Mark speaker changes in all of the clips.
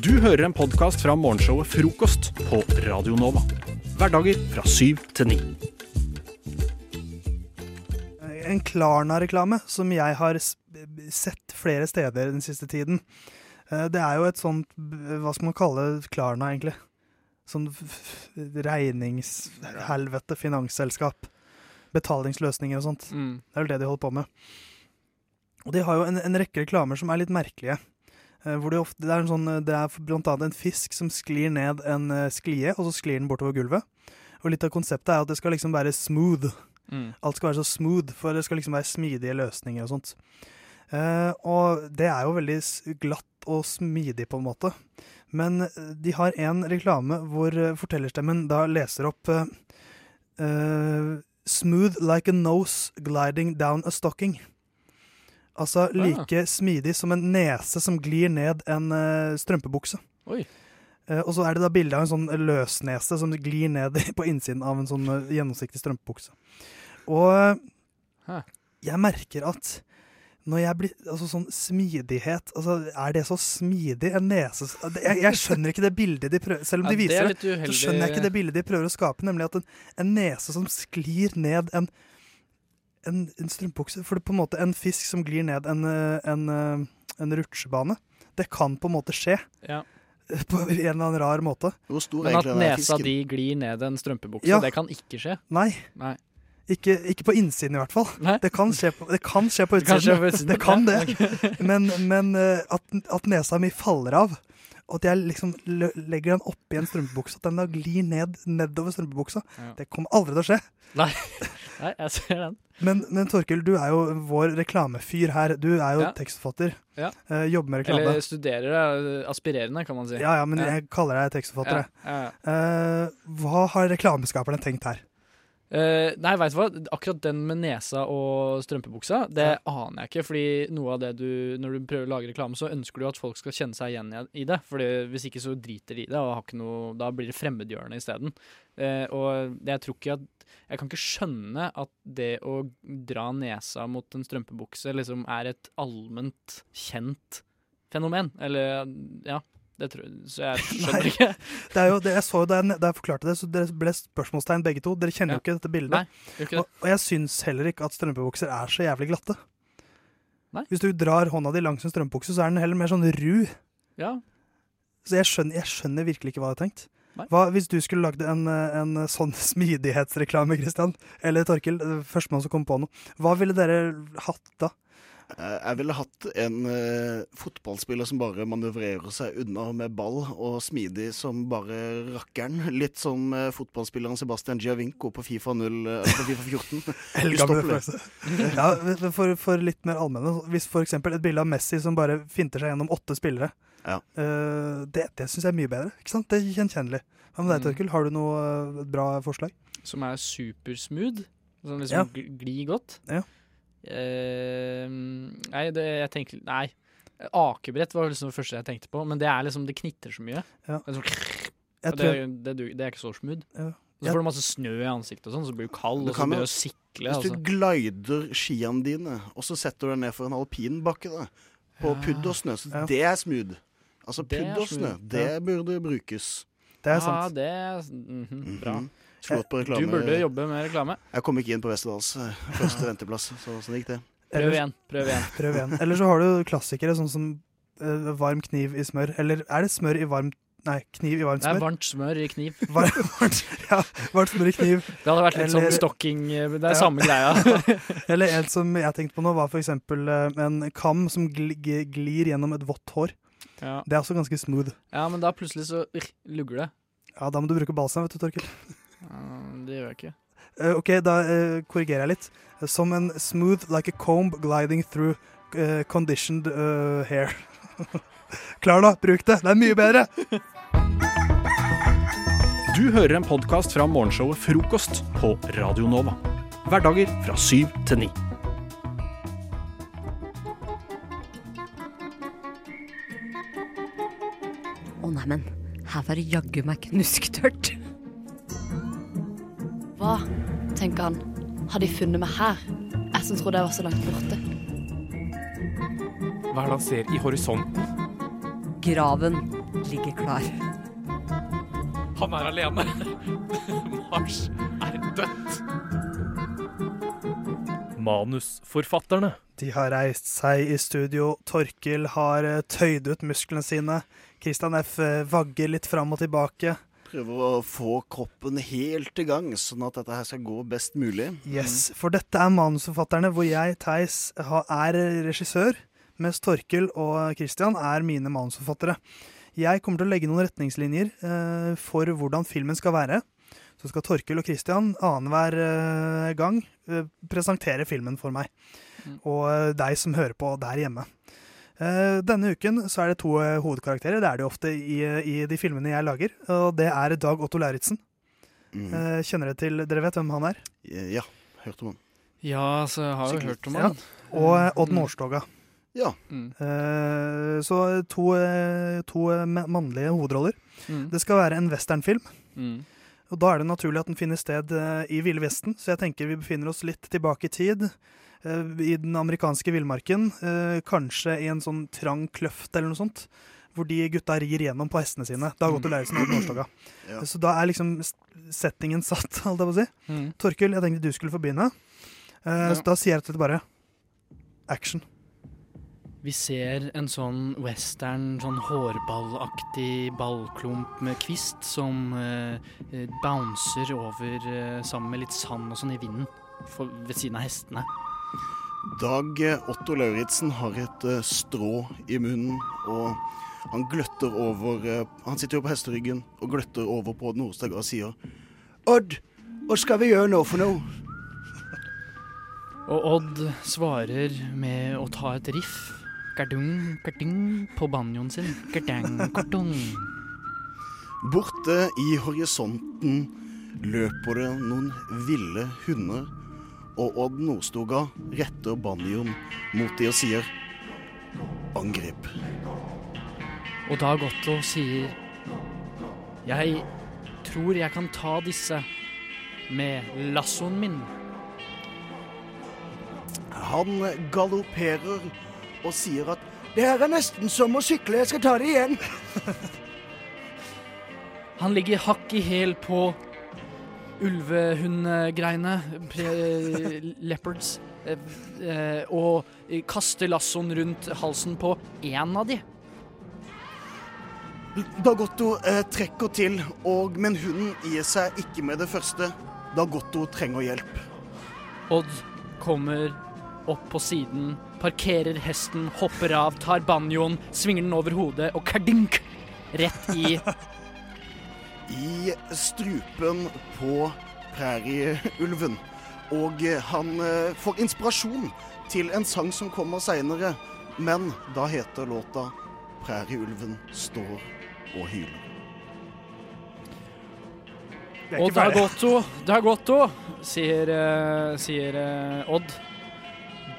Speaker 1: Du hører en podkast fra morgenshowet Frokost på Radio Nova. Hverdager fra syv til ni.
Speaker 2: En Klarna-reklame som jeg har s- sett flere steder den siste tiden. Eh, Det er jo et sånt b- Hva skal man kalle Klarna, egentlig? Sånn f- f- regningshelvete finansselskap. Betalingsløsninger og sånt.
Speaker 3: Mm.
Speaker 2: Det er vel det de holder på med. Og de har jo en, en rekke reklamer som er litt merkelige. Eh, Hvor de ofte, det, er en sånn, eh, det er blant annet en fisk som sklir ned en eh, sklie, og så sklir den bortover gulvet. Og litt av konseptet er at det skal liksom være smooth.
Speaker 3: Mm.
Speaker 2: Alt skal være så smooth, for det skal liksom være smidige løsninger og sånt. Eh, og det er jo veldig s- glatt og smidig, på en måte. Men eh, de har en reklame hvor eh, fortellerstemmen da leser opp eh, eh, Smooth like a nose gliding down a stocking. Altså like smidig som en nese som glir ned en eh, strømpebukse.
Speaker 3: Oi.
Speaker 2: Eh, og så er det da bilde av en sånn løsnese som glir ned på innsiden av en sånn eh, gjennomsiktig strømpebukse. Og
Speaker 3: Hæ.
Speaker 2: jeg merker at når jeg blir, altså sånn smidighet altså Er det så smidig? En nese s- Jeg, jeg skjønner ikke det bildet de prøver Selv om
Speaker 3: Ja,
Speaker 2: de
Speaker 3: det
Speaker 2: viser
Speaker 3: er
Speaker 2: det,
Speaker 3: litt uheldig.
Speaker 2: så skjønner jeg ikke det bildet de prøver å skape, nemlig at en, en nese som sklir ned en, en, en strømpebukse For det er på en måte en fisk som glir ned en, eh, en, eh, en rutsjebane. Det kan på en måte skje.
Speaker 3: Ja.
Speaker 2: eh, På en eller annen rar måte.
Speaker 4: Hvor stor er
Speaker 3: Men at
Speaker 4: egentlig den
Speaker 3: nesa
Speaker 4: fisken?
Speaker 3: di glir ned en strømpebukse,
Speaker 2: Ja.
Speaker 3: det kan ikke skje.
Speaker 2: Nei.
Speaker 3: Nei.
Speaker 2: Ikke, ikke på innsiden, i hvert fall.
Speaker 3: Nei.
Speaker 2: Det kan skje på, det kan skje på
Speaker 3: Det kan skje
Speaker 2: utsiden.
Speaker 3: på utsiden.
Speaker 2: Det kan det.
Speaker 3: Ok.
Speaker 2: Men, men eh, at, at nesa mi faller av, og at jeg liksom lø- legger den oppi en strømpebukse, at den da glir ned, nedover strømpebuksa,
Speaker 3: Ja.
Speaker 2: det kommer aldri til å skje.
Speaker 3: Nei, jeg ser den.
Speaker 2: Men, men Torkil, du er jo vår reklamefyr her. Du er jo
Speaker 3: Ja.
Speaker 2: tekstforfatter.
Speaker 3: Ja.
Speaker 2: Eh, jobber med reklame.
Speaker 3: Eller studerer, eh, aspirerende, kan man si.
Speaker 2: ja, ja, men
Speaker 3: Ja.
Speaker 2: jeg kaller deg
Speaker 3: Ja,
Speaker 2: tekstforfatter. jeg.
Speaker 3: ja, ja.
Speaker 2: Eh, hva har reklameskaperne tenkt her?
Speaker 3: Eh, nei, veit du hva? Akkurat den med nesa og strømpebuksa, det aner jeg ikke. Fordi noe av det du Når du prøver å lage reklame, så ønsker du at folk skal kjenne seg igjen i- i det. Fordi hvis ikke så driter de i det, og har ikke noe, da blir det fremmedgjørende isteden. Uh, og jeg tror ikke at Jeg kan ikke skjønne at det å dra nesa mot en strømpebukse liksom er et allment kjent fenomen. Eller ja. Det tror, jeg- så jeg skjønner
Speaker 2: Nei.
Speaker 3: ikke.
Speaker 2: Det er jo, det, jeg så jo da jeg, da jeg forklarte det, så dere ble spørsmålstegn begge to. Dere kjenner jo ikke dette bildet.
Speaker 3: Nei, gjør ikke det.
Speaker 2: Og, og jeg syns heller ikke at strømpebukser er så jævlig glatte.
Speaker 3: Nei.
Speaker 2: Hvis du drar hånda di langs en strømpebukse, så er den heller mer sånn ru.
Speaker 3: Ja,
Speaker 2: Så jeg skjønner, jeg skjønner virkelig ikke hva jeg har tenkt.
Speaker 3: Nei.
Speaker 2: Hva, hvis du skulle lagd en, eh, en sånn smidighetsreklame, Christian, eller Torkil, eh, førstemann som kom på noe, hva ville dere hatt da?
Speaker 4: Eh, Jeg ville hatt en eh, fotballspiller som bare manøvrerer seg unna med ball, og smidig som bare rakkeren. Litt som eh, fotballspilleren Sebastian Giovinco på Fifa, 0, eh, på FIFA 14.
Speaker 2: Eldgammel
Speaker 4: Ustoppelig.
Speaker 2: følelse. Ja, men for, for litt mer allmenne, hvis for eksempel et bilde av Messi som bare finter seg gjennom åtte spillere,
Speaker 4: Ja.
Speaker 2: eh, det, det syns jeg er mye bedre. ikke sant? Det er gjenkjennelig. Hva med deg,
Speaker 3: Mm.
Speaker 2: Torkil? Har du noe eh, bra forslag?
Speaker 3: Som er supersmooth. Som
Speaker 2: Ja.
Speaker 3: liksom gl- glir godt.
Speaker 2: Ja.
Speaker 3: Eh, nei, det, jeg tenker Nei. Akebrett var liksom det første jeg tenkte på, men det er liksom, det knitrer så mye.
Speaker 2: Ja.
Speaker 3: Det, er sånn,
Speaker 2: Jeg
Speaker 3: og det,
Speaker 2: tror
Speaker 3: det, du- det er ikke så smooth.
Speaker 2: Ja.
Speaker 3: Så
Speaker 2: Ja.
Speaker 3: får du masse snø i ansiktet, og sånn, så blir du kald,
Speaker 4: Du
Speaker 3: og så
Speaker 4: kan jo-
Speaker 3: begynner du å sikle.
Speaker 4: Hvis
Speaker 3: Altså.
Speaker 4: du glider skiene dine, og så setter du deg ned for en alpinbakke da, på
Speaker 3: Ja.
Speaker 4: pudd og snø, så
Speaker 2: Ja.
Speaker 4: det er smooth. Altså
Speaker 3: Det er
Speaker 4: pudd og snø,
Speaker 3: smooth,
Speaker 4: det burde brukes.
Speaker 2: det er sant.
Speaker 3: Ja, det er mhm, bra.
Speaker 4: Mhm. Slått på
Speaker 3: Du burde
Speaker 4: reklame.
Speaker 3: jobbe med reklame.
Speaker 4: Jeg kom ikke inn på Westerdals eh, første venteplass, så sånn gikk det.
Speaker 3: Prøv igjen. Prøv igjen.
Speaker 2: Prøv igjen. Eller så har du klassikere sånn som eh, varm kniv i smør. Eller er det smør i varmt Nei, kniv i varmt
Speaker 3: Det er
Speaker 2: smør.
Speaker 3: varmt smør i kniv.
Speaker 2: Var, varmt, ja, varmt smør i kniv.
Speaker 3: Det hadde vært litt
Speaker 2: Eller-
Speaker 3: sånn stokking eh, Det er
Speaker 2: Ja.
Speaker 3: samme greia.
Speaker 2: Eller en som jeg tenkte på nå, var for eksempel eh, en kam som gl g- glir gjennom et vått hår.
Speaker 3: Ja.
Speaker 2: Det er også ganske smooth.
Speaker 3: ja, men da plutselig så urr, lugger det.
Speaker 2: Ja, da må du bruke balsam, vet du, Torkil.
Speaker 3: Ja, Det gjør jeg ikke.
Speaker 2: Eh, OK, da eh, korrigerer jeg litt. Som en smooth like a comb gliding through eh, conditioned eh, hair. Klar, da? Bruk det! Det er mye bedre!
Speaker 1: Du hører en podkast fra morgenshowet Frokost på Radio Nova. Hverdager fra syv til ni.
Speaker 5: Å nei, men her var det jaggu meg knusktørt.
Speaker 6: Hva, tenker han, har de funnet meg her? Jeg som trodde jeg var så langt borte.
Speaker 7: Hva er det han ser i horisonten?
Speaker 5: Graven ligger klar.
Speaker 7: Han er alene. Mars er dødt.
Speaker 8: Manusforfatterne.
Speaker 2: De har reist seg i studio. Torkil har eh, tøyd ut musklene sine. Christian F. eh, vagger litt fram og tilbake.
Speaker 4: Prøver å få kroppen helt i gang, sånn at dette her skal gå best mulig.
Speaker 2: Yes, For dette er manusforfatterne, hvor jeg, Theis, ha- er regissør, mens Torkil og Christian er mine manusforfattere. Jeg kommer til å legge noen retningslinjer eh, for hvordan filmen skal være. Så skal Torkil og Christian annenhver eh, gang eh, presentere filmen for meg.
Speaker 3: Mm.
Speaker 2: Og eh, deg som hører på der hjemme. Eh, denne uken så er det to eh, hovedkarakterer. Det er det jo ofte i, i de filmene jeg lager. Og det er Dag Otto Lauritzen.
Speaker 4: Mhm.
Speaker 2: Eh, kjenner dere til Dere vet hvem han er?
Speaker 4: Eh, Ja, hørte man.
Speaker 3: Ja, så jeg har jo
Speaker 4: Sikkert.
Speaker 3: hørt om
Speaker 2: Ja.
Speaker 3: han.
Speaker 2: Og eh, Odd
Speaker 3: Mm.
Speaker 2: Nordstoga.
Speaker 4: Ja.
Speaker 3: Mm.
Speaker 2: Eh, så to, eh, to eh, ma- mannlige hovedroller.
Speaker 3: Mm.
Speaker 2: Det skal være en westernfilm,
Speaker 3: Mm.
Speaker 2: og da er det naturlig at den finner sted eh, i Ville Vesten. Så jeg tenker vi befinner oss litt tilbake i tid, eh, i den amerikanske villmarken. eh, kanskje i en sånn trang kløft eller noe sånt. Hvor de gutta rir gjennom på hestene sine. Da har gått og lært seg Nordstoga.
Speaker 4: Ja.
Speaker 2: Så da er liksom s- settingen satt, holdt jeg på å si.
Speaker 3: Mm.
Speaker 2: Torkil, jeg tenkte du skulle få begynne. Eh,
Speaker 3: Ja.
Speaker 2: Så da sier jeg til deg bare action.
Speaker 3: Vi ser en sånn western, sånn hårballaktig ballklump med kvist som eh, eh, bouncer over eh, sammen med litt sand og sånn i vinden for, ved siden av hestene.
Speaker 4: Dag eh, Otto Lauritzen har et eh, strå i munnen, og han gløtter over eh, Han sitter jo på hesteryggen og gløtter over på den Nordsteg og sier Odd, hva skal vi gjøre nå for noe?
Speaker 3: Og Odd svarer med å ta et riff. Gardung, gardung på banjoen sin. Gardang, gardung.
Speaker 4: Borte i horisonten løper det noen ville hunder, og Odd Nordstoga retter banjoen mot de og sier Angrip.
Speaker 3: Og Dag Otto sier Jeg tror jeg kan ta disse med lassoen min.
Speaker 4: Han galopperer og sier at det her er nesten som å sykle, jeg skal ta det igjen.
Speaker 3: Han ligger hakk i hæl på ulvehundgreiene, pre- leopards, eh, eh, og kaster lassoen rundt halsen på én av de.
Speaker 4: Dagotto eh, trekker til, og, men hunden gir seg ikke med det første. Dagotto trenger hjelp.
Speaker 3: Odd kommer opp på siden, parkerer hesten, hopper av, tar banjoen, svinger den over hodet og kardink! Rett i
Speaker 4: I strupen på prærieulven. Og eh, han eh, får inspirasjon til en sang som kommer seinere. Men da heter låta 'Prærieulven står og hyler'.
Speaker 2: Vi er
Speaker 3: Og
Speaker 2: ikke
Speaker 3: Dag
Speaker 2: ferdige.
Speaker 3: Otto, Dag Otto, sier, eh, sier eh, Odd.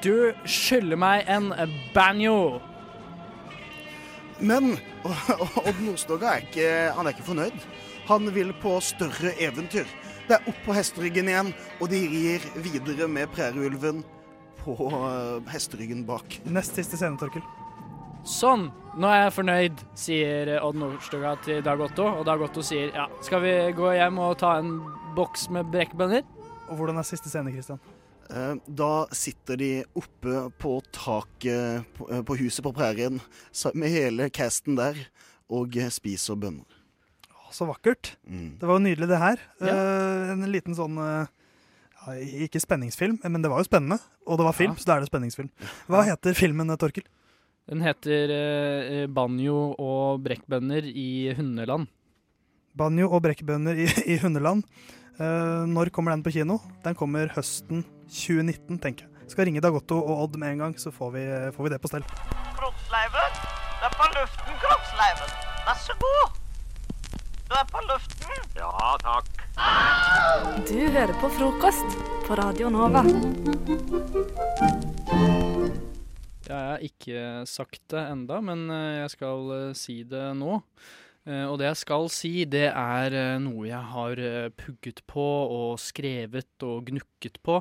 Speaker 3: Du skylder meg en banjo!
Speaker 4: Men Odd Nordstoga er ikke, han er ikke fornøyd. Han vil på større eventyr. Det er opp på hesteryggen igjen, og de rir videre med prærieulven på eh, hesteryggen bak.
Speaker 2: Nest siste scene, Torkil.
Speaker 3: Sånn, nå er jeg fornøyd, sier eh, Odd Nordstoga til Dag Otto. Og Dag Otto sier ja, skal vi gå hjem og ta en boks med brekkbønner?
Speaker 2: Og hvordan er siste scene, Christian?
Speaker 4: Eh, Da sitter de oppe på taket på- eh, på huset på prærien sa- med hele casten der og eh, spiser bønner.
Speaker 2: Å, så vakkert.
Speaker 4: Mm.
Speaker 2: Det var jo nydelig, det her.
Speaker 3: Ja.
Speaker 2: Eh, en liten sånn eh, ja, Ikke spenningsfilm, men det var jo spennende. Og det var film,
Speaker 3: Ja.
Speaker 2: så da er det spenningsfilm. Hva heter filmen, eh, Torkil?
Speaker 3: Den heter eh, Banjo og brekkbønner i hundeland.
Speaker 2: Banjo og brekkbønder i, i hundeland. Eh, når kommer den på kino? Den kommer høsten 2019, tenker jeg. Skal ringe Dagotto og Odd med en gang, så får vi, får vi det på stell.
Speaker 9: Kroppsleiven. Det er på luften, kroppsleiven. Vær så god. Du er på luften. Ja, takk.
Speaker 10: Du hører på frokost på Radio Nova.
Speaker 3: Jeg har ikke sagt det enda, men eh, jeg skal eh, si det nå. Eh, Og det jeg skal si, det er eh, noe jeg har eh, pugget på og skrevet og gnukket på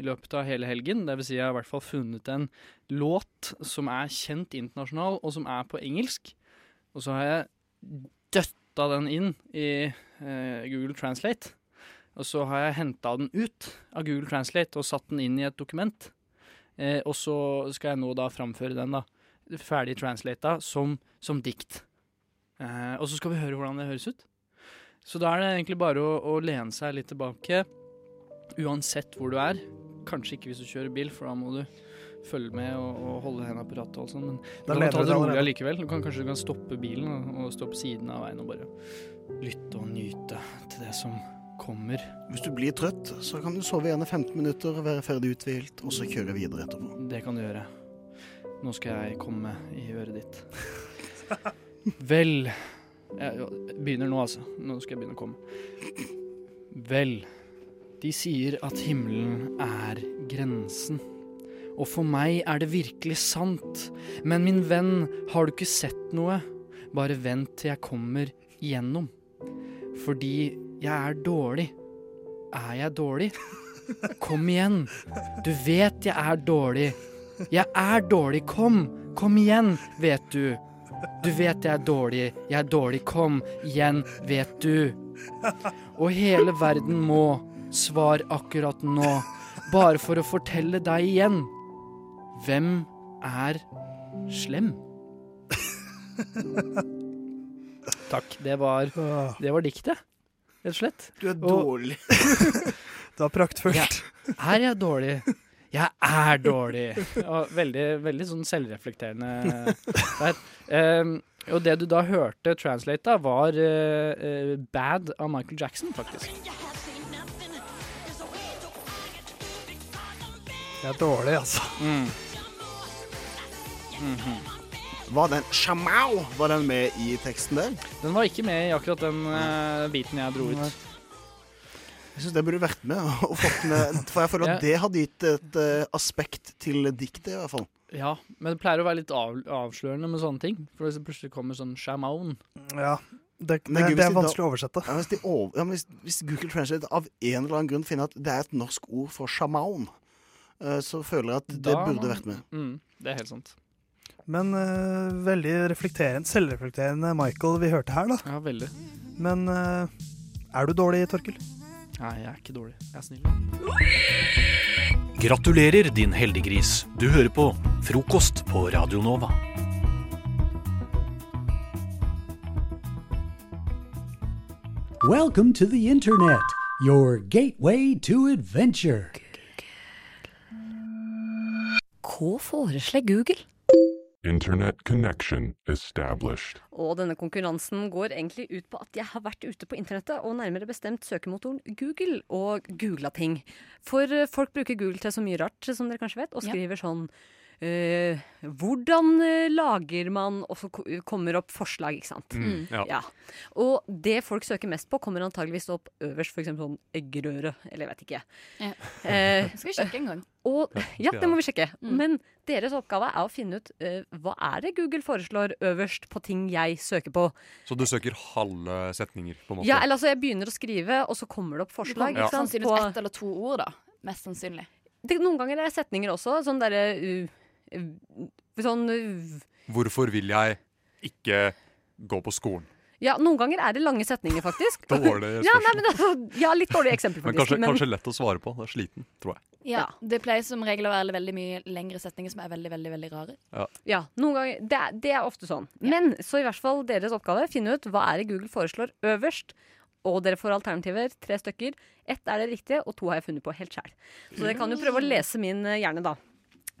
Speaker 3: i løpet av hele helgen. Det vil si jeg har i hvert fall funnet en låt som er kjent internasjonal, og som er på engelsk. Og så har jeg døtta den inn i eh, Google Translate. Og så har jeg henta den ut av Google Translate og satt den inn i et dokument. Eh, og så skal jeg nå da framføre den da, ferdig translata som, som dikt. Eh, og så skal vi høre hvordan det høres ut. Så da er det egentlig bare å, å lene seg litt tilbake, uansett hvor du er. Kanskje ikke hvis du kjører bil, for da må du følge med og, og holde hendene på rattet. og alt sånt, Men du
Speaker 2: Da
Speaker 3: kan
Speaker 2: leder
Speaker 3: jo ta
Speaker 2: du
Speaker 3: det rolig
Speaker 2: allerede.
Speaker 3: allikevel. Du kan, kanskje du kan stoppe bilen og, og stå på siden av veien og bare lytte og nyte til det som kommer.
Speaker 4: Hvis du blir trøtt, så kan du sove igjen i 15 minutter, være ferdig uthvilt, og så kjøre videre etterpå.
Speaker 3: Det kan du gjøre. Nå skal jeg komme i øret ditt. Vel Jeg begynner nå, altså. Nå skal jeg begynne å komme. Vel. De sier at himmelen er grensen. Og for meg er det virkelig sant. Men min venn, har du ikke sett noe? Bare vent til jeg kommer igjennom. Fordi jeg er dårlig. Er jeg dårlig? Kom igjen. Du vet jeg er dårlig. Jeg er dårlig. Kom. Kom igjen, vet du. Du vet jeg er dårlig. Jeg er dårlig. Kom igjen, vet du. Og hele verden må svar akkurat nå. Bare for å fortelle deg igjen. Hvem er slem? Takk. Det var, det var diktet, rett og slett. Du er
Speaker 4: dårlig.
Speaker 2: det var praktfullt.
Speaker 3: Jeg, er jeg dårlig? Jeg er dårlig. Og veldig, veldig sånn selvreflekterende. Der. Ehm, og det du da hørte translate, da, var eh, eh, 'Bad' av Michael Jackson, faktisk.
Speaker 2: Jeg er dårlig, altså.
Speaker 3: Mhm.
Speaker 4: Var den Shamau? Var den med i teksten der?
Speaker 3: Den var ikke med i akkurat den eh, biten jeg dro ut.
Speaker 4: Jeg syns det burde vært med. Og fått med for jeg føler at
Speaker 3: Ja.
Speaker 4: det hadde gitt et eh, aspekt til diktet, i hvert fall.
Speaker 3: Ja, men det pleier å være litt av, avslørende med sånne ting. For hvis det plutselig kommer sånn shaman
Speaker 2: Ja, det,
Speaker 4: Men gøy hvis de da-
Speaker 2: å oversette.
Speaker 4: Ja, hvis, de over, ja, men hvis, hvis Google Translate av en eller annen grunn finner at det er et norsk ord for sjaman, eh, så føler jeg at det
Speaker 3: Da-
Speaker 4: burde vært med.
Speaker 3: Mm, det er helt sant.
Speaker 2: Men eh, veldig reflekterende, selvreflekterende Michael vi hørte her, da.
Speaker 3: Ja, veldig.
Speaker 2: Men eh, er du dårlig, Torkel?
Speaker 3: Nei, jeg er ikke dårlig. Jeg er snill.
Speaker 1: Gratulerer, din heldiggris. Du hører på Frokost på Radio Nova.
Speaker 11: Welcome to the internet, your gateway to adventure.
Speaker 5: Hva foreslår Google?
Speaker 12: Internet connection established.
Speaker 5: Og denne konkurransen går egentlig ut på at jeg har vært ute på internettet, og nærmere bestemt søkemotoren Google, og googla ting. For eh, folk bruker Google til så mye rart, som dere kanskje vet, og
Speaker 13: Ja.
Speaker 5: skriver sånn eh, hvordan eh, lager man Og så ko- kommer opp forslag, ikke sant.
Speaker 13: Mm, ja.
Speaker 5: Og det folk søker mest på, kommer antageligvis opp øverst, f.eks. sånn eggerøre, eller jeg vet ikke.
Speaker 13: Ja.
Speaker 5: Eh,
Speaker 13: Skal vi sjekke en gang?
Speaker 5: Og, ja,
Speaker 13: Ja,
Speaker 5: det må vi sjekke.
Speaker 13: Mm.
Speaker 5: Men deres oppgave er å finne ut eh, hva er det Google foreslår øverst på ting jeg søker på.
Speaker 14: Så du søker halve setninger, på en måte?
Speaker 5: Ja, eller altså Jeg begynner å skrive, og så kommer det opp
Speaker 13: Du
Speaker 5: forslag.
Speaker 13: kommer
Speaker 5: Ikke sant?
Speaker 13: sannsynligvis ett eller to ord, da. Mest sannsynlig.
Speaker 5: Det, noen ganger er det setninger også. Sånn derre uh, uh, Sånn uh,
Speaker 14: Hvorfor vil jeg ikke gå på skolen?
Speaker 5: Ja, noen ganger er det lange setninger, faktisk.
Speaker 14: Dårlig
Speaker 5: ja, nei, men, altså, ja, litt dårlig eksempel,
Speaker 14: Men
Speaker 5: faktisk.
Speaker 14: kanskje,
Speaker 5: men-
Speaker 14: kanskje lett å svare på. Det er sliten, tror jeg.
Speaker 13: Ja, Det pleier som regel å være veldig mye lengre setninger som er veldig, veldig, veldig rare.
Speaker 14: Ja.
Speaker 5: Ja, noen ganger, det, er- det er ofte sånn. Men så i hvert fall deres oppgave finne ut hva er det Google foreslår øverst. Og dere får alternativer. Tre stykker. Ett er det riktige, og to har jeg funnet på helt sjæl. Så dere kan jo prøve å lese min eh, hjerne, da.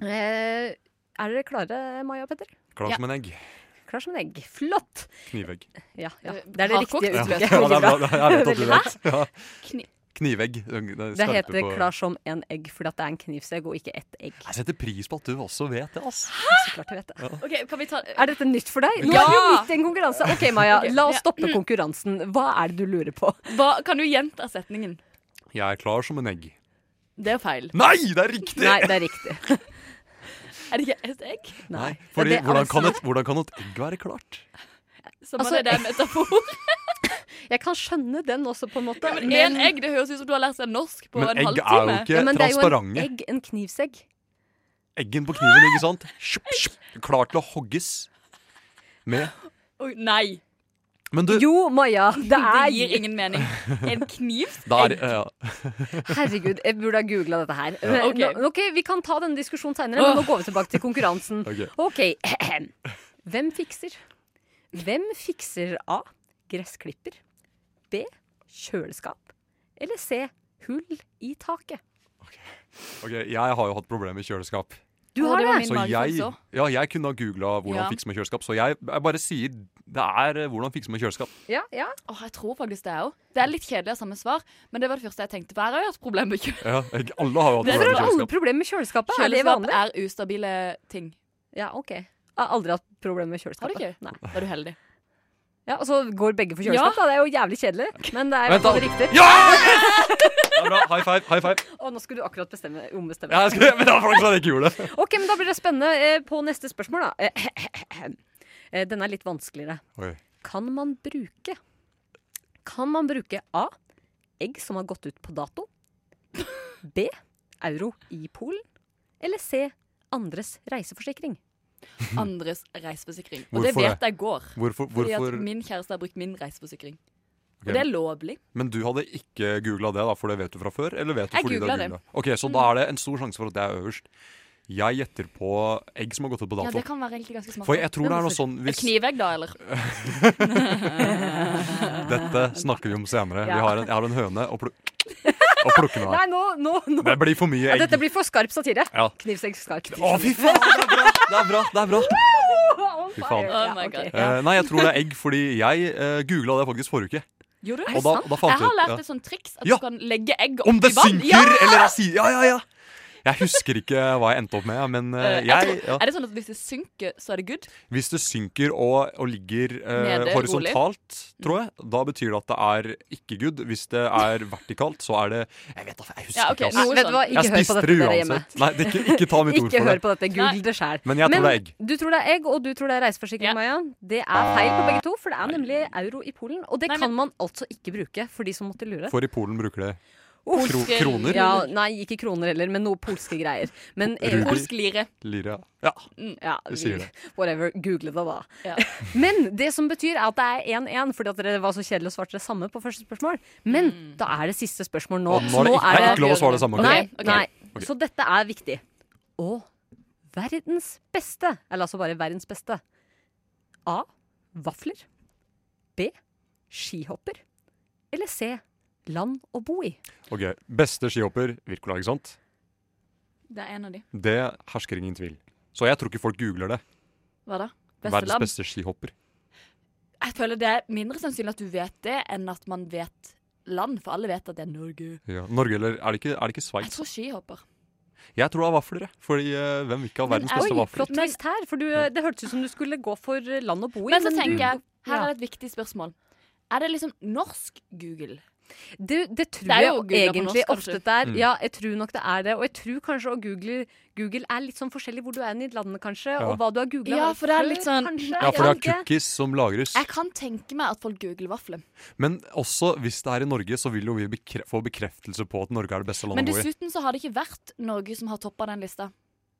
Speaker 5: Eh, er dere klare, Maja og Petter?
Speaker 14: Klar som en egg.
Speaker 5: Klar som en egg. Flott!
Speaker 14: Knivegg.
Speaker 5: Ja, ja. Det er det
Speaker 13: Hardkokt
Speaker 5: riktige
Speaker 14: Ja,
Speaker 5: uttrykket.
Speaker 14: ja, det er bra. Det er rett opp i
Speaker 5: Veldig bra.
Speaker 14: rett. Ja.
Speaker 13: Kni-
Speaker 14: Knivegg.
Speaker 5: Det heter 'klar som en egg', fordi at det er en knivsegg og ikke ett egg.
Speaker 14: Jeg setter pris på at du også vet det, ass.
Speaker 5: Så klart jeg vet det.
Speaker 14: Ja.
Speaker 13: Ok, kan vi ta...
Speaker 5: Er dette nytt for deg? Nå
Speaker 13: Ja!
Speaker 5: er vi jo midt i en konkurranse. Ok, Maja,
Speaker 13: Ok,
Speaker 5: la oss
Speaker 13: ja.
Speaker 5: stoppe konkurransen. Hva er det du lurer på?
Speaker 13: Hva, kan du gjenta setningen?
Speaker 14: Jeg er klar som en egg.
Speaker 13: Det er feil.
Speaker 14: Nei, det er riktig!
Speaker 5: Nei, det er riktig.
Speaker 13: Er det ikke et egg?
Speaker 14: Nei, fordi hvordan kan,
Speaker 5: altså-
Speaker 14: et, hvordan kan et egg være klart?
Speaker 13: Som altså, det er en metafor.
Speaker 5: Jeg kan skjønne den også, på en måte.
Speaker 13: Ja, men én egg, det høres ut som du har lært seg norsk på
Speaker 14: Men
Speaker 13: en
Speaker 14: egg er jo
Speaker 13: halvtime.
Speaker 14: ikke Ja, men det er jo en transparente.
Speaker 5: En egg, en knivsegg.
Speaker 14: Eggen på kniven, ikke sant? Shup, shup. Klar til å hogges med
Speaker 13: Oi, nei.
Speaker 14: Men du
Speaker 5: Jo, Maja, det er
Speaker 13: Det gir ingen mening. En kniv?
Speaker 14: da er, ja.
Speaker 5: Herregud, jeg burde ha googla dette her.
Speaker 14: Ja, ok.
Speaker 5: Nå- ok, Vi kan ta denne diskusjonen seinere, men nå går vi tilbake til konkurransen.
Speaker 14: Ok.
Speaker 5: ok, Hvem fikser? Hvem fikser A. Gressklipper. B. Kjøleskap. Eller C. Hull i taket.
Speaker 14: Ok, Jeg har jo hatt problemer med kjøleskap.
Speaker 5: Du har Å, det var det? min
Speaker 14: Så jeg,
Speaker 5: magefølelse også.
Speaker 14: ja, jeg kunne ha googla hvordan
Speaker 13: Ja.
Speaker 14: fikse med kjøleskap, så jeg, jeg bare sier det er eh, hvordan fikse med kjøleskap.
Speaker 5: Ja, ja.
Speaker 13: Åh, jeg tror faktisk det òg. Det er litt kjedelig å ha samme svar, men det var det første jeg tenkte. For her har jeg hatt problemer med kjøleskap.
Speaker 14: Ja, jeg, alle har jo hatt
Speaker 13: Hvorfor
Speaker 14: problemer med
Speaker 13: har alle
Speaker 14: kjøleskap.
Speaker 5: Problemet med kjøleskapet, er det
Speaker 13: Kjøleskap
Speaker 5: vanlig?
Speaker 13: er ustabile ting.
Speaker 5: Ja, ok. Jeg har aldri hatt problemer med kjøleskapet.
Speaker 13: Har du ikke?
Speaker 5: Nei.
Speaker 13: Da er du heldig.
Speaker 5: Ja, Og så går begge Altså, for
Speaker 13: Ja.
Speaker 5: kjøleskap, da. Det er jo jævlig kjedelig. Men det er
Speaker 14: Vent
Speaker 5: jo
Speaker 14: da.
Speaker 5: riktig.
Speaker 14: Ja, bra. High five. high five
Speaker 5: Og nå skulle du akkurat bestemme, ombestemme.
Speaker 14: ja, jeg skal, Men det var flaks at jeg ikke gjorde det.
Speaker 5: Ok, men da blir det spennende eh, på neste spørsmål, da. Eh, Den er litt vanskeligere.
Speaker 14: Oi.
Speaker 5: Kan man bruke Kan man bruke A. Egg som har gått ut på dato. B. Euro i Polen. Eller C. Andres reiseforsikring.
Speaker 13: Andres reiseforsikring. Og det
Speaker 14: Hvorfor
Speaker 13: vet
Speaker 14: det?
Speaker 13: jeg går.
Speaker 14: Hvorfor-
Speaker 13: Fordi
Speaker 14: hvorfor-
Speaker 13: at min kjæreste har brukt min reiseforsikring.
Speaker 14: Ok,
Speaker 13: Og det er
Speaker 14: men-
Speaker 13: lovlig.
Speaker 14: Men du hadde ikke googla det, da, for det vet du fra før? Eller vet du
Speaker 13: Jeg
Speaker 14: fordi du har
Speaker 13: googlet det. Mm.
Speaker 14: googlet? Ok, Så da er det en stor sjanse for at det er øverst. Jeg gjetter på egg som har gått ut på
Speaker 13: Ja,
Speaker 14: dato.
Speaker 13: det kan være egentlig ganske smart.
Speaker 14: For jeg tror det er noe sånn hvis-
Speaker 13: Et knivegg, da, eller?
Speaker 14: Dette snakker vi om senere.
Speaker 5: Ja.
Speaker 14: Vi har en, jeg har en høne og, pluk og plukker den
Speaker 5: Nei,
Speaker 14: av.
Speaker 5: nå, nå, nå.
Speaker 14: Det blir for mye
Speaker 5: Ja,
Speaker 14: egg.
Speaker 5: dette blir for skarp satire.
Speaker 14: Ja.
Speaker 5: Knivsegg skarp.
Speaker 14: Å, fy faen! Det er bra! Det er bra, det er bra.
Speaker 5: On
Speaker 14: Fy
Speaker 5: fire.
Speaker 14: faen.
Speaker 5: Ja,
Speaker 13: Oh my
Speaker 5: ok.
Speaker 13: God.
Speaker 14: Eh, nei, jeg tror det er egg, fordi jeg uh, googla det faktisk forrige uke.
Speaker 13: Gjorde
Speaker 14: Og
Speaker 13: du?
Speaker 14: da- da fant
Speaker 13: jeg har
Speaker 14: jeg ut,
Speaker 13: lært sånn-
Speaker 14: ja.
Speaker 13: et sånt triks at
Speaker 14: Ja.
Speaker 13: du kan legge egg
Speaker 14: Om det
Speaker 13: i vann.
Speaker 14: synker eller er side... Ja, ja, ja! Jeg husker ikke hva jeg endte opp med, men eh,
Speaker 13: Eh, jeg
Speaker 14: jeg
Speaker 13: tror-
Speaker 14: ja.
Speaker 13: Er det sånn at hvis det synker, så er det good?
Speaker 14: Hvis det synker og, og ligger eh,
Speaker 13: Nede,
Speaker 14: horisontalt, tror jeg,
Speaker 13: Mm.
Speaker 14: da betyr det at det er ikke good. Hvis det er vertikalt, så er det Jeg vet da, jeg husker
Speaker 5: Ja, ok,
Speaker 14: ikke. ass.
Speaker 5: noe Vet du hva, ikke
Speaker 14: jeg
Speaker 5: hør på
Speaker 14: spiste
Speaker 5: dette
Speaker 14: det
Speaker 5: dere hjemme.
Speaker 14: uansett. Nei, det, ikke, ikke ta mitt ord
Speaker 5: Ikke
Speaker 14: for
Speaker 5: hør
Speaker 14: det.
Speaker 5: på dette. Google det sjæl.
Speaker 14: Men jeg tror det er egg.
Speaker 5: Du tror det er egg, og du tror det er reiseforsikring, Maja. Det er feil på begge to, for det er nemlig euro i Polen. Og det kan man altså ikke bruke, for de som måtte lure.
Speaker 14: For i Polen bruker det
Speaker 5: Uff.
Speaker 14: kro kroner.
Speaker 5: Ja, nei, ikke kroner heller, men noe polske greier. Men
Speaker 14: Rubel.
Speaker 5: Polsk lire.
Speaker 14: Lira. Ja.
Speaker 5: Mm, Ja,
Speaker 14: Vi sier det.
Speaker 5: Whatever. Google det, da. Men det som betyr er at det er 1-1, fordi at dere var så kjedelige og svarte det samme på første spørsmål. Men da er det siste spørsmål nå.
Speaker 14: Og nå er det ikke- det er ikke lov å svare det samme, ok?
Speaker 5: Nei,
Speaker 14: Mm. Ok.
Speaker 5: nei.
Speaker 14: Ok.
Speaker 5: Så dette er viktig. Og verdens beste, eller altså bare verdens beste. A. Vafler. B. Skihopper. Eller C. Land å bo i.
Speaker 14: Ok, Beste skihopper Wirkola, ikke sant?
Speaker 13: Det er en av de.
Speaker 14: Det hersker ingen tvil. Så jeg tror ikke folk googler det.
Speaker 13: Hva da?
Speaker 14: Verdens
Speaker 13: Besteland?
Speaker 14: beste skihopper.
Speaker 13: Jeg føler det er mindre sannsynlig at du vet det, enn at man vet land, for alle vet at det er Norge.
Speaker 14: Ja. Norge, eller er det ikke, er det ikke
Speaker 13: Jeg
Speaker 14: Sveits?
Speaker 13: tror skihopper.
Speaker 14: Jeg tror det er vafler, jeg. Fordi eh, hvem vil ikke ha verdens
Speaker 13: er-
Speaker 14: beste
Speaker 13: Oi,
Speaker 14: vafler?
Speaker 5: Flott twist her, for du, det hørtes ut som du skulle gå for land å bo i.
Speaker 13: Men så
Speaker 5: du-
Speaker 13: tenker jeg, her
Speaker 5: Ja.
Speaker 13: er det et viktig spørsmål. Er det liksom norsk Google?
Speaker 5: Det, tror
Speaker 13: Det er
Speaker 5: jeg
Speaker 13: jo Google på
Speaker 5: egentlig
Speaker 13: norsk, kanskje.
Speaker 5: ofte det er.
Speaker 13: Mm.
Speaker 5: Ja, jeg tror nok det er det. Og jeg tror kanskje å google, google er litt sånn forskjellig hvor du er i landet, kanskje.
Speaker 14: Ja.
Speaker 5: Og hva du har googla.
Speaker 13: Ja, for det er litt sånn-
Speaker 5: kanskje.
Speaker 14: Ja, for det er
Speaker 5: ikke?
Speaker 14: cookies som lagres.
Speaker 13: Jeg kan tenke meg at folk googler vafler.
Speaker 14: Men også hvis det er i Norge, så vil jo vi bekre få bekreftelse på at Norge er det beste
Speaker 13: Men
Speaker 14: landet å bo i.
Speaker 13: dessuten så har det ikke vært Norge som har toppa den lista.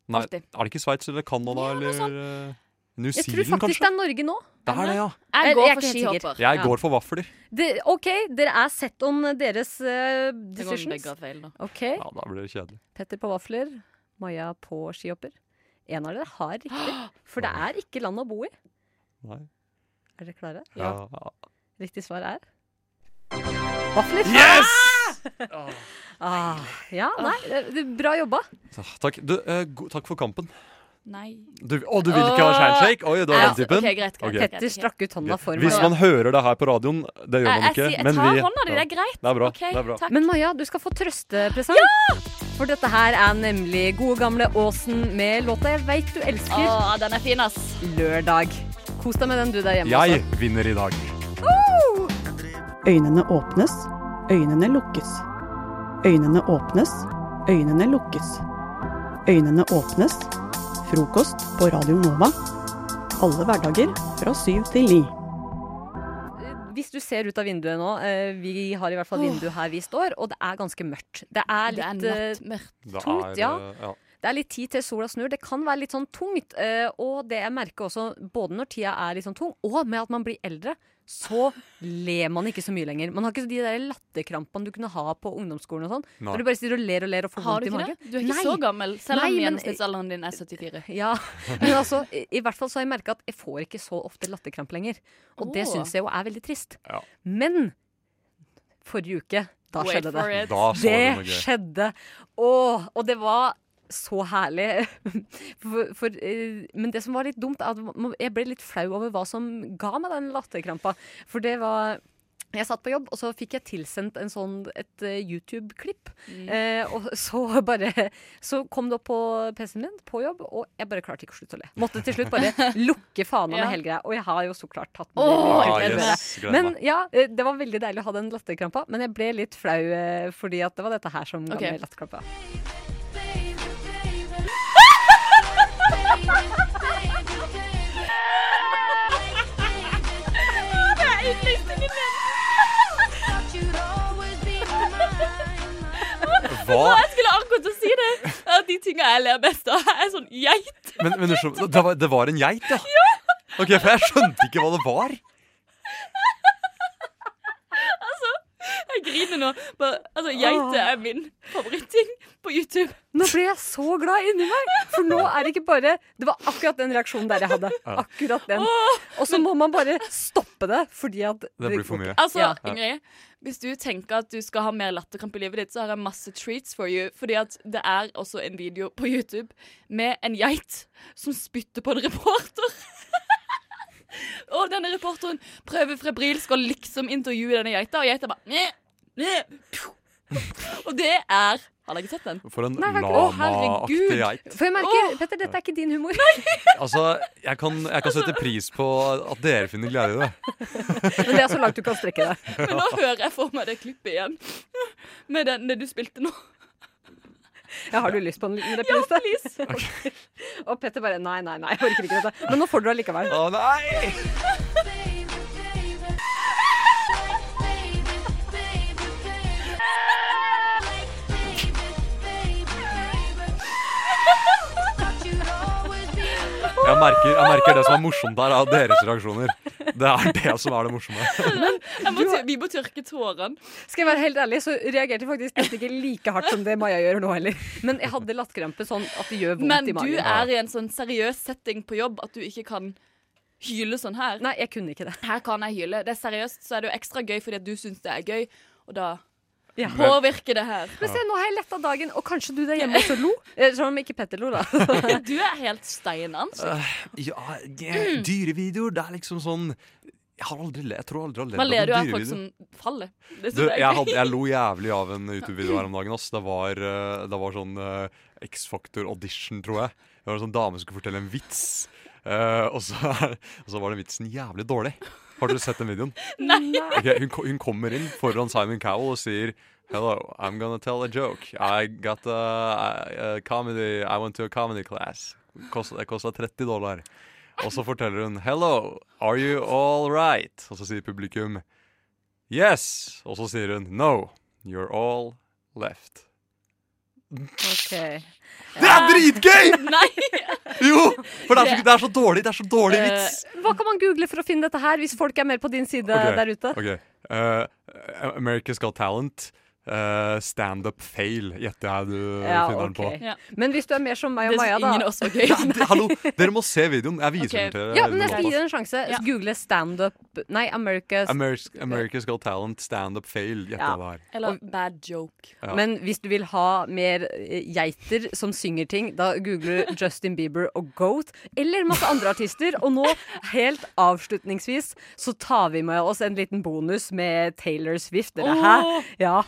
Speaker 14: Nei,
Speaker 13: alltid.
Speaker 14: er det ikke Sveits eller Canada eller eh, New
Speaker 5: Jeg tror
Speaker 14: Zealand,
Speaker 5: faktisk
Speaker 14: kanskje?
Speaker 5: det er Norge nå.
Speaker 14: Det er det, ja.
Speaker 13: Jeg
Speaker 5: Eller,
Speaker 13: går
Speaker 5: jeg er ikke
Speaker 13: for
Speaker 5: helt sikker.
Speaker 13: skihopper.
Speaker 14: Jeg
Speaker 5: Ja.
Speaker 14: går for vafler.
Speaker 5: Det- OK, dere er set on deres eh,
Speaker 13: Det går
Speaker 5: decisions.
Speaker 13: begge feil nå.
Speaker 5: OK.
Speaker 14: Ja, da blir det kjedelig.
Speaker 5: Petter på vafler, Maja på skihopper. En av dere har riktig, for det er ikke land å bo i.
Speaker 14: Nei.
Speaker 5: Er dere klare?
Speaker 14: Ja.
Speaker 5: Riktig svar er vafler.
Speaker 14: Yes!
Speaker 5: ah, ja, nei, det- det- bra jobba.
Speaker 14: Så, Takk. Du, eh, go takk for kampen.
Speaker 13: Nei.
Speaker 14: Du, å, du vil ikke ha handshake? Oi, du er
Speaker 13: Ja,
Speaker 14: den typen?
Speaker 13: ok, greit, greit,
Speaker 14: Ok.
Speaker 13: greit, greit.
Speaker 5: Petter strakk ut hånda for meg.
Speaker 14: Hvis man hører det her på radioen, det gjør
Speaker 5: Jeg-
Speaker 14: man
Speaker 5: Eh, jeg
Speaker 14: ikke.
Speaker 5: sier- jeg
Speaker 14: men
Speaker 5: tar
Speaker 14: vi-
Speaker 5: hånda di,
Speaker 14: Ja.
Speaker 5: det er greit.
Speaker 14: Det er bra.
Speaker 5: Ok,
Speaker 14: det er bra.
Speaker 5: Men Maja, du skal få trøstepresang. For dette her er nemlig gode gamle Åsen med låta jeg veit du elsker.
Speaker 13: Å, den er fin, ass.
Speaker 5: Lørdag. Kos deg med den du der hjemme.
Speaker 14: Jeg vinner i dag.
Speaker 15: Øynene åpnes, øynene lukkes. Øynene åpnes, øynene lukkes. Øynene åpnes. Frokost på Radio Nova. Alle hverdager fra syv til ni.
Speaker 5: Hvis du ser ut av vinduet nå, eh, vi har i hvert fall vindu her vi står, og det er ganske mørkt. Det er
Speaker 13: Det
Speaker 5: litt
Speaker 13: er
Speaker 5: eh,
Speaker 13: nattmørkt.
Speaker 14: Det
Speaker 5: tungt,
Speaker 14: er,
Speaker 5: ja.
Speaker 14: eh, ja.
Speaker 5: Det er litt tid til sola snur. Det kan være litt sånn tungt. eh, og det jeg merker også, både når tida er litt sånn tung, og med at man blir eldre, så ler man ikke så mye lenger. Man har ikke de der latterkrampene du kunne ha på ungdomsskolen og sånn.
Speaker 13: Nei.
Speaker 5: Når du bare sitter og ler og ler og får vondt
Speaker 13: Har du
Speaker 5: i
Speaker 13: ikke
Speaker 5: magen.
Speaker 13: det? Du er ikke
Speaker 5: Nei.
Speaker 13: så gammel, selv
Speaker 5: Nei,
Speaker 13: om
Speaker 5: men-
Speaker 13: gjennomsnittsalderen din er 74.
Speaker 5: ja, men altså, i, i hvert fall så har jeg merka at jeg får ikke så ofte latterkramp lenger. Og det
Speaker 13: Åh.
Speaker 5: syns jeg jo er veldig trist. Men forrige uke, da
Speaker 13: Wait
Speaker 5: skjedde
Speaker 13: for
Speaker 5: det.
Speaker 13: it. Da så du
Speaker 5: det
Speaker 13: noe gøy.
Speaker 5: skjedde. Åh, og det var så herlig. For, for, eh, men det som var litt dumt, er at man- jeg ble litt flau over hva som ga meg den latterkrampa. For det var jeg satt på jobb, og så fikk jeg tilsendt en sånn, et eh, YouTube-klipp.
Speaker 13: Mm.
Speaker 5: Eh, og så bare Så kom det opp på PC-en min på jobb, og jeg bare klarte ikke å slutte å le. Måtte til slutt bare lukke fana
Speaker 13: Ja.
Speaker 5: med hele greia. Og jeg har jo så klart tatt med
Speaker 13: Åh,
Speaker 14: Ah,
Speaker 5: det.
Speaker 13: jeg gleder
Speaker 5: videre.
Speaker 13: meg. Gleder
Speaker 5: men
Speaker 13: meg.
Speaker 5: ja, eh, det var veldig deilig å ha den latterkrampa, men jeg ble litt flau eh, fordi at det var dette her som ga
Speaker 13: Ok.
Speaker 5: meg latterkrampa.
Speaker 9: Det er yndlingsstingen
Speaker 14: Hva?
Speaker 13: Jeg skulle akkurat til å si det! At de tingene jeg ler best av, er sånn geit.
Speaker 14: Men, men du skjønner- det, var, det var en geit, ja? Ok, For jeg skjønte ikke hva det var.
Speaker 13: Altså, jeg griner nå. Bare, altså, geite er min favoritting på YouTube.
Speaker 5: Nå ble jeg så glad inni meg! For nå er det ikke bare Det var akkurat den reaksjonen der jeg hadde.
Speaker 14: Ja.
Speaker 5: Akkurat den. Og så må man bare stoppe det, fordi at
Speaker 14: Det blir for mye.
Speaker 13: Altså,
Speaker 14: Ja.
Speaker 13: Ingrid, hvis du tenker at du skal ha mer latterkramp i livet ditt, så har jeg masse treats for you. Fordi at det er også en video på YouTube med en geit som spytter på en reporter. og denne reporteren prøver febrilsk å liksom intervjue denne geita, og geita bare "Mjau, mjau, pju." Og det er Har dere sett den?
Speaker 14: For en
Speaker 13: Nei, jeg har ikke- Å,
Speaker 14: lamaaktig
Speaker 13: herregud.
Speaker 14: geit.
Speaker 5: For jeg merker, Petter, dette er ikke din humor. Nei.
Speaker 14: Altså, jeg kan, jeg kan sette pris på at dere finner glede i det.
Speaker 5: Men det er så langt du kan strekke deg.
Speaker 13: Men nå hører jeg for meg det klippet igjen. Med den, det du spilte nå.
Speaker 5: Ja, har du lyst på en liten reprise? Ja, please. Og Petter bare nei, nei, nei, jeg orker ikke dette. Men nå får du det likevel.
Speaker 14: Å nei! Jeg merker, jeg merker det som er morsomt her, er deres reaksjoner. Det er det som er det morsomme.
Speaker 13: Jeg må, ty- vi må tørke tårene.
Speaker 5: Skal jeg være helt ærlig, så reagerte jeg faktisk nesten ikke like hardt som det Maja gjør nå heller. Men jeg hadde latterkrampe sånn at det gjør vondt
Speaker 13: Men
Speaker 5: i magen.
Speaker 13: du er i en sånn seriøs setting på jobb at du ikke kan hyle sånn her.
Speaker 5: Nei, jeg kunne ikke det.
Speaker 13: Her kan jeg hyle. Det er seriøst, så er det jo ekstra gøy fordi at du syns det er gøy, og da
Speaker 5: Ja.
Speaker 13: påvirker det her.
Speaker 5: Men se, nå har jeg letta dagen, og kanskje du der hjemme også lo? Eh, Som om ikke Petter lo, da.
Speaker 13: Du er helt steinans.
Speaker 14: Øh, Ja,
Speaker 13: Mm.
Speaker 14: det- dyrevideoer, det er liksom sånn Jeg har aldri le, jeg tror aldri jeg har
Speaker 13: Man
Speaker 14: ledd
Speaker 13: ler jo
Speaker 14: av
Speaker 13: av
Speaker 14: en
Speaker 13: folk
Speaker 14: dyrevideo.
Speaker 13: som faller. Det
Speaker 14: Du,
Speaker 13: synes
Speaker 14: jeg,
Speaker 13: jeg er
Speaker 14: hadde,
Speaker 13: gøy.
Speaker 14: jeg lo jævlig av en YouTube-video her om dagen. Ass. Det, var, eh, det var sånn eh, X-Factor audition, tror jeg. Det var en sånn dame som skulle fortelle en vits, Eh, og, så, er- og så var den vitsen jævlig dårlig. Har dere sett den videoen?
Speaker 13: Nei.
Speaker 14: Ok, hun, ko- hun kommer inn foran Simon Cowell og sier Hello, I'm gonna tell a joke. I got a, a comedy I went to a comedy class. Kost- Det kosta 30 dollar. Og så forteller hun Hello, are you all right? Og så sier publikum Yes! Og så sier hun No, you're all left. Det er dritgøy! Jo! For det er så, det er så dårlig, det er så dårlig vits.
Speaker 5: Eh, Hva kan man google for å finne dette her, hvis folk er mer på din side
Speaker 14: Ok,
Speaker 5: der ute?
Speaker 14: ok. Eh, America's Got Talent. Uh, Standup fail, gjetter jeg du
Speaker 5: Ja,
Speaker 14: finner den
Speaker 5: ok.
Speaker 14: på.
Speaker 5: Men hvis du er mer som meg og
Speaker 13: Det
Speaker 5: Maja,
Speaker 13: synes
Speaker 5: da
Speaker 13: ingen også er gøy. Ja,
Speaker 14: D- Hallo, dere må se videoen. Jeg viser
Speaker 5: Ok.
Speaker 14: den til dere.
Speaker 5: Ja, men jeg
Speaker 14: etterpå.
Speaker 5: skal gi deg en sjanse. Google standup Nei, America's
Speaker 14: Ameris- America's Got Talent, standup fail, gjetter
Speaker 5: Ja.
Speaker 14: jeg det her.
Speaker 13: Eller bad joke.
Speaker 14: Ja.
Speaker 5: Men hvis du vil ha mer eh, geiter som synger ting, da googler du Justin Bieber og Goat. Eller masse andre artister. Og nå, helt avslutningsvis, så tar vi med oss en liten bonus med Taylor Swift. Dere,
Speaker 9: Åh!
Speaker 5: hæ? Ja.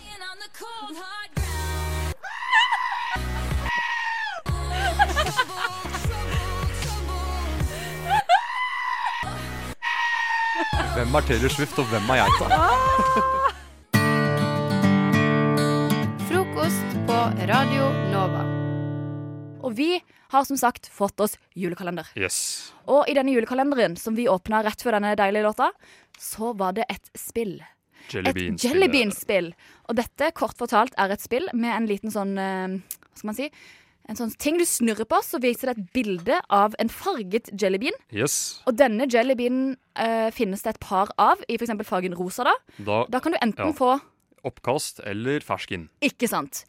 Speaker 14: Hvem er Taylor Swift, og hvem er geita?
Speaker 10: Frokost på Radio Nova.
Speaker 13: Og vi har som sagt fått oss julekalender.
Speaker 14: Yes.
Speaker 13: Og i denne julekalenderen som vi åpna rett før denne deilige låta, så var det et spill.
Speaker 14: Jelly
Speaker 13: Et jellybean-spill. Og dette, kort fortalt, er et spill med en liten sånn eh, Hva skal man si? en sånn ting du snurrer på, så viser det et bilde av en farget jellybean.
Speaker 14: Yes.
Speaker 13: Og denne jellybeanen eh, finnes det et par av i f.eks. fargen rosa. Da
Speaker 14: Da,
Speaker 13: Da kan du enten
Speaker 14: ja.
Speaker 13: få
Speaker 14: Oppkast eller fersken.
Speaker 13: Ikke sant.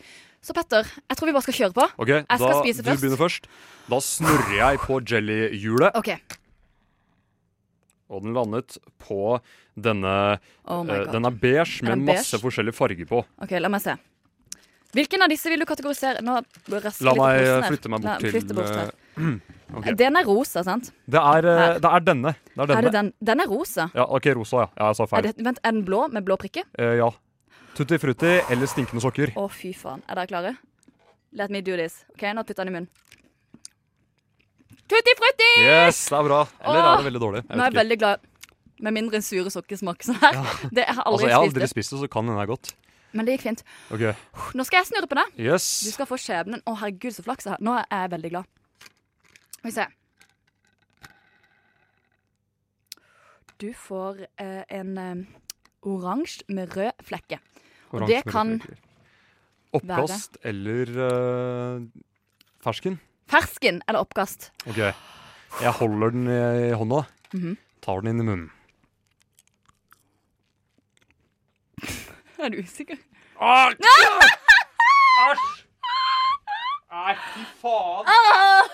Speaker 13: Så Petter, jeg tror vi bare skal kjøre på.
Speaker 14: Ok,
Speaker 13: jeg skal
Speaker 14: da,
Speaker 13: spise
Speaker 14: Du
Speaker 13: først.
Speaker 14: begynner først. Da snurrer jeg på jellyhjulet,
Speaker 13: OK.
Speaker 14: og den landet på denne
Speaker 13: Oh my
Speaker 14: eh,
Speaker 13: God.
Speaker 14: Den er beige
Speaker 13: Er
Speaker 14: med
Speaker 13: den
Speaker 14: masse
Speaker 13: beige?
Speaker 14: forskjellige farger på.
Speaker 13: ok, La meg se. Hvilken av disse vil du kategorisere? Nå rasker
Speaker 14: La
Speaker 13: litt på
Speaker 14: meg
Speaker 13: posen
Speaker 14: eh,
Speaker 13: her.
Speaker 14: flytte meg
Speaker 13: La-
Speaker 14: bort
Speaker 13: flytte
Speaker 14: til
Speaker 13: bort her.
Speaker 14: eh, ok.
Speaker 13: Den er rosa, sant?
Speaker 14: Det er, eh, det er denne. Det er denne.
Speaker 13: Er det den? Den er rosa.
Speaker 14: Ja, OK, rosa, ja. ja jeg sa
Speaker 13: Er
Speaker 14: feil.
Speaker 13: det, vent, er den blå med blå prikke?
Speaker 14: Eh, ja. Tutti frutti eller stinkende sokker.
Speaker 13: Å, fy faen. Er dere klare? Let me do this. OK, nå putter jeg den i munnen. Tutti frutti!
Speaker 14: Yes, det er bra. Eller er det
Speaker 13: Åh,
Speaker 14: veldig dårlig?
Speaker 13: Nå er jeg
Speaker 14: vet ikke.
Speaker 13: veldig glad. Med mindre en sure sokker smaker sånn her. Det jeg har
Speaker 14: Altså,
Speaker 13: aldri
Speaker 14: jeg
Speaker 13: spist
Speaker 14: har aldri
Speaker 13: det.
Speaker 14: spist det, så kan den her godt.
Speaker 13: Men det gikk fint.
Speaker 14: OK.
Speaker 13: Nå skal jeg snurre på det.
Speaker 14: Yes.
Speaker 13: Du skal få skjebnen. Å, herregud, så flaks jeg har. Nå er jeg veldig glad. Skal vi se. Du får eh, en eh, oransje med rød flekke. Og
Speaker 14: Oransje
Speaker 13: det
Speaker 14: med rød
Speaker 13: kan
Speaker 14: flekker. Oppkast eller eh, fersken?
Speaker 13: Fersken eller oppkast.
Speaker 14: OK. Jeg holder den i i hånda,
Speaker 13: Mhm.
Speaker 14: tar den inn i munnen.
Speaker 13: Er du usikker?
Speaker 14: Æsj! Nei, fy faen.
Speaker 13: Ah!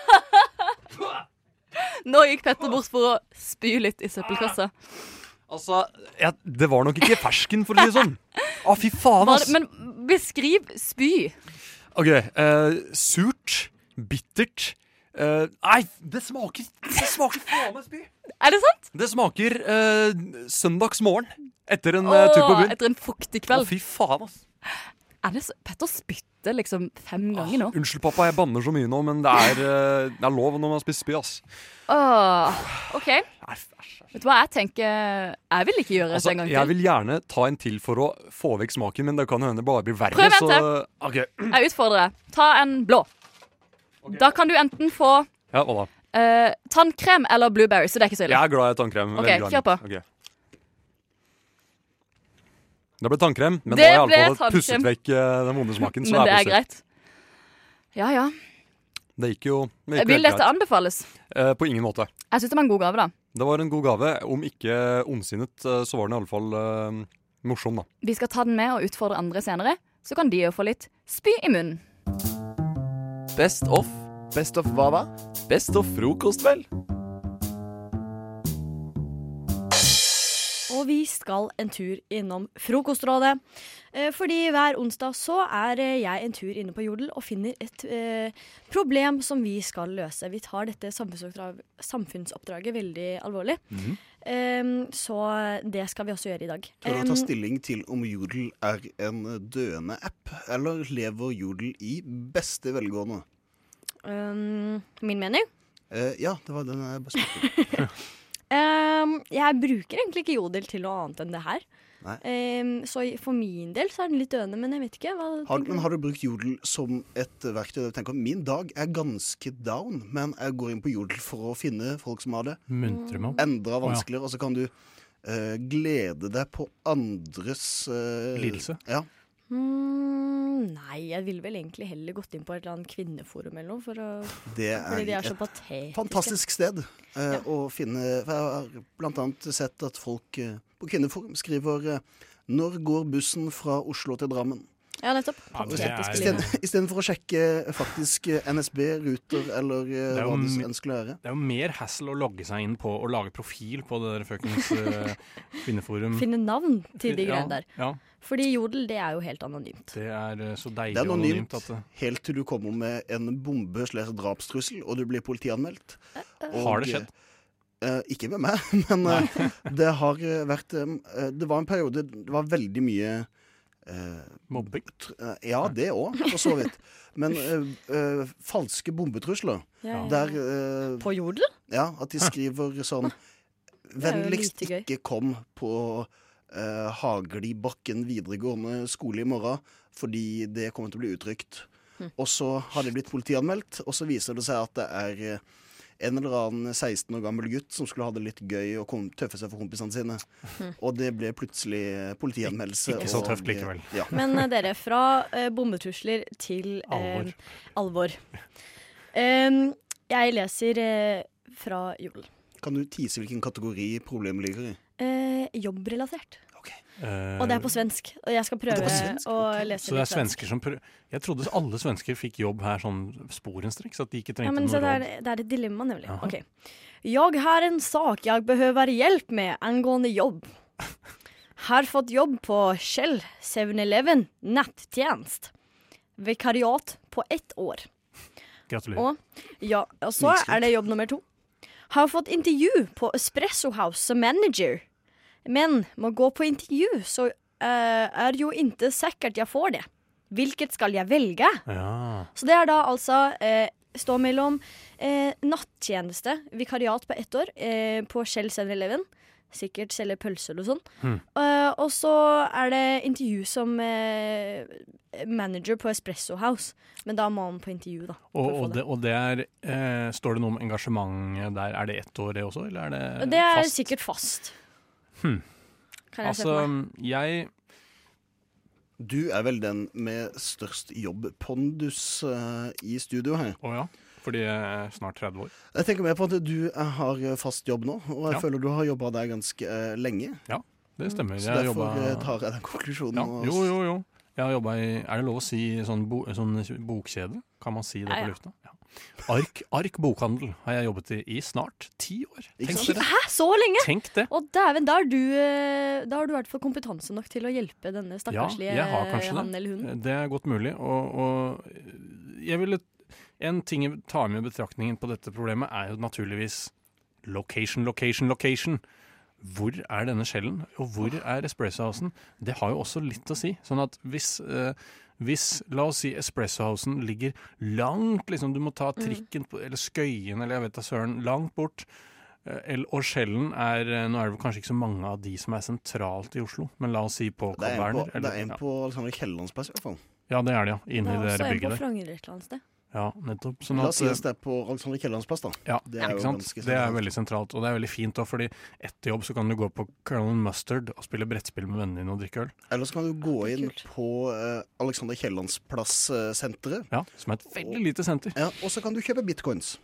Speaker 13: Nå gikk Petter bort for å spy litt i søppelkassa.
Speaker 14: Altså, jeg, det var nok ikke fersken, for å si det sånn. Å, fy faen,
Speaker 13: Var det-
Speaker 14: ass.
Speaker 13: Men beskriv spy.
Speaker 14: OK. eh, surt. Bittert. eh, nei, det smaker Det smaker faen meg spy.
Speaker 13: Er det sant?
Speaker 14: Det smaker eh, søndagsmorgen etter en eh, tur på
Speaker 13: Åh,
Speaker 14: byen.
Speaker 13: Etter en fuktig kveld.
Speaker 14: Å, fy faen, ass.
Speaker 13: Er det så, Petter spytter liksom fem ganger nå.
Speaker 14: Ah, Unnskyld, pappa, jeg banner så mye nå, men det er, eh, det er lov når man har spist spy, ass.
Speaker 13: Åh, OK. Vet du hva jeg tenker? Jeg vil ikke gjøre
Speaker 14: Altså,
Speaker 13: det en gang til.
Speaker 14: jeg vil gjerne ta en til for å få vekk smaken, men det kan hende det bare blir verre.
Speaker 13: Prøv en
Speaker 14: så... Ok.
Speaker 13: Jeg utfordrer deg. Ta en blå. Da kan du enten få
Speaker 14: Ja, hva da?
Speaker 13: eh, tannkrem eller blueberry, så det er ikke så ille.
Speaker 14: Jeg er glad i tannkrem.
Speaker 13: Ok,
Speaker 14: veldig glad i
Speaker 13: kjør på.
Speaker 14: det. Ok. Det ble tannkrem, men
Speaker 13: Det
Speaker 14: det da har jeg
Speaker 13: ble
Speaker 14: iallfall pusset
Speaker 13: tannkrem.
Speaker 14: vekk eh, den vonde smaken. Så
Speaker 13: Men det er
Speaker 14: positivt.
Speaker 13: greit. Ja, ja.
Speaker 14: Det gikk jo det gikk jo
Speaker 13: Vil
Speaker 14: helt
Speaker 13: dette
Speaker 14: greit.
Speaker 13: anbefales?
Speaker 14: Eh, på ingen måte.
Speaker 13: Jeg syns det var en god gave, da.
Speaker 14: Det var en god gave. Om ikke ondsinnet, eh, så var den iallfall uh, morsom, da.
Speaker 13: Vi skal ta den med og utfordre andre senere. Så kan de jo få litt spy i munnen.
Speaker 16: Best of. Best of hva da? Best of frokost, vel?
Speaker 17: Og vi skal en tur innom Frokostrådet. Eh, Fordi hver onsdag så er eh, jeg en tur inne på Jodel og finner et eh, problem som vi skal løse. Vi tar dette samfunnsoppdrag, samfunnsoppdraget veldig alvorlig.
Speaker 4: Mhm.
Speaker 17: Eh, så det skal vi også gjøre i dag.
Speaker 4: Prøv å
Speaker 17: Eh,
Speaker 4: ta stilling til om Jodel er en døende app, eller lever Jodel i beste velgående.
Speaker 17: eh, min mening?
Speaker 4: Eh, ja, det var den jeg bestemte.
Speaker 17: Ehm, jeg bruker egentlig ikke jodel til noe annet enn det her. Ehm, så i- for min del så er den litt døende, men jeg vet ikke. Hva
Speaker 4: Har,
Speaker 17: tenker
Speaker 4: men
Speaker 17: du?
Speaker 4: har du brukt Jodel som et eh, verktøy der du tenker min dag er ganske down, men jeg går inn på Jodel for å finne folk som har det?
Speaker 8: Muntre meg opp.
Speaker 4: Endra
Speaker 8: Å, ja.
Speaker 4: vanskeligere, og så kan du eh, glede deg på andres eh,
Speaker 8: Lidelse?
Speaker 4: Ja.
Speaker 17: Mm, nei, jeg ville vel egentlig heller gått inn på et eller annet kvinneforum eller noe. For å,
Speaker 4: Det er
Speaker 17: fordi de er så
Speaker 4: et
Speaker 17: patetiske.
Speaker 4: Fantastisk sted eh, å finne for Jeg har blant annet sett at folk eh, på Kvinneforum skriver eh, 'Når går bussen fra Oslo til Drammen?'
Speaker 17: Ja, nettopp.
Speaker 4: Og
Speaker 17: Patetisk
Speaker 4: i
Speaker 17: liv.
Speaker 4: sted- Istedenfor å sjekke eh, faktisk eh, NSB, Ruter eller eh,
Speaker 8: Det er jo
Speaker 4: hva det så
Speaker 8: m-
Speaker 4: ønskelig å være.
Speaker 8: Det er jo mer hassle å logge seg inn på og lage profil på det der fuckings eh, kvinneforum.
Speaker 17: Finne navn til de
Speaker 8: Ja,
Speaker 17: greiene der.
Speaker 8: Ja.
Speaker 17: Fordi jodel, det er jo helt anonymt.
Speaker 8: Det er eh, så deilig
Speaker 4: Det er
Speaker 8: og
Speaker 4: anonymt
Speaker 8: anonymt at eh, det
Speaker 4: helt til du kommer med en bombe slash drapstrussel, og du blir politianmeldt.
Speaker 8: Har det skjedd?
Speaker 4: eh, ikke med meg, men eh, det har eh, vært eh, Det var en periode Det var veldig mye eh,
Speaker 8: Mobbing?
Speaker 4: ja, det òg, for så vidt. Men eh, eh, falske bombetrusler.
Speaker 17: Ja, ja,
Speaker 4: Der, eh,
Speaker 17: På jodel?
Speaker 4: Ja, at de skriver sånn
Speaker 17: Det er jo
Speaker 4: Vennligst
Speaker 17: lite gøy.
Speaker 4: ikke kom på eh, Haglibakken videregående skole i morgen, fordi det kommer til å bli utrygt.
Speaker 17: Hm.
Speaker 4: Og så har de blitt politianmeldt, og så viser det seg at det er eh, en eller annen 16 år gammel gutt som skulle ha det litt gøy og kom, tøffe seg for kompisene sine.
Speaker 17: Hm.
Speaker 4: Og det ble plutselig eh, politianmeldelse.
Speaker 8: Ikke så
Speaker 4: og-
Speaker 8: tøft likevel.
Speaker 4: Ja.
Speaker 17: Men eh, dere, fra eh, bombetrusler til eh,
Speaker 4: Alvor.
Speaker 17: alvor. Em, jeg leser eh, fra Jodel.
Speaker 4: Kan du tise hvilken kategori problemet ligger i?
Speaker 17: Eh, jobbrelatert.
Speaker 8: Eh,
Speaker 17: Og det er på svensk. Og jeg skal
Speaker 4: Det er
Speaker 17: prøve
Speaker 4: på svensk,
Speaker 17: å lese
Speaker 8: Så det er
Speaker 17: litt svensk.
Speaker 8: svensker som prøver Jeg trodde alle svensker fikk jobb her sånn sporenstreks, at de
Speaker 17: Ja,
Speaker 8: ikke trengte
Speaker 17: men
Speaker 8: noe
Speaker 17: så det,
Speaker 8: råd.
Speaker 17: er, det er et dilemma, nemlig.
Speaker 8: Jaha.
Speaker 17: Ok. Jag har en sak jag behöver hjälp med angående jobb. Har fått jobb på Shell 7-Eleven nattjenest. Vikariat på ett år.
Speaker 8: Gratulerer.
Speaker 17: Og, ja, og så er det jobb nummer to. Har fått intervju på Espresso House som manager. Men må gå på intervju, så eh, er jo ikke sikkert jeg får det. Hvilket skal jeg velge?
Speaker 8: Ja.
Speaker 17: Så det er da altså eh, stå mellom eh, nattjeneste, vikariat på ett år, eh, på Shell 7-Eleven. Sikkert selge pølser og sånn.
Speaker 14: Hm.
Speaker 18: Hmm.
Speaker 17: Eh, og så er det intervju som eh, manager på Espresso House. Men da må man på intervju, da.
Speaker 8: Og, og, det, og det er eh, Står det noe om engasjement der? Er det ett år, det også, eller er det
Speaker 17: Og det er
Speaker 8: fast?
Speaker 17: sikkert fast.
Speaker 8: Hm.
Speaker 17: Kan jeg
Speaker 8: altså,
Speaker 17: se for meg.
Speaker 8: jeg
Speaker 4: Du er vel den med størst jobbpondus eh, i studio her.
Speaker 8: Å ja. Fordi jeg er snart 30 år.
Speaker 4: Jeg tenker mer på at du eh, har fast jobb nå, og jeg
Speaker 8: Ja.
Speaker 4: føler du har jobba der ganske eh, lenge. Mm,
Speaker 8: Ja, det stemmer.
Speaker 4: Så
Speaker 8: Jeg har
Speaker 4: derfor
Speaker 8: jobbet-
Speaker 4: eh, tar jeg den konklusjonen.
Speaker 8: Ja,
Speaker 4: og-
Speaker 8: jo, jo, jo. Jeg har jobba i Er det lov å si sånn, bo, sånn bokkjede? Kan man si det
Speaker 17: Ja, ja.
Speaker 8: på lufta? Ja. Ark, Ark bokhandel har jeg jobbet i i snart ti år. Tenk dere.
Speaker 17: Hæ, så lenge?!
Speaker 8: Tenk det.
Speaker 17: Og dæven, da, er du, eh, da har du i hvert fall kompetanse nok til å hjelpe denne stakkarslige
Speaker 8: jeg har kanskje
Speaker 17: han
Speaker 8: det.
Speaker 17: eller hun.
Speaker 8: Det er godt mulig. Og, og jeg ville En ting jeg tar med i betraktningen på dette problemet, er jo naturligvis location, location, location. Hvor er denne skjellen, og hvor er espressohousen? Det har jo også litt å si. Sånn at hvis, eh, hvis la oss si espressohousen ligger langt, liksom du må ta
Speaker 17: Mm.
Speaker 8: trikken på, eller skøyen eller jeg vet da søren, langt bort. eh, eller- Og skjellen er eh, Nå er det vel kanskje ikke så mange av de som er sentralt i Oslo, men la oss si på
Speaker 4: Det er en på,
Speaker 8: Carl Berner.
Speaker 4: det er en på Alexander Kiellands plass, i hvert fall.
Speaker 8: Ja, det er det, ja.
Speaker 17: Det
Speaker 8: Inni det
Speaker 17: er også
Speaker 8: der
Speaker 17: en på
Speaker 8: bygget der.
Speaker 17: Frogner et eller annet sted.
Speaker 8: Ja, nettopp. Sånn
Speaker 4: La
Speaker 8: at,
Speaker 4: oss si oss det er på Alexander Kiellands plass, da.
Speaker 8: ja,
Speaker 4: det er jo
Speaker 8: ikke sant?
Speaker 4: ganske
Speaker 8: Det er
Speaker 4: sentralt.
Speaker 8: veldig sentralt, og det er veldig fint da, fordi etter jobb så kan du gå på Colonel Mustard og spille brettspill med vennene dine og drikke øl.
Speaker 4: Eller så kan du gå inn på eh, Alexander Kiellands plass-senteret.
Speaker 8: Ja, som er et veldig lite senter.
Speaker 4: Ja, og så kan du kjøpe bitcoins.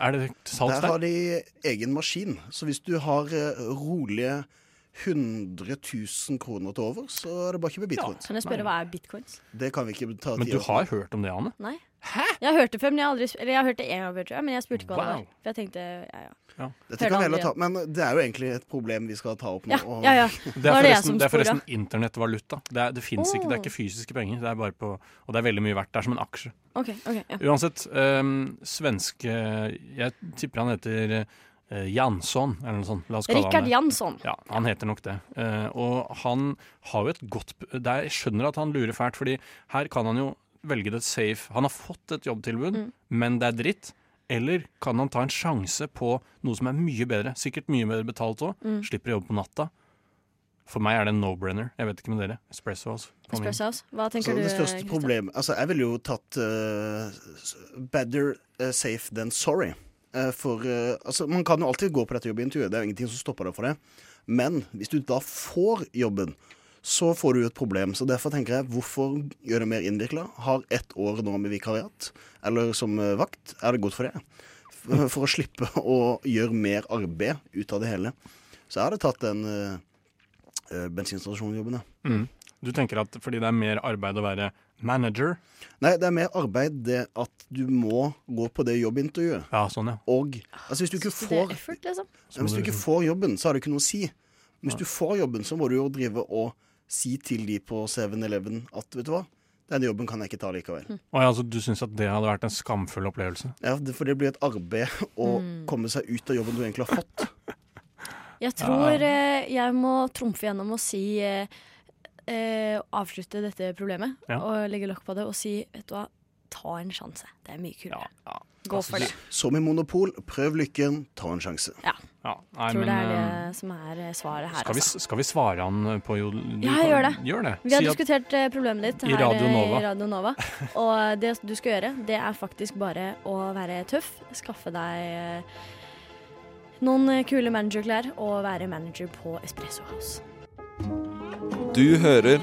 Speaker 8: Er det salgs
Speaker 4: Der har
Speaker 8: der?
Speaker 4: de egen maskin. Så hvis du har eh, rolige 100 000 kroner til over, så er det bare å kjøpe bitcoins.
Speaker 17: Kan jeg spørre hva er bitcoins?
Speaker 4: Det kan vi ikke ta
Speaker 8: Men
Speaker 4: tid
Speaker 8: du
Speaker 4: til.
Speaker 8: har hørt om det, Ane?
Speaker 17: Nei. Jeg har hørt det før, men jeg har aldri Eller jeg har hørt det én gang før, tror jeg. Men jeg spurte ikke hva det
Speaker 4: Wow.
Speaker 17: var. For jeg tenkte ja, ja.
Speaker 4: Dette
Speaker 17: Hørte
Speaker 4: kan vi heller
Speaker 17: aldri
Speaker 4: ta, men det er jo egentlig et problem vi skal ta opp nå.
Speaker 17: Ja,
Speaker 4: og-
Speaker 17: ja, ja. Var
Speaker 8: Det er
Speaker 17: det jeg
Speaker 8: forresten,
Speaker 17: som
Speaker 8: det er
Speaker 17: spora?
Speaker 8: forresten internettvaluta. Det, er, det finnes ikke, det er ikke fysiske penger, det er bare på, og det er veldig mye verdt. Det er som en aksje.
Speaker 17: OK. ok, ja.
Speaker 8: Uansett, øhm, svenske Jeg tipper han heter eh, Jansson, eller noe sånt. La oss kalle han
Speaker 17: Rikard
Speaker 8: det.
Speaker 17: Jansson.
Speaker 8: Ja, han heter nok det. Eh, og han har jo et godt p- det er- Jeg skjønner at han lurer fælt, fordi her kan han jo velge det safe. Han har fått et jobbtilbud,
Speaker 17: Mm.
Speaker 8: men det er dritt. Eller kan han ta en sjanse på noe som er mye bedre? Sikkert mye bedre betalt òg.
Speaker 17: Mm.
Speaker 8: Slipper å jobbe på natta. For meg er det en no-brenner. Jeg vet ikke med dere. Espresso House. Kom inn.
Speaker 17: Espresso House. Hva tenker
Speaker 4: så
Speaker 17: du?
Speaker 4: det største
Speaker 17: Kristian?
Speaker 4: problemet Altså, jeg ville jo tatt eh, s- better eh, safe than sorry. Eh, for eh, altså, man kan jo alltid gå på dette jobbintervjuet, det er jo ingenting som stopper deg for det. Men hvis du da får jobben, så får du jo et problem. Så derfor tenker jeg, hvorfor gjøre det mer innvikla? Har ett år nå med vikariat, eller som eh, vakt, er det godt for det. For, for å slippe å gjøre mer arbeid ut av det hele. Så jeg hadde tatt den eh, eh, bensinstasjonjobben, ja.
Speaker 8: Mm. Du tenker at fordi det er mer arbeid å være manager
Speaker 4: Nei, det er mer arbeid det at du må gå på det jobbintervjuet.
Speaker 8: Ja, sånn, ja.
Speaker 4: Og altså, hvis, du ikke
Speaker 17: Så det er
Speaker 4: får,
Speaker 17: effort, liksom.
Speaker 4: ja, hvis du ikke får jobben, så har det ikke noe å si. Men Hvis du får jobben, så må du jo drive og si til de på 7-Eleven at vet du hva, den jobben kan jeg ikke ta likevel.
Speaker 17: Mm.
Speaker 8: Å ja, altså, Du syns at det hadde vært en skamfull opplevelse?
Speaker 4: Ja, det- For det blir et arbeid å
Speaker 17: Mm.
Speaker 4: komme seg ut av jobben du egentlig har fått.
Speaker 17: Jeg tror eh, jeg må trumfe gjennom og si eh, eh, Avslutte dette problemet
Speaker 4: Ja.
Speaker 17: og legge lokk på det og si Vet du hva, ta en sjanse. Det er mye kulere. Gå
Speaker 8: Altså,
Speaker 17: for det.
Speaker 4: Som i Monopol, prøv lykken, ta en sjanse.
Speaker 17: Ja.
Speaker 8: Ja, nei,
Speaker 17: Tror
Speaker 8: men,
Speaker 17: det er
Speaker 8: eh,
Speaker 17: det som er eh, svaret her,
Speaker 8: skal, vi,
Speaker 17: altså.
Speaker 8: skal vi svare han på jodel? Du
Speaker 17: Ja,
Speaker 8: kan-
Speaker 17: jeg gjør det.
Speaker 8: Gjør det.
Speaker 17: Vi har
Speaker 8: Si at-
Speaker 17: diskutert eh, problemet ditt
Speaker 8: I
Speaker 17: her
Speaker 8: Radio
Speaker 17: eh,
Speaker 8: Nova.
Speaker 17: i Radio Nova. Og det du skal gjøre, det er faktisk bare å være tøff. Skaffe deg eh, noen eh, kule managerklær og være manager på Espresso House.
Speaker 16: Du hører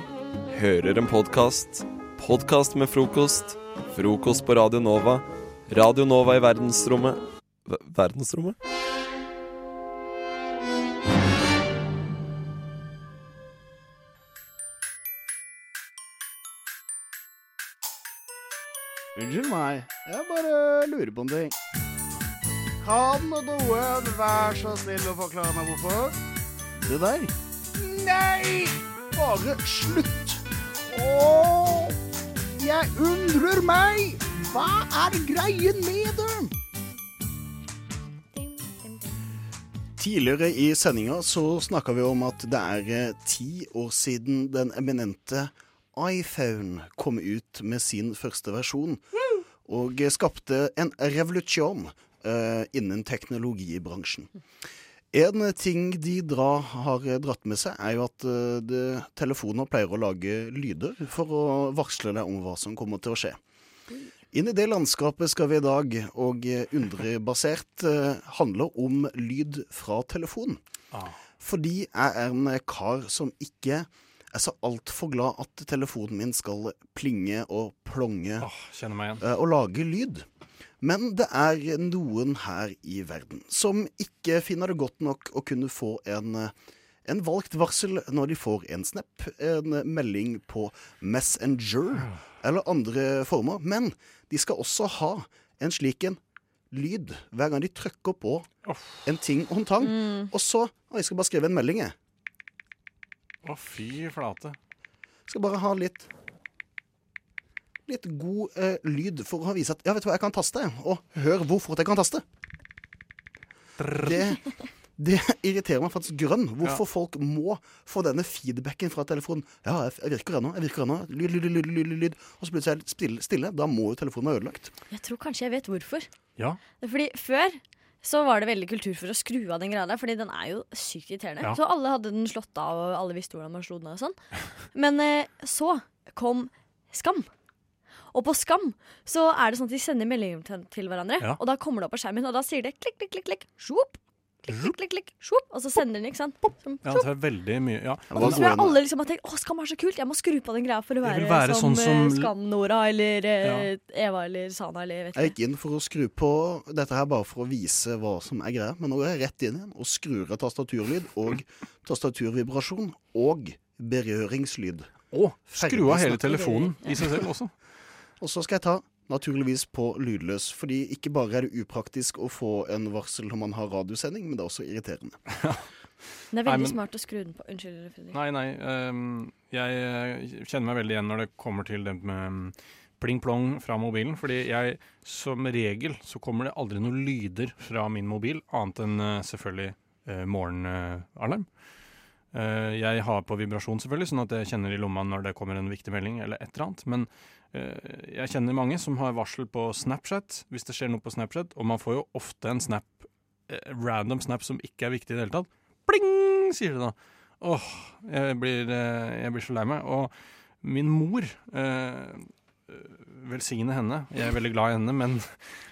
Speaker 16: Hører en podkast. Podkast med frokost. Frokost på Radio Nova. Radio Nova i verdensrommet Ver- Verdensrommet?
Speaker 4: Unnskyld meg, jeg bare lurer på en ting. Kan noen være så snill å forklare meg hvorfor? Det der? Nei! Bare slutt! Åh, jeg undrer meg! Hva er greien med dem? Tidligere i sendinga så snakka vi om at det er eh, ti år siden den eminente iPhone kom ut med sin første versjon. Og eh, skapte en revolusjon eh, innen teknologibransjen. En ting de dra, har dratt med seg, er jo at eh, det, telefoner pleier å lage lyder for å varsle deg om hva som kommer til å skje. Inn i det landskapet skal vi i dag, og eh, undrebasert eh, handler om lyd fra telefon.
Speaker 7: Ah.
Speaker 4: Fordi jeg er en kar som ikke er så altfor glad at telefonen min skal plinge og plonge
Speaker 8: Kjenner meg igjen.
Speaker 4: eh, og lage lyd. Men det er noen her i verden som ikke finner det godt nok å kunne få en, eh, en valgt varsel når de får en snap, en melding på Messenger eller andre former. Men de skal også ha en slik en lyd hver gang de trykker på en ting og en tang. Og så Å, jeg skal bare skrive en melding, jeg.
Speaker 8: Å, fy flate.
Speaker 4: Skal bare ha litt Litt god eh, lyd for å vise at Ja, vet du hva, jeg kan taste. Og hør hvor fort jeg kan taste. Det, det irriterer meg faktisk grønn. Hvorfor folk må få denne feedbacken fra telefonen. Ja, jeg, jeg virker ennå. Jeg virker ennå. Lyd, lyd, lyd, lyd, lyd, lyd. Og så plutselig er det stille, stille. Da må jo telefonen være ødelagt.
Speaker 17: Jeg tror kanskje jeg vet hvorfor.
Speaker 8: Ja.
Speaker 17: Fordi før så var det veldig kultur for å skru av den greia der, fordi den er jo sykt irriterende.
Speaker 13: Ja.
Speaker 17: Så alle hadde den slått av, og alle visste hvordan man slo den av og sånn. Men eh, så kom Skam. Og på Skam så er det sånn at de sender meldinger til, til hverandre,
Speaker 13: Ja.
Speaker 17: og da kommer det opp på skjermen, og da sier det klikk, klikk, klikk, klikk, sjopp. Klikk, klikk, klikk, klikk, sjopp. Og så sender den, ikke sant? Som,
Speaker 8: Ja, det er veldig mye ja.
Speaker 17: og så tror jeg alle liksom har tenkt å, Skam er så kult, jeg må skru på den greia for å
Speaker 8: Jeg
Speaker 17: være,
Speaker 8: vil være
Speaker 17: som,
Speaker 8: sånn som-
Speaker 17: eh, Skam-Nora eller eh, Eva eller Sana eller jeg vet
Speaker 4: Jeg
Speaker 17: ikke.
Speaker 4: gikk inn for å skru på dette her bare for å vise hva som er greia, men nå går jeg rett inn igjen og skrur av tastaturlyd og tastaturvibrasjon og berøringslyd.
Speaker 8: Å, skru
Speaker 4: Ferdig
Speaker 8: av hele
Speaker 4: snakket.
Speaker 8: telefonen i seg selv også.
Speaker 4: Og så skal jeg ta naturligvis på lydløs, fordi ikke bare er det upraktisk å få en varsel når man har radiosending, men det er også irriterende.
Speaker 17: Det er
Speaker 8: Nei,
Speaker 17: veldig
Speaker 8: men-
Speaker 17: smart å skru den på. Unnskyld, Fredrik.
Speaker 8: Nei, nei. ehm, jeg eh, kjenner meg veldig igjen når det kommer til det med mm, pling-plong fra mobilen. Fordi jeg som regel så kommer det aldri noen lyder fra min mobil, annet enn eh, selvfølgelig eh, morgenalarm. Eh, jeg har på vibrasjon, selvfølgelig, sånn at jeg kjenner i lomma når det kommer en viktig melding eller et eller annet. Men eh, jeg kjenner mange som har varsel på Snapchat, hvis det skjer noe på Snapchat. Og man får jo ofte en snap, eh, random snap som ikke er viktig i det hele tatt. Pling, sier det da. Åh, jeg blir, eh, jeg blir så lei meg. Og min mor eh, Velsigne henne. Jeg er veldig glad i henne, men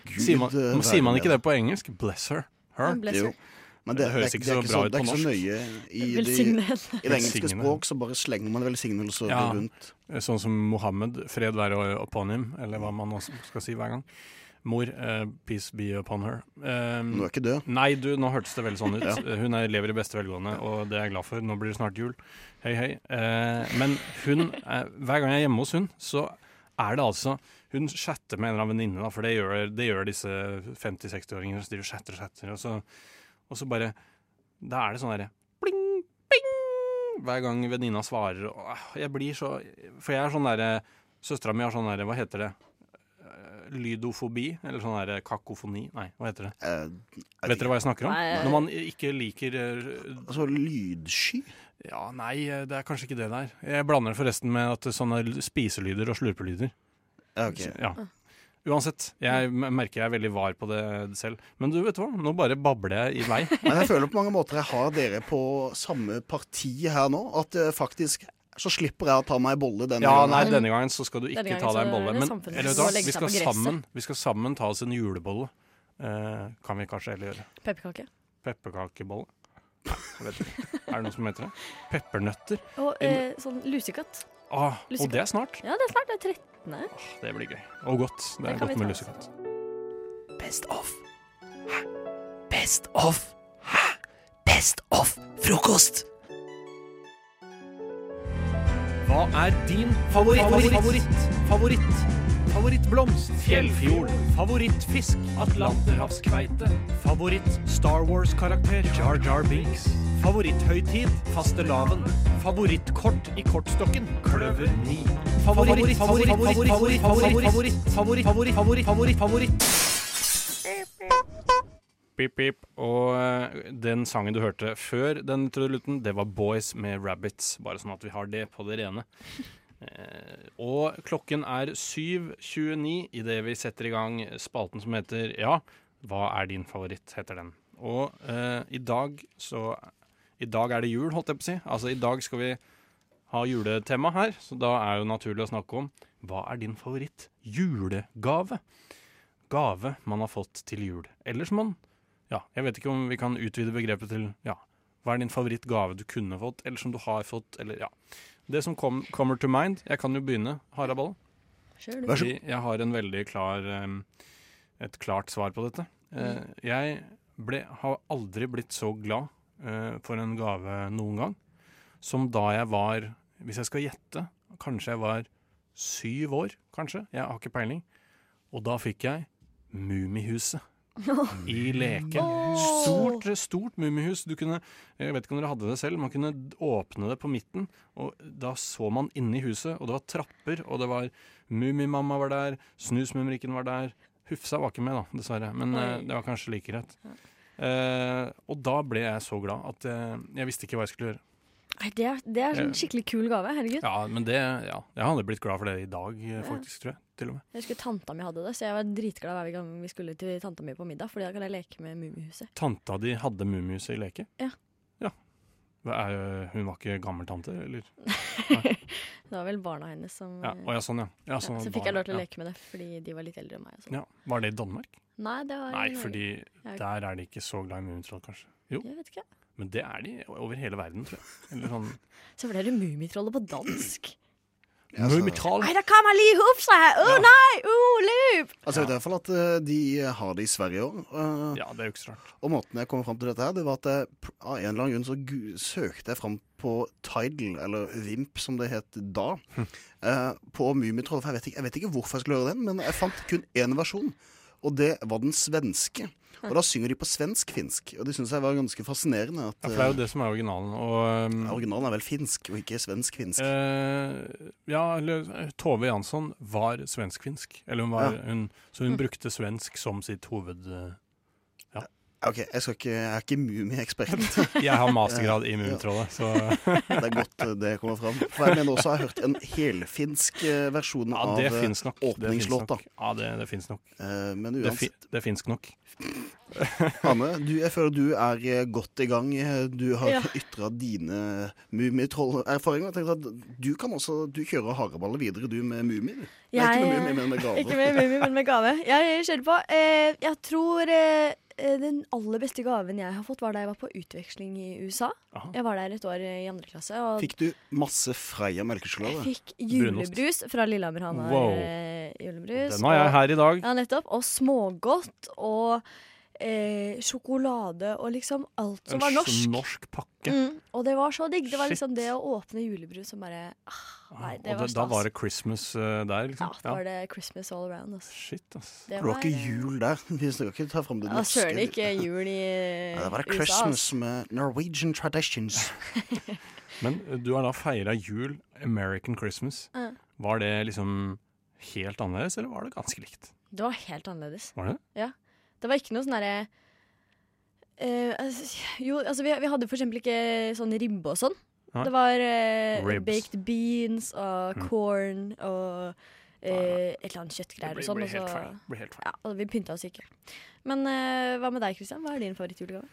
Speaker 4: Gud,
Speaker 8: sier, man,
Speaker 4: eh,
Speaker 8: sier man
Speaker 4: være
Speaker 8: ikke
Speaker 4: med
Speaker 8: det på engelsk? Bless her. her.
Speaker 4: Ja, bless her. Jo. Men det,
Speaker 8: det høres
Speaker 4: det,
Speaker 8: ikke
Speaker 4: det,
Speaker 8: så
Speaker 4: er
Speaker 8: bra
Speaker 4: så,
Speaker 8: ut
Speaker 4: det er
Speaker 8: på
Speaker 4: ikke så
Speaker 8: norsk.
Speaker 4: nøye i,
Speaker 8: Velsigne
Speaker 4: de,
Speaker 8: henne.
Speaker 4: i det engelske
Speaker 8: Velsigne.
Speaker 4: språk, så bare slenger man velsignelser
Speaker 8: Ja,
Speaker 4: rundt.
Speaker 8: Sånn som Mohammed, fred være o- upon him, eller hva man også skal si hver gang. Mor, eh, peace be upon her. Um,
Speaker 4: Hun er ikke død.
Speaker 8: Nei, du, nå hørtes det veldig sånn ut.
Speaker 4: Ja.
Speaker 8: Hun er, lever i beste velgående, og det er jeg glad for. Nå blir det snart jul. Hei, hei. Eh, men hun, eh, hver gang jeg er hjemme hos hun, så er det altså Hun chatter med en eller annen venninne, da, for det gjør, det gjør disse 50-60-åringene. Så driver og chatter og chatter, og så, og så bare Da er det sånn derre hver gang venninna svarer og, ah, Jeg blir så For jeg er sånn derre Søstera mi har sånn derre Hva heter det? Eh, Lydofobi? Eller sånn derre kakofoni? Nei, hva heter det? Vet dere hva jeg snakker om?
Speaker 4: Nei.
Speaker 8: Når man ikke liker eh,
Speaker 4: Altså lydsky?
Speaker 8: Ja, nei, eh, det er kanskje ikke det der. Jeg blander det forresten med at sånne l- spiselyder og slurpelyder.
Speaker 4: Ja, ok.
Speaker 8: Så- Ja. Uansett, jeg m- merker jeg er veldig var på det selv. Men du vet hva, nå bare babler jeg i vei.
Speaker 4: Men jeg føler på mange måter jeg har dere på samme parti her nå. At eh, faktisk så slipper jeg å ta meg en bolle denne
Speaker 8: Ja,
Speaker 4: gangen.
Speaker 8: nei,
Speaker 4: her.
Speaker 8: denne gangen så skal du ikke
Speaker 4: Denne gangen
Speaker 8: ta
Speaker 4: så
Speaker 8: deg en
Speaker 4: er
Speaker 8: bolle.
Speaker 4: det
Speaker 8: Men
Speaker 4: samfunnet
Speaker 8: eller, vet du
Speaker 4: som
Speaker 8: hva,
Speaker 4: må legge
Speaker 8: vi,
Speaker 4: seg
Speaker 8: skal
Speaker 4: på gresset.
Speaker 8: sammen, vi skal sammen ta oss en julebolle. Eh, kan vi kanskje heller gjøre.
Speaker 17: Pepperkake.
Speaker 8: Pepperkakebolle? Nei, jeg vet ikke. Er det noe som heter det? Peppernøtter?
Speaker 17: Og
Speaker 8: En-
Speaker 17: eh, sånn lusekatt.
Speaker 8: Ah, og
Speaker 17: Lussekatt.
Speaker 8: det er snart.
Speaker 17: Ja, det er snart. Det er 13.
Speaker 8: Det blir gøy. Og godt.
Speaker 17: Det
Speaker 8: Det er
Speaker 17: kan vi
Speaker 8: godt med
Speaker 17: ta.
Speaker 8: lussekatt.
Speaker 18: Best of. Hæ? Best of. Hæ? Best of frokost.
Speaker 1: Hva er din favoritt?
Speaker 18: Favoritt.
Speaker 1: favoritt, favoritt? Favorittblomst? Fjellfjord. Favorittfisk? Atlanterhavskveite. Favoritt Star Wars-karakter? Jar Jar Binks. Favoritthøytid? Fastelavn. Favorittkort i kortstokken? Kløver 9. Favoritt, favoritt, favoritt, favoritt, favoritt, favoritt, favoritt, favoritt, favoritt, favoritt, favoritt.
Speaker 8: Pip, pip. Og eh, den sangen du hørte før den trudelutten, det var Boys med Rabbits. Bare sånn at vi har det på det rene. Eh, og klokken er 7.29 idet vi setter i gang spalten som heter Ja, hva er din favoritt? heter den. Og eh, i dag så I dag er det jul, holdt jeg på å si. Altså i dag skal vi ha juletema her, så da er jo naturlig å snakke om hva er din favoritt julegave? Gave man har fått til jul. Eller som man Ja, jeg vet ikke om vi kan utvide begrepet til ja, hva er din favorittgave du kunne fått, eller som du har fått, eller ja. Det som kom, kommer to mind Jeg kan jo begynne, Harald Balle.
Speaker 17: Kjør du. Vær så
Speaker 8: Fordi jeg har en veldig klar em, et klart svar på dette. Eh,
Speaker 17: Mhm.
Speaker 8: Jeg ble, har aldri blitt så glad eh, for en gave noen gang som da jeg var Hvis jeg skal gjette, kanskje jeg var syv år, kanskje. Jeg har ikke peiling. Og da fikk jeg Mummihuset. I leken. Stort, stort mummihus. Du kunne, jeg vet ikke om dere hadde det selv, man kunne d- åpne det på midten, og da så man inne i huset, og det var trapper, og det var Mummimamma var der, Snusmumrikken var der. Hufsa var ikke med, da, dessverre, men eh,
Speaker 17: Oi.
Speaker 8: det var kanskje like greit. Eh, og da ble jeg så glad at eh, jeg visste ikke hva jeg skulle gjøre.
Speaker 17: Nei, det er, det er en skikkelig kul gave. Herregud.
Speaker 8: Eh. Ja, men det, ja, Jeg hadde blitt glad for det i dag, eh, faktisk, tror jeg. Til og med.
Speaker 17: Jeg husker tanta mi hadde det, så jeg var dritglad hver gang vi skulle til tanta mi på middag. Fordi da kan jeg leke med Mummihuset.
Speaker 8: Tanta di hadde Mummihuset i leke?
Speaker 17: Ja.
Speaker 8: Hva Er, hun var ikke gammel tante, eller?
Speaker 17: Det var vel barna hennes som
Speaker 8: Ja, å ja, sånn, ja. Ja, sånn
Speaker 17: så
Speaker 8: barn,
Speaker 17: fikk jeg lov til å
Speaker 8: ja.
Speaker 17: leke med det fordi de var litt eldre enn meg. Og sånn.
Speaker 8: Ja. Var det i Danmark?
Speaker 17: Nei, det var i
Speaker 8: Nei,
Speaker 17: Norge.
Speaker 8: fordi
Speaker 17: Jeg-
Speaker 8: der er de ikke så glad i Mummitroll, kanskje. Jo,
Speaker 17: Jeg vet ikke.
Speaker 8: men det er de over hele verden, tror jeg. Eller sånn
Speaker 17: Så ble det Mummitrollet på dansk.
Speaker 8: Mummitroll!
Speaker 17: Nei, da kommer lige opp seg! Å nei! Å, løp!
Speaker 4: Altså, Jeg vet i hvert fall at eh, de har det i Sverige òg.
Speaker 8: ja, det er jo ikke så rart.
Speaker 4: Og måten jeg kom fram til dette her, det var at jeg, pr- av en eller annen grunn så gu søkte jeg fram på Tidal, eller Vimp som det het da,
Speaker 8: Hm.
Speaker 4: eh, på Mummitroll. For jeg vet, ikke, jeg vet ikke hvorfor jeg skulle gjøre den, men jeg fant kun én versjon. Og det var den svenske. Og da synger de på svensk-finsk. Og det syns jeg var ganske fascinerende. At, eh,
Speaker 8: Ja, for det er jo det som er originalen. Og, um,
Speaker 4: originalen er vel finsk, og ikke svensk-finsk.
Speaker 8: Eh, ja, eller Tove Jansson var svensk-finsk. Eller hun var,
Speaker 4: Ja.
Speaker 8: hun, så hun
Speaker 4: Mm.
Speaker 8: brukte svensk som sitt hoved... eh, ja.
Speaker 4: OK, jeg, skal ikke, jeg er ikke mumieekspert.
Speaker 8: Jeg har mastergrad i Mummitrollet, så
Speaker 4: Det er godt eh, det kommer fram. For jeg mener også jeg har hørt en helfinsk eh, versjon
Speaker 8: Ja, det
Speaker 4: av eh,
Speaker 8: fins nok. Det finnes
Speaker 4: åpningslåta.
Speaker 8: nok. Ja, det, det fins nok.
Speaker 4: Eh, Men
Speaker 8: Det, fi,
Speaker 4: uansett,
Speaker 8: det fins nok.
Speaker 4: Hanne, du, jeg føler du er eh, godt i gang. Eh, Du har
Speaker 17: Ja.
Speaker 4: ytret ytra dine Mummitroll-erfaringer. Jeg tenkte at Du kan også, du kjører hareballer videre, du, med mumier. Nei,
Speaker 17: Jeg-
Speaker 4: ikke med mumier, men med
Speaker 17: Ikke med
Speaker 4: gaver.
Speaker 17: mummi, men med gave. Jeg kjører på. Eh, jeg tror eh, eh, den aller beste gaven jeg har fått, var da jeg var på utveksling i USA.
Speaker 4: Aha.
Speaker 17: Jeg var der et år eh, i andre klasse. Og
Speaker 4: Fikk du masse Freia melkesjokolade?
Speaker 17: Jeg fikk julebrus fra Lillehammer. Han har
Speaker 4: Wow.
Speaker 17: eh, julebrus.
Speaker 4: Den har jeg
Speaker 17: og-
Speaker 4: her i dag.
Speaker 17: Ja, nettopp. Og smågodt og eh, sjokolade og liksom alt som
Speaker 8: En
Speaker 17: var
Speaker 8: s-
Speaker 17: norsk.
Speaker 8: norsk pakke.
Speaker 17: Mm, og det var så digg. Det var
Speaker 8: Shit.
Speaker 17: liksom det å åpne julebrus som bare ah, Nei, det
Speaker 8: og
Speaker 17: var
Speaker 8: det, da
Speaker 17: stas.
Speaker 8: var det Christmas eh, der, liksom.
Speaker 17: Da var det Christmas all around. Altså.
Speaker 8: Shit, ass.
Speaker 17: Det
Speaker 4: Det var ikke
Speaker 17: eh,
Speaker 4: jul der. Vi skal ikke ta fram det
Speaker 17: Ja,
Speaker 4: norske.
Speaker 17: søren ikke jul i
Speaker 4: Ja, det var
Speaker 17: USA,
Speaker 4: Christmas
Speaker 17: altså.
Speaker 4: med Norwegian traditions.
Speaker 8: Men eh, du har da feira jul, American Christmas.
Speaker 17: Ja.
Speaker 8: Var det liksom helt annerledes, eller var det ganske likt?
Speaker 17: Det var helt annerledes.
Speaker 8: Var det?
Speaker 17: Ja. Det var ikke noe sånn derre eh, altså, Jo, altså vi, vi hadde for eksempel ikke sånn ribbe og sånn.
Speaker 8: Nei.
Speaker 17: Det var eh,
Speaker 8: Ribs.
Speaker 17: baked beans og
Speaker 8: Mm.
Speaker 17: corn og eh, et eller annet kjøttgreier
Speaker 8: Det
Speaker 17: og sånn.
Speaker 8: blir- blir
Speaker 17: og så-
Speaker 8: helt feil. Blir helt feil.
Speaker 17: Ja, og vi pynta oss ikke. Men eh, hva med deg, Kristian? Hva er din favorittjulegave?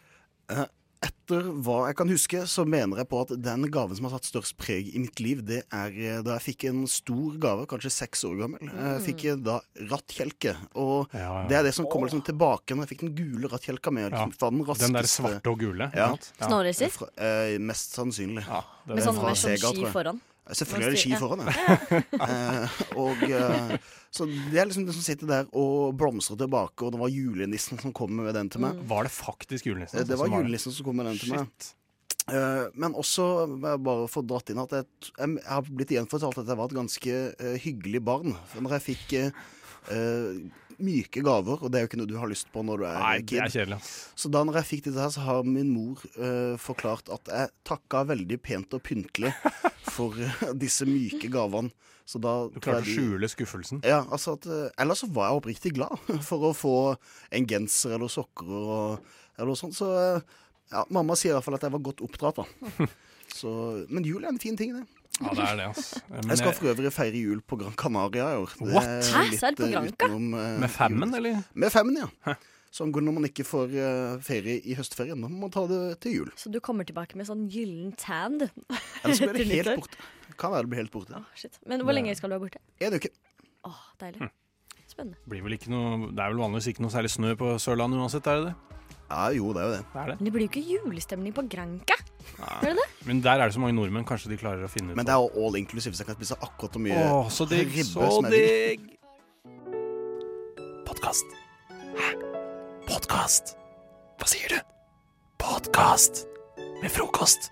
Speaker 4: Eh, Etter hva jeg kan huske, så mener jeg på at den gaven som har satt størst preg i mitt liv, det er eh, da jeg fikk en stor gave, kanskje seks år gammel.
Speaker 17: Mm.
Speaker 4: Jeg fikk eh, da rattkjelke. Og det er det som kommer liksom tilbake når jeg fikk den gule rattkjelka med.
Speaker 8: Ja,
Speaker 4: Liksom, fra den,
Speaker 8: den
Speaker 4: raskeste.
Speaker 8: der svarte og gule, ikke
Speaker 4: Ja.
Speaker 8: sant? Ja.
Speaker 17: Snowracer?
Speaker 4: Fra- eh, mest sannsynlig.
Speaker 17: det er Med det. sånn- med sånn ski
Speaker 4: tror jeg.
Speaker 17: foran?
Speaker 4: Selvfølgelig er det ski
Speaker 17: Ja.
Speaker 4: foran,
Speaker 17: Ja.
Speaker 4: Eh, og, eh, så det er liksom det som sitter der og blomstrer tilbake, og det var julenissen som kom med den til meg.
Speaker 17: Mm.
Speaker 8: Var det faktisk julenissen?
Speaker 4: Eh, Det
Speaker 8: som
Speaker 4: var
Speaker 8: det?
Speaker 4: julenissen som kom med den til meg.
Speaker 8: Shit.
Speaker 4: Eh, Men også, jeg bare få dratt inn at jeg, t- jeg jeg har blitt gjenfortalt at jeg var et ganske eh, hyggelig barn. For Når jeg fikk eh, eh, myke gaver, og det er jo ikke noe du har lyst på når du er
Speaker 8: Nei, det
Speaker 4: kid.
Speaker 8: er kjedelig,
Speaker 4: Så da når jeg fikk dette her, så har min mor eh, forklart at jeg takka veldig pent og pyntelig for eh, disse myke gavene. Så da
Speaker 8: Du klarte å skjule skuffelsen?
Speaker 4: ja, altså at, eh, ellers så var jeg oppriktig glad for å få en genser eller sokker og, eller noe sånt. Så eh, ja, mamma sier i hvert fall at jeg var godt oppdratt, da. Så, men jul er en fin ting, det.
Speaker 8: Ja, det er det, ass. Men
Speaker 4: jeg skal
Speaker 8: jeg-
Speaker 4: for øvrig feire jul på Gran Canaria i år. Det
Speaker 8: What?
Speaker 4: er
Speaker 8: Hæ? Så er det på
Speaker 4: litt, eh,
Speaker 8: Granca?
Speaker 4: eh,
Speaker 8: Med femmen,
Speaker 4: jul.
Speaker 8: eller?
Speaker 4: Med femmen, ja. Sånn går det når man ikke får eh, ferie i høstferien. Da må man ta det til jul.
Speaker 17: Så du kommer tilbake med sånn gyllen tan, du.
Speaker 4: Ellers blir det
Speaker 17: Til
Speaker 4: helt
Speaker 17: nyttår.
Speaker 4: borte. Kan være det blir helt borte.
Speaker 17: Shit. Men hvor
Speaker 8: Det-
Speaker 17: lenge skal du være borte?
Speaker 4: En uke.
Speaker 17: Åh, deilig.
Speaker 8: Hm.
Speaker 17: Spennende.
Speaker 8: Blir vel ikke noe, det er vel vanligvis ikke noe særlig snø på Sørlandet uansett, er det det?
Speaker 4: Ja, jo, det er jo det.
Speaker 8: er det.
Speaker 17: Men det blir jo ikke julestemning på Granca. Gjør det det?
Speaker 8: Men der er det så mange nordmenn, kanskje de klarer å finne ut
Speaker 4: Men det er jo all inclusive, så jeg kan spise akkurat hvor mye
Speaker 8: Åh, så digg,
Speaker 4: ribbe
Speaker 8: så
Speaker 4: som jeg vil.
Speaker 8: digg.
Speaker 18: Podkast. Hæ? Podkast? Hva sier du? Podkast med frokost.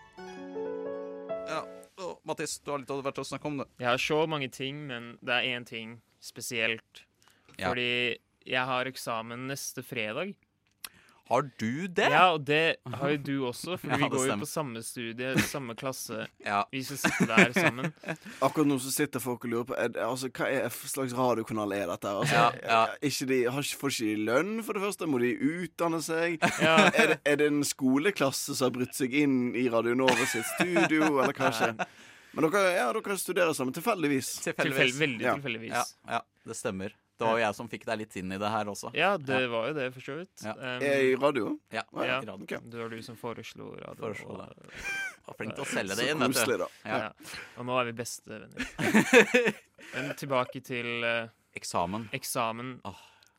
Speaker 19: Ja, og Mathis, du har litt av hvert å snakke om det.
Speaker 7: Jeg har så mange ting, men det er én ting spesielt.
Speaker 19: Ja.
Speaker 7: Fordi jeg har eksamen neste fredag.
Speaker 19: Har du det?
Speaker 7: Ja, og det har jo du også, for
Speaker 19: Ja,
Speaker 7: vi
Speaker 19: det
Speaker 7: går jo
Speaker 19: stemmer.
Speaker 7: på samme studie, samme klasse. Vi skal sitte der sammen.
Speaker 20: Akkurat nå så sitter folk og lurer på er, det- altså, hva er f- slags radiokanal er dette. her? Altså,
Speaker 7: Ja,
Speaker 20: Ikke de, har, ikke- får ikke de lønn, for det første? Må de utdanne seg?
Speaker 7: Ja.
Speaker 20: Er, det, er det en skoleklasse som har brutt seg inn i Radio Nova sitt studio, eller hva skjer? Men dere, ja, dere studerer sammen tilfeldigvis.
Speaker 19: Tilfeldigvis.
Speaker 20: Ja.
Speaker 19: Ja, ja, det stemmer. Det var jo jeg som fikk deg litt inn i det her også.
Speaker 7: Ja, det var jo det, for så vidt.
Speaker 19: Ja.
Speaker 7: Um,
Speaker 20: Eh, I radio?
Speaker 19: Ja,
Speaker 20: Ja,
Speaker 7: ja.
Speaker 20: i radio.
Speaker 7: Det var du som foreslo radio.
Speaker 19: Foreslo det.
Speaker 7: og-
Speaker 19: Var flink til å
Speaker 7: Ja.
Speaker 19: selge det Så inn, vet du. koselig, da.
Speaker 7: Ja.
Speaker 19: Ja.
Speaker 7: Og nå er vi bestevenner. Men tilbake til eh,
Speaker 19: Eksamen.
Speaker 7: eksamen.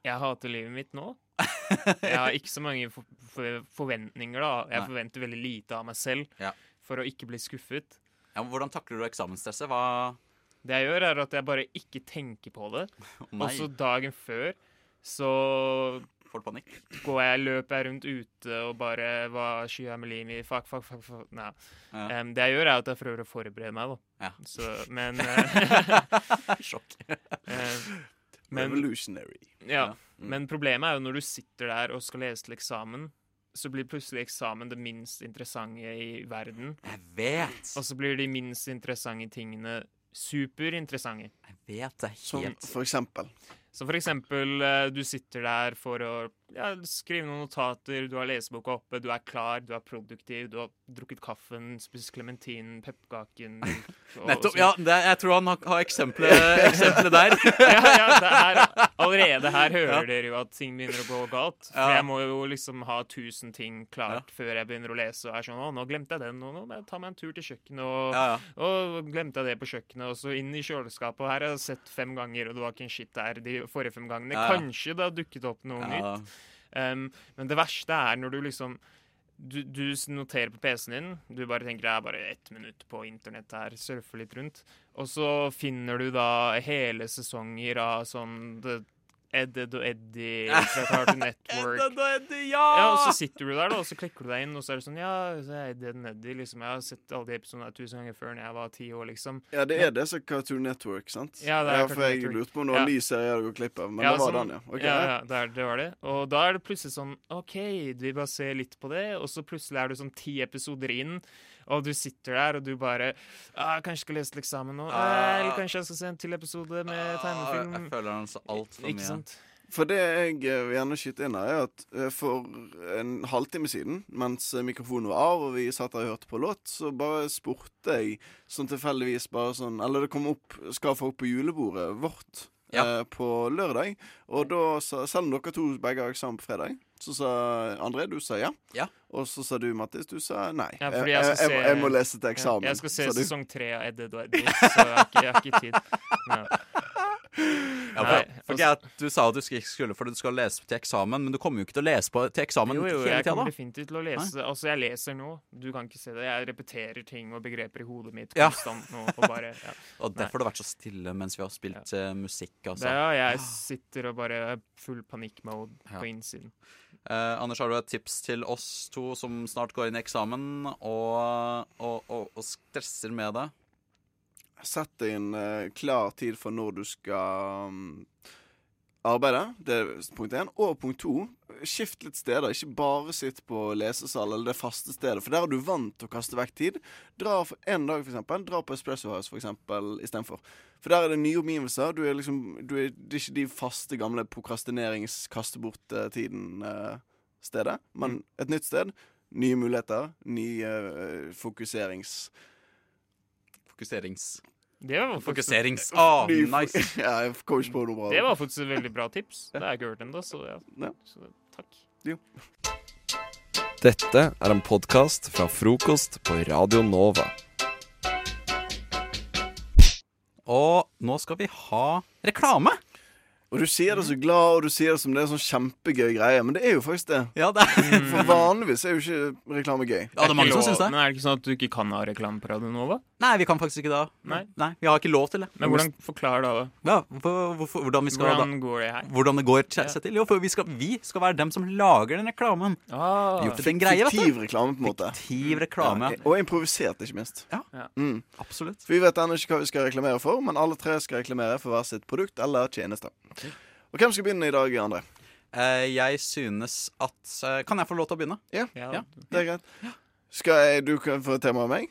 Speaker 7: Jeg hater livet mitt nå. Jeg har ikke så mange for for forventninger, da. Jeg
Speaker 19: Nei.
Speaker 7: forventer veldig lite av meg selv for å ikke bli skuffet.
Speaker 19: Ja, men hvordan takler du eksamensstresset? Hva
Speaker 7: Det jeg gjør, er at jeg bare ikke tenker på det.
Speaker 19: nei.
Speaker 7: Og så dagen før så
Speaker 19: Får du panikk?
Speaker 7: Går jeg, løper jeg rundt ute og bare Hva skyer med livet mitt? Fuck, fuck, fuck. fuck. Nei.
Speaker 19: Ja.
Speaker 7: Em, det jeg gjør, er at jeg prøver å forberede meg, da.
Speaker 19: Ja.
Speaker 7: Så, men eh,
Speaker 19: Sjokk.
Speaker 7: eh, men-
Speaker 20: Revolutionary.
Speaker 7: Ja.
Speaker 20: Ja. Mm.
Speaker 7: Men problemet er jo når du sitter der og skal lese til eksamen, så blir plutselig eksamen det minst interessante i verden.
Speaker 19: Jeg vet!
Speaker 7: Og så blir de minst interessante tingene superinteressante.
Speaker 19: Jeg vet det
Speaker 20: Som
Speaker 19: helt.
Speaker 20: for eksempel.
Speaker 7: Så for eksempel, eh, du sitter der for å ja, skrive noen notater, du har leseboka oppe, du er klar, du er produktiv, du har drukket kaffen, spist klementinen, pepperkaken og-
Speaker 19: Nettopp.
Speaker 7: og så-
Speaker 19: Ja, det, jeg tror han har, har eksempelet, eksempelet der.
Speaker 7: ja, ja, det er, allerede her hører
Speaker 19: Ja.
Speaker 7: dere jo at ting begynner å gå galt. For
Speaker 19: Ja.
Speaker 7: jeg må jo liksom ha tusen ting klart før jeg begynner å lese. Og er sånn, å, nå glemte jeg den, og nå må jeg ta meg en tur til kjøkkenet. Og,
Speaker 19: Ja,
Speaker 7: og glemte jeg det på kjøkkenet, og så inn i kjøleskapet. Og her har jeg sett fem ganger, og det var ikke en shit der de forrige fem gangene.
Speaker 19: Ja, ja.
Speaker 7: Kanskje det har dukket opp noe
Speaker 19: Ja.
Speaker 7: nytt. Um, men det verste er når du liksom du, du s- noterer på PC-en din. Du bare tenker det er bare ett minutt på internett her. Surfer litt rundt. Og så finner du da hele sesonger av sånn The Edded og Eddie fra Cartoon Network.
Speaker 19: Edded og Eddie, ja!
Speaker 7: ja! Og så sitter du der, da, og så klikker du deg inn, og så er det sånn Ja, så er Eddie og Eddie. Liksom, jeg har sett alle de episodene der tusen ganger før når jeg var ti år, liksom.
Speaker 20: Ja, det er det som er Cartoon Network, sant?
Speaker 7: Ja, det er
Speaker 20: for
Speaker 7: Cartoon
Speaker 20: jeg
Speaker 7: Network.
Speaker 20: lurte på om det var
Speaker 7: Ja.
Speaker 20: en ny serie jeg hadde gått glipp av, men det var
Speaker 7: sånn-
Speaker 20: den, ja. Ok,
Speaker 7: ja, ja det, er, det var det. Og da er det plutselig sånn OK, vi bare ser litt på det, og så plutselig er du sånn ti episoder inn, og du sitter der, og du bare ah, Kanskje jeg skal lese til eksamen nå? Eh,
Speaker 19: Ah.
Speaker 20: Ah,
Speaker 7: Eller kanskje jeg skal se en til episode med tegnefilm?
Speaker 19: Jeg føler han sa altfor mye.
Speaker 7: Ikke sant?
Speaker 20: For det jeg eh, vil gjerne skyte inn her, er at eh, for en halvtime siden, mens eh, mikrofonen var av og vi satt der og hørte på låt, så bare spurte jeg sånn tilfeldigvis bare sånn Eller det kom opp Skal folk på julebordet vårt eh, på lørdag? Og da sa Selv om dere to begge har eksamen på fredag, så sa André, du sa ja.
Speaker 19: Ja.
Speaker 20: Og så sa du, Mattis, du sa nei.
Speaker 7: Ja,
Speaker 20: jeg,
Speaker 7: fordi
Speaker 20: jeg,
Speaker 7: jeg,
Speaker 20: jeg,
Speaker 7: skal se,
Speaker 20: må- jeg må lese til eksamen.
Speaker 7: Ja, jeg skal se
Speaker 20: sa du.
Speaker 7: sesong tre av Ed Edward, så jeg har ikke, jeg har ikke tid. Ja.
Speaker 19: Ja,
Speaker 7: Nei, altså-
Speaker 19: for, for jeg, du sa at du ikke skulle for du skal lese til eksamen, men du kommer jo ikke til å lese på, til eksamen
Speaker 7: Jo, jo,
Speaker 19: hele
Speaker 7: jeg
Speaker 19: tida,
Speaker 7: kommer
Speaker 19: da.
Speaker 7: definitivt til å lese. Altså, jeg leser nå. Du kan ikke se det. Jeg repeterer ting og begreper i hodet mitt
Speaker 19: Ja.
Speaker 7: konstant nå. Og bare, ja.
Speaker 19: Og derfor har det vært så stille mens vi har spilt eh, musikk, altså.
Speaker 7: Det er, jeg sitter og bare er full panikkmode
Speaker 19: Ja.
Speaker 7: på innsiden.
Speaker 19: Eh, Anders, har du et tips til oss to som snart går inn i eksamen og, og, og, og stresser med det?
Speaker 20: Sett deg en eh, klar tid for når du skal mm, arbeide. Det er punkt én. Og punkt to, skift litt steder. Ikke bare sitt på lesesal eller det faste stedet, for der er du vant til å kaste vekk tid. Dra for en dag, for eksempel. Dra på Espresso House, for eksempel, istedenfor. For der er det nye omgivelser. Du er liksom, du er, det er ikke de faste, gamle prokrastinerings-kaste-bort-tiden-stedet, men et nytt sted. Nye muligheter. Ny eh, fokuserings...
Speaker 19: Fokuserings...
Speaker 7: Det var faktisk-
Speaker 19: Fokuserings. Ah,
Speaker 20: Ny-
Speaker 19: nice.
Speaker 20: ja, jeg kom ikke på noe bra.
Speaker 7: Det var faktisk et veldig bra tips. Det har jeg ikke hørt ennå, så, ja. så takk.
Speaker 16: Dette er en podkast fra frokost på Radio Nova.
Speaker 19: Og nå skal vi ha reklame!
Speaker 20: Og du sier det så glad, og du sier det som det er en sånn kjempegøy greie, men det er jo faktisk det.
Speaker 19: Ja, det
Speaker 20: For vanligvis er jo ikke reklame gøy.
Speaker 7: ikke lov- Men er det ikke sånn at du ikke kan ha reklame på Radio Nova?
Speaker 19: Nei, vi kan faktisk ikke det.
Speaker 7: Nei.
Speaker 19: vi har ikke lov til det.
Speaker 7: Men hvordan forklarer du det?
Speaker 19: Ja, hvor- hvorfor- hvordan vi skal
Speaker 7: Hvordan
Speaker 19: da-
Speaker 7: går det her?
Speaker 19: Hvordan det går seg seg til? Jo, for vi skal, vi skal være dem som lager den reklamen. Vi
Speaker 7: Ah.
Speaker 19: har gjort det til en greie, vet du.
Speaker 20: Fiktiv reklame, på en måte.
Speaker 19: Fiktiv reklame.
Speaker 20: Ja, og improvisert, ikke minst.
Speaker 7: Ja.
Speaker 20: Mm.
Speaker 19: Absolutt.
Speaker 20: For vi vet ennå ikke hva vi skal reklamere for, men alle tre skal reklamere for hver sitt produkt eller tjeneste. Og hvem skal begynne i dag, André?
Speaker 19: Eh, jeg synes at eh, Kan jeg få lov til å begynne?
Speaker 20: Ja,
Speaker 19: Ja.
Speaker 20: det er greit. Skal jeg, du kan få et tema av meg?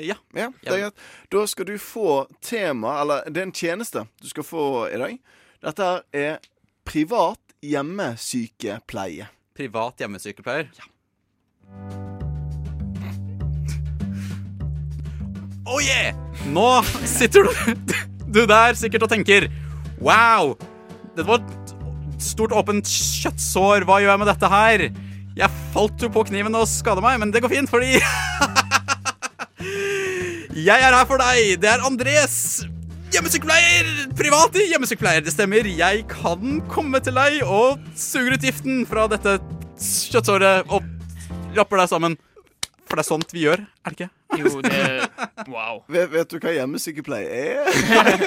Speaker 19: ja.
Speaker 20: det er greit. Da skal du få tema, eller det er en tjeneste du skal få i dag. Dette her er privat hjemmesykepleie.
Speaker 19: Privat hjemmesykepleier. Oh yeah! Nå sitter du, du der sikkert og tenker Wow! Det var et stort åpent kjøttsår. Hva gjør jeg med dette her? Jeg falt jo på kniven og skadet meg, men det går fint, fordi Jeg er her for deg. Det er Andres hjemmesykepleier. Private hjemmesykepleier. Det stemmer. Jeg kan komme til deg og suger ut giften fra dette kjøttsåret og rapper deg sammen. For det er sånt vi gjør, er det ikke?
Speaker 7: Jo, det Wow.
Speaker 20: Vet, vet du hva hjemmesykepleie er?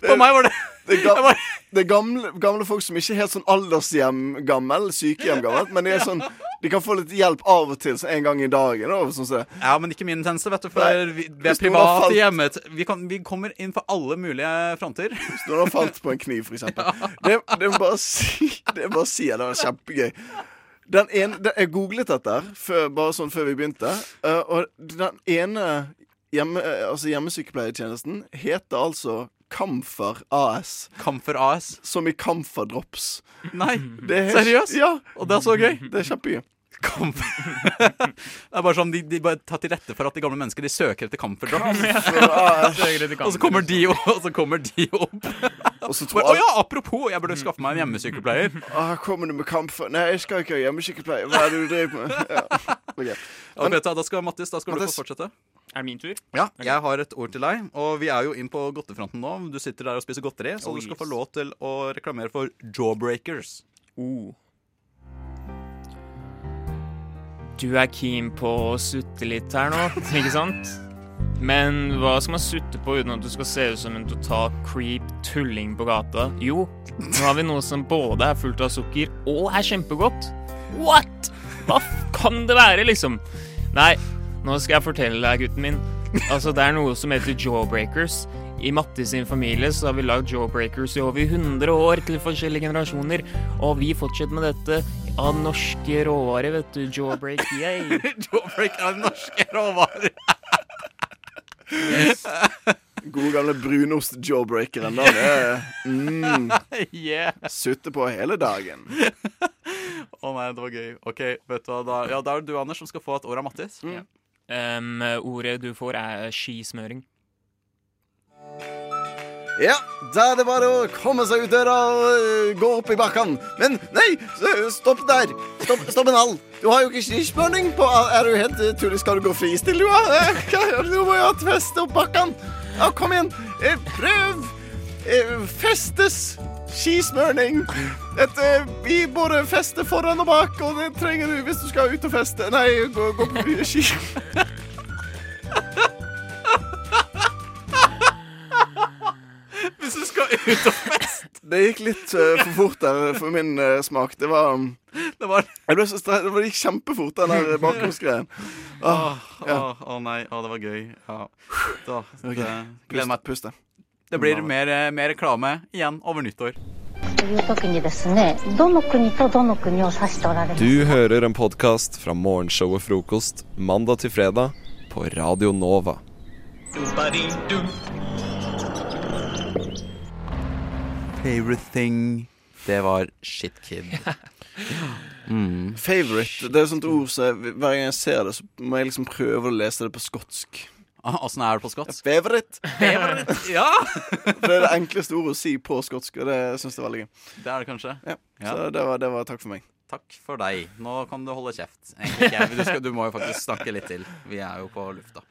Speaker 19: For meg var det
Speaker 20: Det er, ga, det er gamle, gamle folk som ikke er helt sånn aldershjem-gammel, sykehjem-gammel, men de er sånn De kan få litt hjelp av og til, sånn en gang i dagen. Og sånn som det.
Speaker 19: Ja, men ikke min tjeneste, vet du. For
Speaker 20: Nei,
Speaker 19: vi, vi er
Speaker 20: hvis noen har
Speaker 19: private
Speaker 20: falt-
Speaker 19: hjemme. Vi, kan, vi kommer inn på alle mulige fronter.
Speaker 20: Hvis noen har falt på en kniv, for eksempel. Det, det må bare si Det må bare si at det var kjempegøy. Den ene, den, jeg googlet dette her før, bare sånn før vi begynte, eh, og den ene hjemme, eh, altså hjemmesykepleietjenesten heter altså Kamfer AS.
Speaker 19: Kamfer AS?
Speaker 20: Som i Kamfer Drops.
Speaker 19: Nei,
Speaker 20: Det er-
Speaker 19: seriøst?
Speaker 20: Ja.
Speaker 19: Og det er så gøy.
Speaker 20: Det er kjempegøy.
Speaker 19: Det er bare sånn, De, de bare tar til rette for at de gamle mennesker de søker etter Comfort Drops.
Speaker 7: Søker etter
Speaker 19: og så kommer de opp. Og så kommer de opp.
Speaker 20: Og så
Speaker 19: Å ja, apropos, jeg burde skaffe meg en hjemmesykepleier.
Speaker 20: Ah, kommer du med Kamfer Nei, jeg skal ikke ha hjemmesykepleie. Hva er det du driver med? Ja. ok.
Speaker 19: Ja, vet du, hva, da skal Mattis, da skal
Speaker 20: Mattis.
Speaker 19: du få fortsette.
Speaker 7: Er det min tur?
Speaker 19: Ja, jeg har et ord til deg, og vi er jo inn på godtefronten nå. Du sitter der og spiser godteri, så
Speaker 7: Oh,
Speaker 19: du skal
Speaker 7: yes.
Speaker 19: få lov til å reklamere for Jawbreakers.
Speaker 7: Du er keen på å sutte litt her nå, ikke sant? Men hva skal man sutte på uten at du skal se ut som en total creep tulling på gata? Jo, nå har vi noe som både er fullt av sukker og er kjempegodt. What?! Hva f- kan det være, liksom? Nei, nå skal jeg fortelle deg, gutten min. Altså, det er noe som heter jawbreakers. I Matti sin familie så har vi lagd jawbreakers i over 100 år til forskjellige generasjoner, og vi fortsetter med dette av norske råvarer, vet du. Jawbreak, yay!
Speaker 19: Jawbreak er norske råvarer.
Speaker 20: God den gamle brunost-jawbreakeren. da. Det er- Mm.
Speaker 14: Yeah.
Speaker 20: Sutte på hele dagen.
Speaker 19: Å nei, det var gøy. Ok, vet du hva, da, ja, da er det du, Anders, som skal få et år av Mattis.
Speaker 7: Um, ordet du får, er eh, skismøring.
Speaker 13: Ja, da er det bare å komme seg ut døra og øh, gå opp i bakken. Men nei, s- stopp der. Stopp, stopp en hall. Du har jo ikke skismøring på. Er du helt øh, tullig? Skal du gå fristil, du? da? Eh, hva- Du må jo ha et feste opp bakken. Ja, kom igjen. Eh, Prøv. Eh, Festes skismøring. Et, eh, vi både fester foran og bak, og det trenger du hvis du skal ut og feste. Nei, gå, gå på ski.
Speaker 19: Hvis du skal ut og feste
Speaker 20: Det gikk litt eh, for fort der for min eh, smak. Det var
Speaker 19: Det var
Speaker 20: Jeg ble så stre- det gikk kjempefort, den der eh, bakgrunnsgreien. Åh,
Speaker 19: Å
Speaker 20: ja.
Speaker 19: å nei, å, det var gøy. Ja. Da,
Speaker 20: Ok,
Speaker 19: det,
Speaker 20: pust-
Speaker 19: gleder meg.
Speaker 20: puste.
Speaker 19: Det blir mer, eh, mer reklame igjen over nyttår.
Speaker 21: という時にですねどの国とどの国を指しておられます
Speaker 16: Du hører en podkast fra morgenshowet Frokost mandag til fredag på Radio Nova.
Speaker 19: Favorite thing Det var shit kid.
Speaker 20: Mm. Favorite. Det er et sånt ord som jeg- hver gang jeg ser det, så må jeg liksom prøve å lese det på skotsk.
Speaker 19: Ah, Åssen er det på skotsk?
Speaker 20: Favorite.
Speaker 19: Favorite, ja.
Speaker 20: For det er det enkleste ordet å si på skotsk, og det syns jeg er veldig gøy.
Speaker 19: Det er det kanskje?
Speaker 20: Ja.
Speaker 19: Ja.
Speaker 20: Så det var, det var takk for meg.
Speaker 19: Takk for deg. Nå kan du holde kjeft. Egentlig ikke, men Du, skal, du må jo faktisk snakke litt til. Vi er jo på lufta.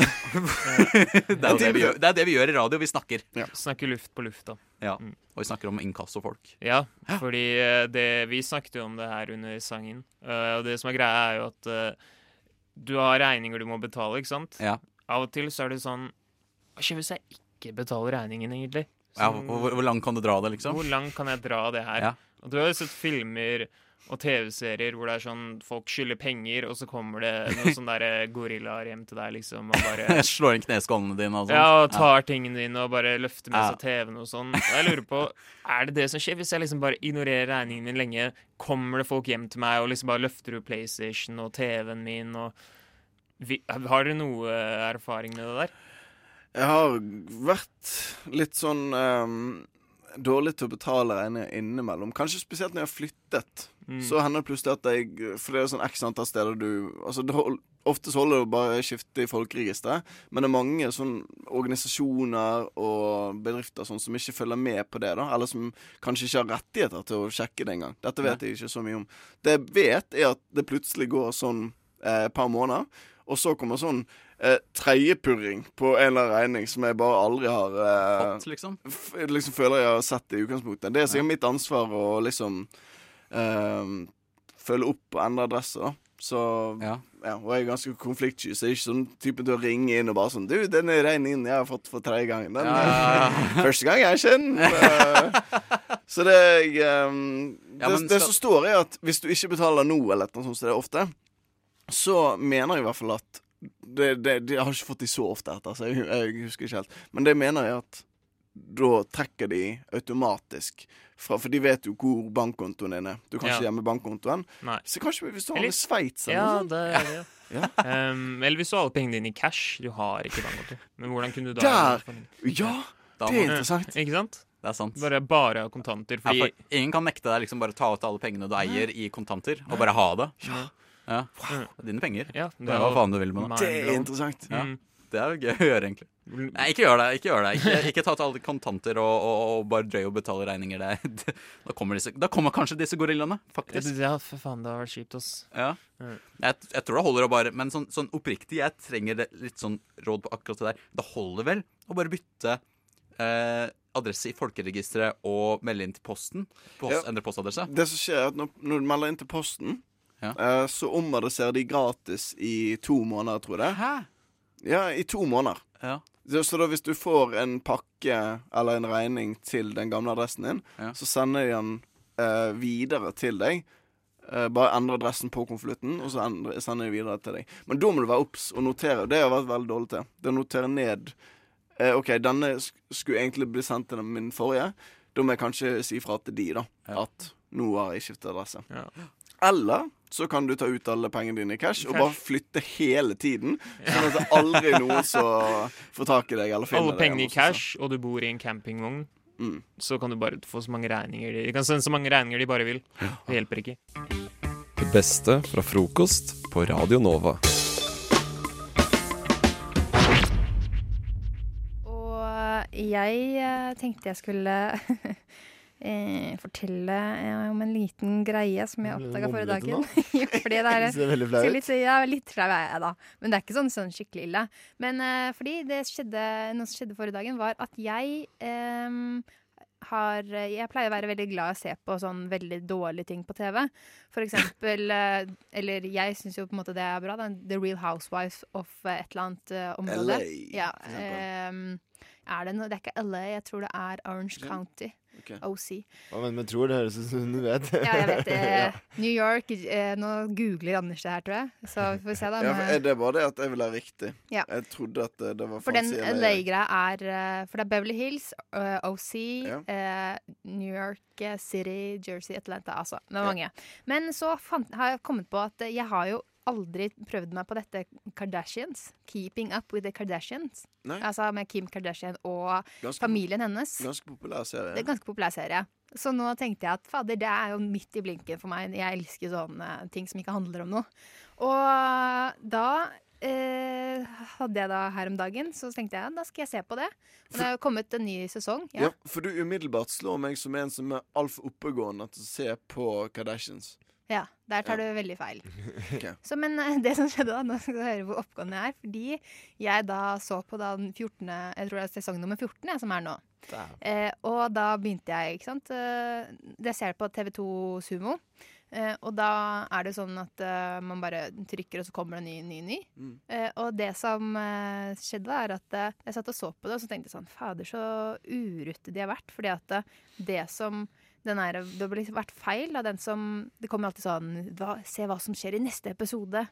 Speaker 19: det, er jo det, vi gjør, det er det vi gjør i radio. Vi snakker.
Speaker 7: Snakker luft på lufta.
Speaker 19: Ja, Mm. Og vi snakker om inkassofolk.
Speaker 7: Ja, fordi eh, det, vi snakket jo om det her under sangen. eh, og det som er greia, er jo at eh, du har regninger du må betale, ikke sant?
Speaker 19: Ja.
Speaker 7: Av og til så er det sånn Hva skjer hvis jeg ikke betaler regningen, egentlig?
Speaker 19: Ja,
Speaker 7: Sånn-
Speaker 19: hvor, hvor langt kan du dra det, liksom?
Speaker 7: Hvor langt kan jeg dra det her?
Speaker 19: Ja.
Speaker 7: Og du har jo sett filmer og TV-serier hvor det er sånn folk skylder penger, og så kommer det noen sånne der gorillaer hjem til deg, liksom, og bare
Speaker 19: Slår inn kneskålene dine og sånt.
Speaker 7: Ja, og tar tingene dine og bare løfter
Speaker 19: sånn.
Speaker 7: med
Speaker 19: Ja.
Speaker 7: seg TV-en og sånn. Og jeg lurer på, er det det som skjer? Hvis jeg liksom bare ignorerer regningen min lenge, kommer det folk hjem til meg og liksom bare løfter ut PlayStation og TV-en min og vi, Har dere noe erfaring med det der?
Speaker 20: Jeg har vært litt sånn ehm, dårlig til å betale regninger innimellom. Kanskje spesielt når jeg har flyttet.
Speaker 7: Mm.
Speaker 20: Så hender det plutselig at jeg For det er sånn x antall steder du Altså, det hold, Ofte så holder det å bare skifte i folkeregisteret, men det er mange sånn organisasjoner og bedrifter sånn som ikke følger med på det, da. Eller som kanskje ikke har rettigheter til å sjekke det engang. Dette vet jeg ikke så mye om. Det jeg vet, er at det plutselig går sånn eh, et par måneder, og så kommer sånn eh, tredjepurring på en eller annen regning som jeg bare aldri har eh,
Speaker 19: Fått, liksom?
Speaker 20: f liksom føler jeg har sett i utgangspunktet. Det er sikkert mitt ansvar å liksom ehm, følge opp og endre adresse, da. Så ja. Og jeg er ganske konfliktsky, så jeg er ikke sånn type til å ringe inn og bare sånn Du, den regningen jeg har fått for tredje gang, den eh,
Speaker 19: Ja.
Speaker 20: Første gang jeg kjenner Så det jeg ehm,
Speaker 19: Ja,
Speaker 20: det,
Speaker 19: men
Speaker 20: det
Speaker 19: skal-
Speaker 20: som står, er at hvis du ikke betaler nå, eller noe sånt som det er ofte, så mener jeg i hvert fall at det, det, det, Jeg har ikke fått de så ofte etter, så jeg, jeg husker ikke helt. Men det mener jeg at da trekker de automatisk fra For de vet jo hvor bankkontoen din er. Du kan ikke
Speaker 7: Ja.
Speaker 20: gjemme bankkontoen.
Speaker 7: Nei.
Speaker 20: Så kanskje hvis du har
Speaker 7: Eller-
Speaker 20: en sveits eller
Speaker 7: Ja,
Speaker 20: noe sånt.
Speaker 7: det er det. Um, eller hvis du har alle pengene dine i cash. Du har ikke bankkonto. Men hvordan kunne du da
Speaker 20: Der! Ja, det er interessant.
Speaker 7: Ikke sant?
Speaker 19: Det er sant.
Speaker 7: Bare, bare ha
Speaker 19: Ja,
Speaker 7: kontanter. Fordi
Speaker 19: for ingen kan nekte deg liksom bare ta ut alle pengene du eier i kontanter, og bare ha det.
Speaker 7: Ja. Mm.
Speaker 19: Ja. Det er Dine penger.
Speaker 7: Ja,
Speaker 19: det er hva faen du vil med det.
Speaker 20: Det er interessant.
Speaker 19: Ja.
Speaker 20: Mm.
Speaker 19: Det er jo gøy å gjøre, egentlig. Nei, ikke gjør det. Ikke gjør det Ikke, ikke ta ut alle kontanter og, og, og bare drøy og betale regninger. Det, er- det, da, kommer disse, da kommer kanskje disse gorillaene, faktisk.
Speaker 7: Ja, for faen, det har vært kjipt, ass.
Speaker 19: Ja.
Speaker 7: Mm.
Speaker 19: Jeg, jeg tror det holder å bare Men sånn, sånn oppriktig, jeg trenger det, litt sånn råd på akkurat det der. Det holder vel å bare bytte eh, adresse i folkeregisteret og melde inn til posten? Post,
Speaker 20: Ja.
Speaker 19: Endre postadresse?
Speaker 20: Det som skjer, er at når, når du melder inn til Posten, eh, så omadresserer de gratis i to måneder, tror jeg. det er. Ja, i to måneder. Så, så da hvis du får en pakke eller en regning til den gamle adressen din, så sender de den eh, videre til deg. Eh, bare endre adressen på konvolutten, og så endre, sender de videre til deg. Men da må du være obs og notere. Det har jeg vært veldig dårlig til. Det å notere ned eh, OK, denne sk skulle egentlig bli sendt til den min forrige. Da må jeg kanskje si fra til de, da. At nå har jeg skiftet adresse. Eller så kan du ta ut alle pengene dine i cash og bare flytte hele tiden. Sånn at det aldri er noen som får tak i deg eller finner
Speaker 7: Alle pengene
Speaker 20: deg.
Speaker 7: i
Speaker 20: hjemme Mm. hos oss.
Speaker 7: cash, og du bor i en campingvogn, så kan du bare få så mange regninger de, de kan sende så mange regninger de bare vil. Det hjelper ikke.
Speaker 16: Det beste fra frokost på Radio Nova.
Speaker 6: Og jeg eh, tenkte jeg skulle eh, fortelle eh, om en liten greie som jeg
Speaker 22: Ble du
Speaker 6: oppdaga
Speaker 22: mumlete
Speaker 6: forrige dagen.
Speaker 22: nå?
Speaker 6: fordi det er,
Speaker 22: Det ser veldig flau
Speaker 6: ser
Speaker 22: ut.
Speaker 6: litt, ja, litt flau er jeg da. Men det er ikke sånn, sånn skikkelig ille. Men eh, fordi det skjedde, noe som skjedde forrige dagen, var at jeg ehm, har, jeg pleier å være veldig glad i å se på sånn veldig dårlige ting på TV. For eksempel, eh, eller jeg syns jo på en måte det er bra, da. The Real Housewives of eh, et eller annet eh, område.
Speaker 22: LA,
Speaker 6: Ja,
Speaker 22: for eksempel.
Speaker 6: eh, er det, noe, det er ikke LA, jeg tror det er Orange
Speaker 22: Ja,
Speaker 6: County.
Speaker 22: ok.
Speaker 6: OC.
Speaker 22: Å, men, men tror det høres ut som du vet.
Speaker 6: Ja, jeg vet det.
Speaker 22: Ja.
Speaker 6: New York eh, Nå googler Anders det her, tror jeg. Så vi får se, da.
Speaker 20: Ja,
Speaker 6: om,
Speaker 20: for
Speaker 6: eh,
Speaker 20: er det bare det at jeg vil ha riktig?
Speaker 6: Ja.
Speaker 20: Jeg trodde at eh, det, det var
Speaker 6: For den
Speaker 20: fancy
Speaker 6: LA-greia er eh, For det er Beverly Hills, eh, OC,
Speaker 20: Ja.
Speaker 6: eh, New York eh, City, Jersey, Atlanta Altså, det er mange. Men så fant, har jeg kommet på at eh, jeg har jo aldri prøvd meg på dette Kardashians. Keeping up with the Kardashians.
Speaker 20: Nei.
Speaker 6: Altså med Kim Kardashian og
Speaker 20: Ganske-
Speaker 6: familien hennes.
Speaker 20: Ganske populær serie.
Speaker 6: Det er en ganske populær serie. Så nå tenkte jeg at fader, det er jo midt i blinken for meg. Jeg elsker sånne ting som ikke handler om noe. Og da eh, hadde jeg da her om dagen, så tenkte jeg da skal jeg se på det. Og det er jo kommet en ny sesong.
Speaker 20: Ja.
Speaker 6: Ja.
Speaker 20: for du umiddelbart slår meg som en som er altfor oppegående til å se på Kardashians.
Speaker 6: ja der tar du veldig feil.
Speaker 20: Ok.
Speaker 6: Så, men eh, det som skjedde da, nå skal du høre hvor oppgående jeg er, fordi jeg da så på da den 14., jeg tror det er sesong nummer 14 jeg, som er nå. Eh, og da begynte jeg, ikke sant eh, Det ser jeg på TV2 Sumo. Eh, og da er det jo sånn at eh, man bare trykker, og så kommer det ny, ny, ny.
Speaker 20: Mm.
Speaker 6: Eh, og det som eh, skjedde, er at eh, jeg satt og så på det, og så tenkte jeg sånn Fader, så urutte de har vært. Fordi at eh, det som den er, Det har liksom vært feil av den som Det kommer alltid sånn hva, Se hva som skjer i neste episode.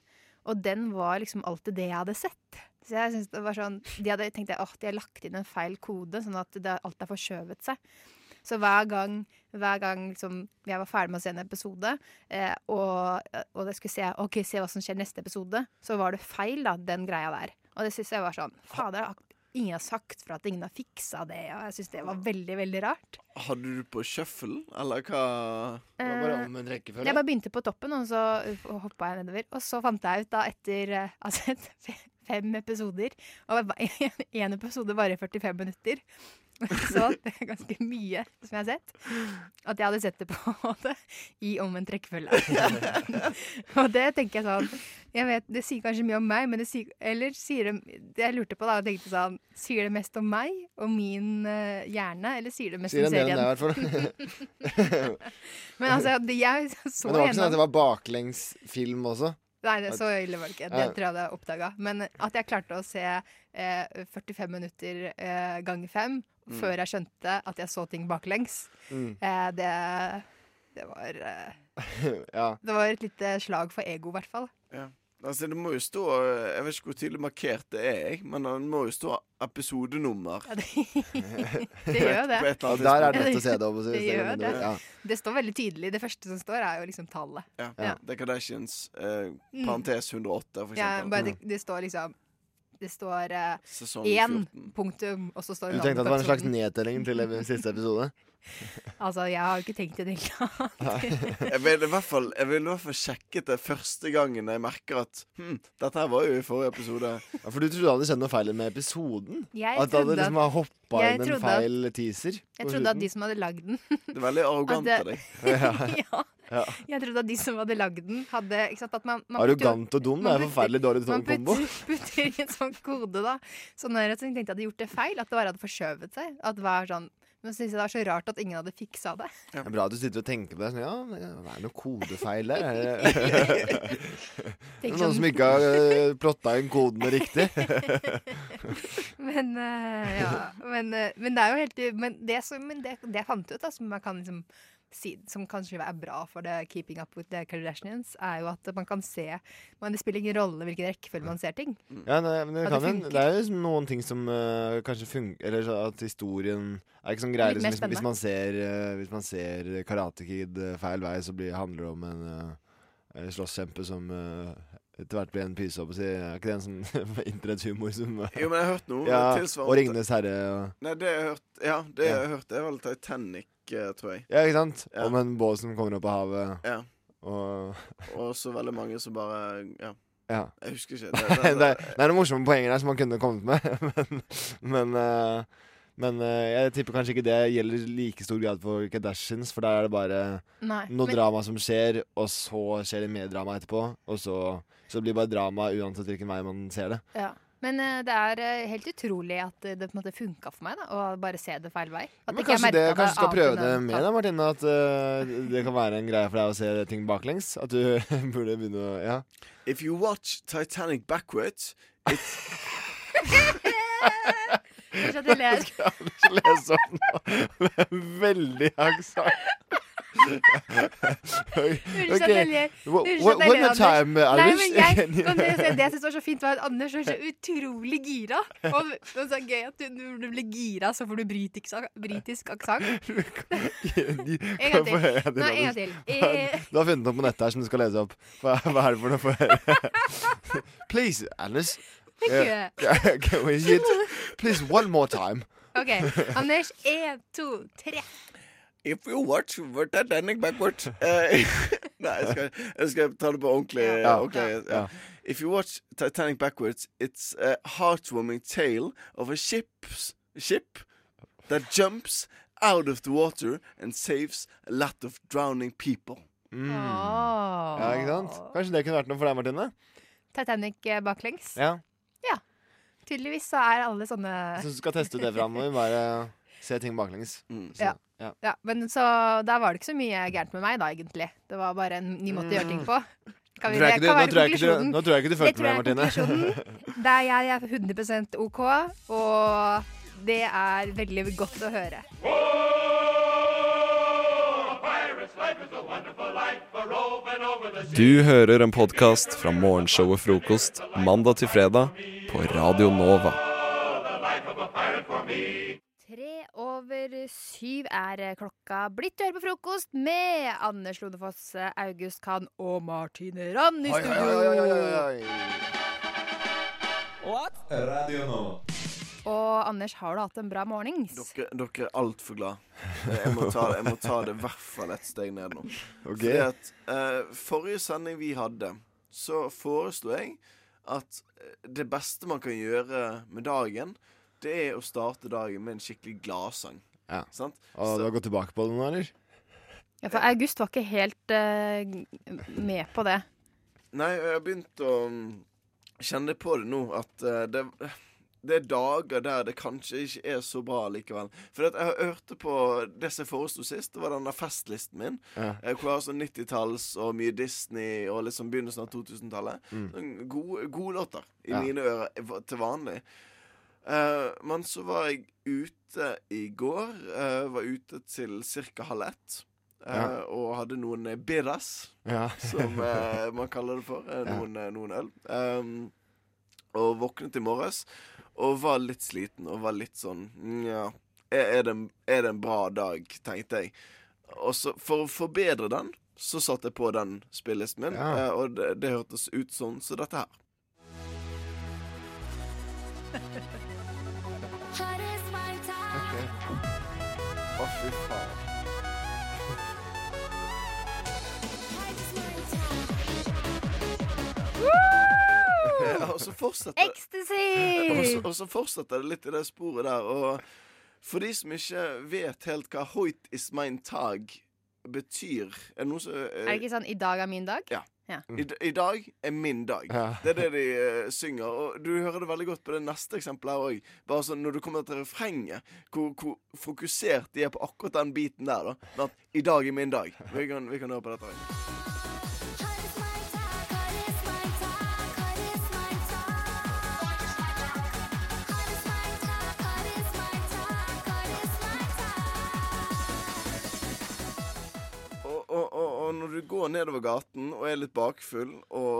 Speaker 6: Og den var liksom alltid det jeg hadde sett. Så jeg synes det var sånn, De hadde tenkt at de har lagt inn en feil kode, sånn at det, alt har forskjøvet seg. Så hver gang, hver gang liksom, jeg var ferdig med å se en episode, eh, og, og jeg skulle se, ok, se hva som skjer neste episode, så var det feil, da, den greia der. Og det syns jeg var sånn Fader, ingen har sagt fra at ingen har fiksa det, og jeg syns det var veldig, veldig rart.
Speaker 20: Hadde du på shuffle, eller hva?
Speaker 6: Det var bare Eh,
Speaker 20: omvendt
Speaker 6: Jeg bare begynte på toppen, og så hoppa jeg nedover. Og så fant jeg ut da etter eh, altså, et fe- fem episoder Og én episode varer 45 minutter. Så det er ganske mye som jeg har sett. At jeg hadde sett det på en måte i omvendt rekkefølge. og det tenker jeg sånn jeg vet, Det sier kanskje mye om meg, men det sier, eller sier det, det jeg lurte på da, og tenkte sånn Sier det mest om meg og min eh, hjerne, eller sier det mest
Speaker 22: Sier
Speaker 6: om
Speaker 22: en del om
Speaker 6: serien?
Speaker 22: det, i hvert fall.
Speaker 6: men altså, det- jeg så
Speaker 22: Men det var ikke sånn
Speaker 6: gjennom-
Speaker 22: at det var baklengs film også?
Speaker 6: Nei, det,
Speaker 22: At-
Speaker 6: så ille var det ikke. Det
Speaker 22: Ja.
Speaker 6: tror jeg jeg hadde oppdaga. Men at jeg klarte å se eh, 45 minutter eh, ganger fem
Speaker 22: Mm.
Speaker 6: før jeg skjønte at jeg så ting baklengs,
Speaker 22: Mm.
Speaker 6: eh, det, det var eh,
Speaker 22: ja.
Speaker 6: Det var et lite slag for ego, i hvert fall.
Speaker 20: Ja. Altså, det må jo stå Jeg vet ikke hvor tydelig markert det er, jeg, men det må jo stå episodenummer.
Speaker 6: det, gjør jo det.
Speaker 20: På et eller annet
Speaker 22: Ja, der er det
Speaker 20: tidspunkt.
Speaker 22: lett å se det opp, så-
Speaker 6: Det
Speaker 22: så
Speaker 6: gjør
Speaker 22: kan du-
Speaker 6: det.
Speaker 20: ja.
Speaker 6: Det står veldig tydelig. Det første som står, er jo liksom tallet.
Speaker 20: Ja.
Speaker 6: Ja. Mm.
Speaker 20: The Kardashians, eh, parentes 108, for
Speaker 6: Ja,
Speaker 20: eksempel.
Speaker 22: Mm.
Speaker 6: bare det, det står liksom Det står
Speaker 20: Sesong
Speaker 6: én punktum, og så står
Speaker 22: Du
Speaker 6: det
Speaker 22: tenkte at det
Speaker 6: navnet på
Speaker 22: var en slags
Speaker 6: episoden.
Speaker 22: nedtelling til ev- siste episode?
Speaker 6: Altså, jeg har jo ikke tenkt i det hele tatt.
Speaker 20: jeg vil i hvert fall, jeg vil i hvert fall sjekke det første gangen jeg merker at hm, dette her var jo i forrige episode.
Speaker 22: Ja, for du trodde det hadde skjedd noe feil med episoden?
Speaker 6: Jeg
Speaker 22: at det hadde
Speaker 6: trodde at-
Speaker 22: liksom hoppa
Speaker 6: jeg
Speaker 22: inn en
Speaker 6: trodde
Speaker 22: feil teaser?
Speaker 6: Jeg trodde at de som hadde lagd den
Speaker 20: Det er veldig arrogant
Speaker 6: At
Speaker 20: av
Speaker 6: det-
Speaker 20: deg.
Speaker 22: ja. ja.
Speaker 6: Jeg trodde at de som hadde lagd den, hadde ikke sant, at man, man putter jo-
Speaker 22: Arrogant og dum det
Speaker 6: man
Speaker 22: er
Speaker 6: putter-
Speaker 22: forferdelig dårlig
Speaker 6: Man
Speaker 22: sånn kombo.
Speaker 6: putter, putter i en sånn kode, da. Så når jeg tenkte jeg hadde gjort det feil, at det bare hadde forskjøvet seg. At det var sånn Men så synes jeg det var så rart at ingen hadde fiksa det.
Speaker 22: Det er bra at du sitter og tenker på det. Sånn, ja, men det er noe kodefeil der. Er det Det er
Speaker 6: Tenk
Speaker 22: noen
Speaker 6: sånn-
Speaker 22: som ikke har eh, plotta inn kodene riktig.
Speaker 6: Men eh, ja. Men, eh, men det er jo helt i- Men det, som, men det, det jeg fant ut, da, som man kan liksom Si, som kanskje er bra for det Keeping Up With The Kardashians, er jo at man kan se men Det spiller ingen rolle hvilken rekkefølge man ser ting.
Speaker 22: Ja, nei, men det,
Speaker 6: At det
Speaker 22: kan, jo- det er jo liksom noen ting som eh, kanskje funker Eller så at historien er ikke sånn greier
Speaker 6: Litt
Speaker 22: som
Speaker 6: mer
Speaker 22: hvis, hvis
Speaker 6: spennende.
Speaker 22: man ser, eh, hvis man ser Karate Kid eh, feil vei, så blir, handler det om en eh, eh, slåsskjempe som eh, etter hvert ble en pyse opp og si Er ikke det en sånn internetthumor som eh,
Speaker 20: Jo, men jeg har hørt noe
Speaker 22: ja,
Speaker 20: tilsvarende.
Speaker 22: Og Ringenes herre og
Speaker 20: Nei, det jeg har hørt, ja, det jeg har hørt er vel Titanic, eh, tror jeg.
Speaker 22: Ja, ikke sant? Om en båt som kommer opp av havet.
Speaker 20: Ja.
Speaker 22: Og
Speaker 20: Og så veldig mange som bare Ja.
Speaker 22: Ja.
Speaker 20: Jeg husker ikke.
Speaker 22: Det, det, er noen morsomme poenger der som man kunne kommet med, men, men, eh, men eh, jeg tipper kanskje ikke det gjelder i like stor grad for Kardashians, for der er det bare
Speaker 6: Nei,
Speaker 22: noe
Speaker 6: men-
Speaker 22: drama som skjer, og så skjer det mer drama etterpå, og så, så blir det bare drama uansett hvilken vei man ser det.
Speaker 6: Ja. Men eh, det er eh, helt utrolig at eh, det på en måte funka for meg da, å bare se det feil vei. At
Speaker 22: Men
Speaker 6: ikke jeg
Speaker 22: kanskje det,
Speaker 6: merket
Speaker 22: kanskje du skal
Speaker 6: annet
Speaker 22: prøve
Speaker 6: enn
Speaker 22: det
Speaker 6: at-
Speaker 22: mer da, Martine? At eh, det kan være en greie for deg å se ting baklengs? At du burde begynne å Ja.
Speaker 20: If you watch Titanic backwards it's
Speaker 6: Kanskje at jeg ler.
Speaker 22: skal ikke lese
Speaker 4: sånn.
Speaker 22: opp nå. Det er veldig aksent.
Speaker 6: Unnskyld at jeg ler.
Speaker 22: Wha-
Speaker 6: Unnskyld
Speaker 22: wha-
Speaker 6: at jeg
Speaker 22: One
Speaker 6: ler,
Speaker 22: more
Speaker 6: Anders.
Speaker 22: time, uh,
Speaker 6: Nei,
Speaker 22: Anders.
Speaker 6: men jeg, men det, det jeg synes var så fint, var at Anders var så utrolig gira. Og det var så gøy at du, når du blir gira, så får du britisk, britisk aksent. En gang
Speaker 22: Kan jeg få høre
Speaker 6: til. Nei, en gang til. Eh,
Speaker 22: Du har funnet noe på nettet her som du skal lese opp. Hva, hva er det for noe for høre? Please, Anders. Eh,
Speaker 6: Thank
Speaker 22: Yeah, can we hit? Please, one more time.
Speaker 6: OK. Anders, én, to, tre.
Speaker 20: If you watch what Titanic backwards Eh, Nei, jeg skal, jeg skal ta det på ordentlig.
Speaker 22: Ja.
Speaker 20: ordentlig, ja.
Speaker 22: Ja.
Speaker 20: uh, If you watch Titanic backwards, it's a heartwarming tale of a ship's, ship that jumps out of the water and saves a lot of drowning people.
Speaker 22: Mm. Ja, ikke sant? Kanskje det kunne vært noe for deg, Martine?
Speaker 6: Titanic eh, baklengs.
Speaker 22: Ja.
Speaker 6: Ja. Tydeligvis så er alle sånne
Speaker 22: Så du skal teste ut det framover. Bare se ting baklengs. Så, ja.
Speaker 6: Ja. Ja, men så der var det ikke så mye gærent med meg da, egentlig. Det var bare en ny måte å gjøre ting på. Kan vi-
Speaker 22: Tror jeg ikke
Speaker 6: det kan
Speaker 22: du- nå
Speaker 6: være
Speaker 22: tror jeg ikke du-
Speaker 6: konklusjonen.
Speaker 22: nå tror jeg ikke du
Speaker 6: Det
Speaker 22: følte
Speaker 6: tror jeg
Speaker 22: med,
Speaker 6: er
Speaker 22: Martine.
Speaker 6: konklusjonen. Det er jeg, jeg er 100 OK, og det er veldig godt å høre.
Speaker 16: Du hører en podkast fra morgenshowet Frokost mandag til fredag på Radio Nova.
Speaker 6: Tre over syv er klokka blitt. Du hører på frokost med Anders Lodefoss, August Kahn og Martine Ramm i
Speaker 22: Oi, oi,
Speaker 6: studio.
Speaker 22: oi, oi, oi,
Speaker 16: Radio Nova.
Speaker 6: Og Anders, har du hatt en bra mornings?
Speaker 20: Dere, dere er altfor glad. Jeg må ta, jeg må ta det i hvert fall et steg ned nå.
Speaker 22: Ok.
Speaker 20: Fordi at eh, Forrige sending vi hadde, så foreslo jeg at eh, det beste man kan gjøre med dagen, det er å starte dagen med en skikkelig gladsang.
Speaker 22: Ja.
Speaker 20: Sant?
Speaker 22: Og du har gått tilbake på det nå, eller?
Speaker 6: Ja, for August var ikke helt eh, med på det.
Speaker 20: Nei, jeg har begynt å mm, kjenne på det nå at eh, det, det er dager der det kanskje ikke er så bra likevel. For at jeg hørte på det som jeg foreslo sist, det var den der festlisten min.
Speaker 22: Ja.
Speaker 20: eh, Hvor jeg har sånn 90-talls og mye Disney og liksom begynnelsen av 2000-tallet.
Speaker 22: Mm.
Speaker 20: Sånn Gode, gode låter i
Speaker 22: Ja.
Speaker 20: mine ører til vanlig. Eh, men så var jeg ute i går. eh, var ute til ca. halv ett. eh,
Speaker 22: Ja.
Speaker 20: Og hadde noen eh, birras,
Speaker 22: Ja.
Speaker 20: som eh, man kaller det for. eh, noen, eh, noen øl. Um, og våknet i morges og var litt sliten og var litt sånn Nja, er, er, det en- er det en bra dag, tenkte jeg. Og så for å forbedre den, så satte jeg på den spillelisten min, eh,
Speaker 22: Ja.
Speaker 20: og det, det hørtes ut sånn som dette her. Å, fy faen. Ja, og så fortsetter Og så,
Speaker 6: Ecstasy!
Speaker 20: og så fortsetter det litt i det sporet der. Og for de som ikke vet helt hva 'Hoit is mein tag' betyr Er det noe som eh,
Speaker 6: Er det ikke sånn 'i dag er min dag'?
Speaker 20: Ja.
Speaker 22: Mm,
Speaker 20: I, d- I dag er min dag.
Speaker 22: Ja.
Speaker 20: Det er det de eh, synger. Og du hører det veldig godt på det neste eksempelet her òg. Bare sånn når du kommer til refrenget, hvor, hvor fokusert de er på akkurat den biten der. da Men at 'i dag er min dag'. Vi kan, vi kan høre på dette. her. Og, og, og, og når du går nedover gaten og er litt bakfull, og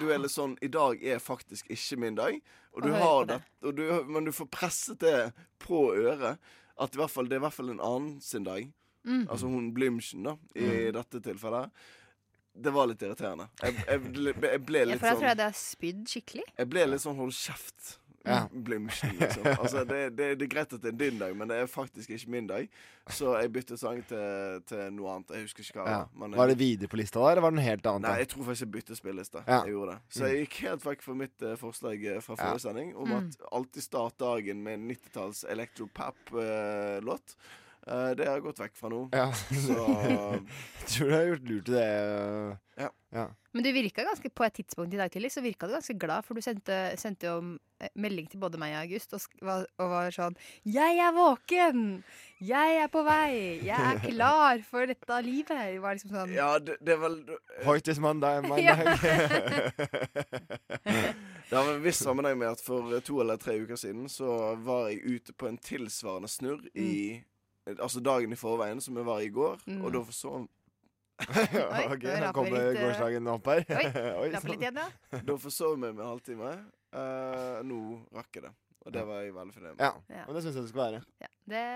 Speaker 20: du er litt sånn 'I dag er faktisk ikke min dag', og du
Speaker 22: Og hører
Speaker 20: har
Speaker 22: på
Speaker 20: det, og du, men du får presset det på øret at i hvert fall, det er i hvert fall en annen sin dag.
Speaker 22: Mm.
Speaker 6: Mm.
Speaker 20: Altså hun Blümchen, da, i dette tilfellet. Det var litt irriterende. Jeg, jeg, ble- jeg ble
Speaker 6: Ja,
Speaker 20: litt
Speaker 6: for da tror jeg
Speaker 20: sånn
Speaker 6: det er spydd skikkelig.
Speaker 20: Jeg ble litt sånn hold kjeft.
Speaker 6: Ja.
Speaker 20: Blumsen, liksom. Altså, det, det, det er greit at det er din dag, men det er faktisk ikke min dag. Så jeg byttet sang til, til noe annet. Jeg husker ikke hva. det
Speaker 22: Ja.
Speaker 20: var, men jeg-
Speaker 22: Var det videre på lista da, eller var det noe helt annet?
Speaker 20: Nei,
Speaker 22: da?
Speaker 20: jeg tror faktisk jeg byttet spilleliste.
Speaker 22: Ja. Mm.
Speaker 20: Jeg gjorde det. Så jeg gikk helt vekk fra mitt eh, forslag eh, fra
Speaker 22: Ja.
Speaker 20: forrige sending om at alltid start dagen med en 90-talls electropap-låt. Eh, det har jeg gått vekk fra nå.
Speaker 22: Ja.
Speaker 20: Så
Speaker 22: jeg tror du har gjort lurt i det.
Speaker 20: Ja.
Speaker 6: Men du virka ganske, på et tidspunkt i dag tidlig så virka du ganske glad, for du sendte, sendte jo eh, melding til både meg og August og, sk- var, og var sånn 'Jeg er våken! Jeg er på vei! Jeg er klar for dette livet!' Det var liksom sånn
Speaker 20: ja, det, det er vel
Speaker 22: Hoyt is mandag,
Speaker 6: Ja.
Speaker 22: mandag.
Speaker 20: Det har en viss sammenheng med at for to eller tre uker siden så var jeg ute på en tilsvarende snurr i
Speaker 22: Mm.
Speaker 20: Altså dagen i forveien, som jeg var i går,
Speaker 6: Mm.
Speaker 20: og da forsov
Speaker 22: ok, nå raper kommer litt, eh, gårsdagen opp her. Oi, Oi, raper litt sann. igjen, ja.
Speaker 20: sånn. Da forsov jeg meg med en halvtime. Eh, nå rakk jeg det, og det var jeg veldig fornøyd med.
Speaker 22: Ja, men det syns jeg det skal være.
Speaker 6: Det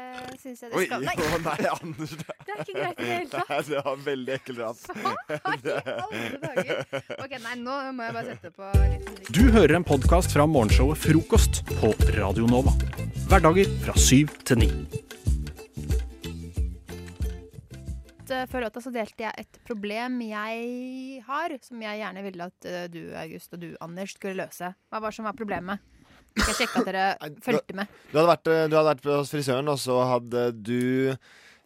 Speaker 6: syns jeg det
Speaker 22: Oi,
Speaker 6: skal Nei!
Speaker 22: å nei, Anders.
Speaker 6: Det er ikke greit i det hele
Speaker 22: Nei, det var veldig ekkelt rap.
Speaker 6: Ok, nei, nå må jeg bare sette på litt
Speaker 1: Du hører en podkast fra morgenshowet Frokost på Radio Nova. Hverdager fra syv til ni.
Speaker 6: eh, Før låta så delte jeg et problem jeg har, som jeg gjerne ville at eh, du, August, og du, Anders, skulle løse. Hva var det som var problemet? Skal jeg sjekke at dere fulgte med?
Speaker 22: Du hadde vært, eh, du hadde vært hos frisøren, og så hadde du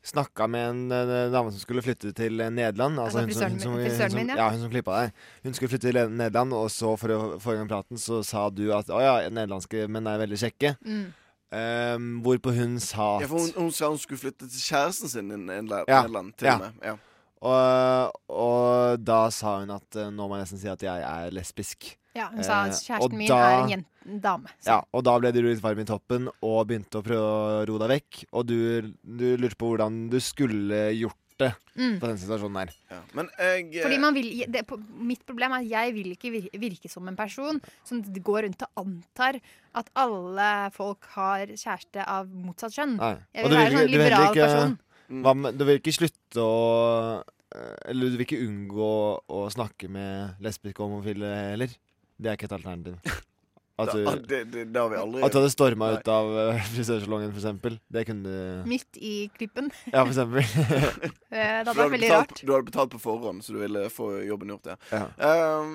Speaker 22: snakka med en, eh, dame som skulle flytte til Nederland. Altså,
Speaker 6: Altså
Speaker 22: hun, som-
Speaker 6: frisøren min-
Speaker 22: som, hun,
Speaker 6: frisøren
Speaker 22: som,
Speaker 6: min, ja.
Speaker 22: ja. hun som klippa deg. Hun skulle flytte til Nederland, og så for å forrige gang praten så sa du at å ja, nederlandske menn er veldig kjekke.
Speaker 6: Mm.
Speaker 22: Ehm, hvorpå hun sa at
Speaker 20: Ja, for hun, hun sa hun skulle flytte til kjæresten sin i Nederland,
Speaker 22: Ja,
Speaker 20: eh, Nederland, til
Speaker 22: ja.
Speaker 20: og med. Ja.
Speaker 22: og, og da sa hun at eh, nå må jeg nesten si at jeg er lesbisk.
Speaker 6: Ja, hun sa
Speaker 22: Eh,
Speaker 6: at
Speaker 22: og
Speaker 6: kjæresten min
Speaker 22: da-
Speaker 6: er en, jen- en dame.
Speaker 22: Ja, og da ble du litt varm i toppen og begynte å prøve å ro deg vekk. Og du, du lurte på hvordan du skulle gjort det
Speaker 6: Mm.
Speaker 22: på den situasjonen der.
Speaker 20: Men jeg
Speaker 6: Fordi man vil, det, på- Mitt problem er at jeg vil ikke vir- virke som en person som d- går rundt og antar at alle folk har kjæreste av motsatt kjønn.
Speaker 22: Nei.
Speaker 6: Mm. Jeg
Speaker 22: Og
Speaker 6: vil
Speaker 22: du
Speaker 6: være en sånn
Speaker 22: du vil
Speaker 6: liberal
Speaker 22: heller
Speaker 6: person.
Speaker 20: Mm.
Speaker 22: Hva med, du vil ikke slutte å eh, Eller du vil ikke unngå å snakke med lesbiske og homofile heller. Det er ikke et alternativ. At du,
Speaker 20: Da, det, det, det har vi aldri
Speaker 22: at du hadde storma ut av eh, frisørsalongen, for eksempel. Det kunne du
Speaker 6: Midt i klippen.
Speaker 22: Ja, for eksempel.
Speaker 6: Eh, Det hadde
Speaker 20: Du
Speaker 6: vært
Speaker 20: hadde
Speaker 6: veldig
Speaker 20: betalt-
Speaker 6: rart.
Speaker 20: Du hadde betalt på forhånd, så du ville få jobben gjort, ja.
Speaker 22: Ja.
Speaker 20: Ehm,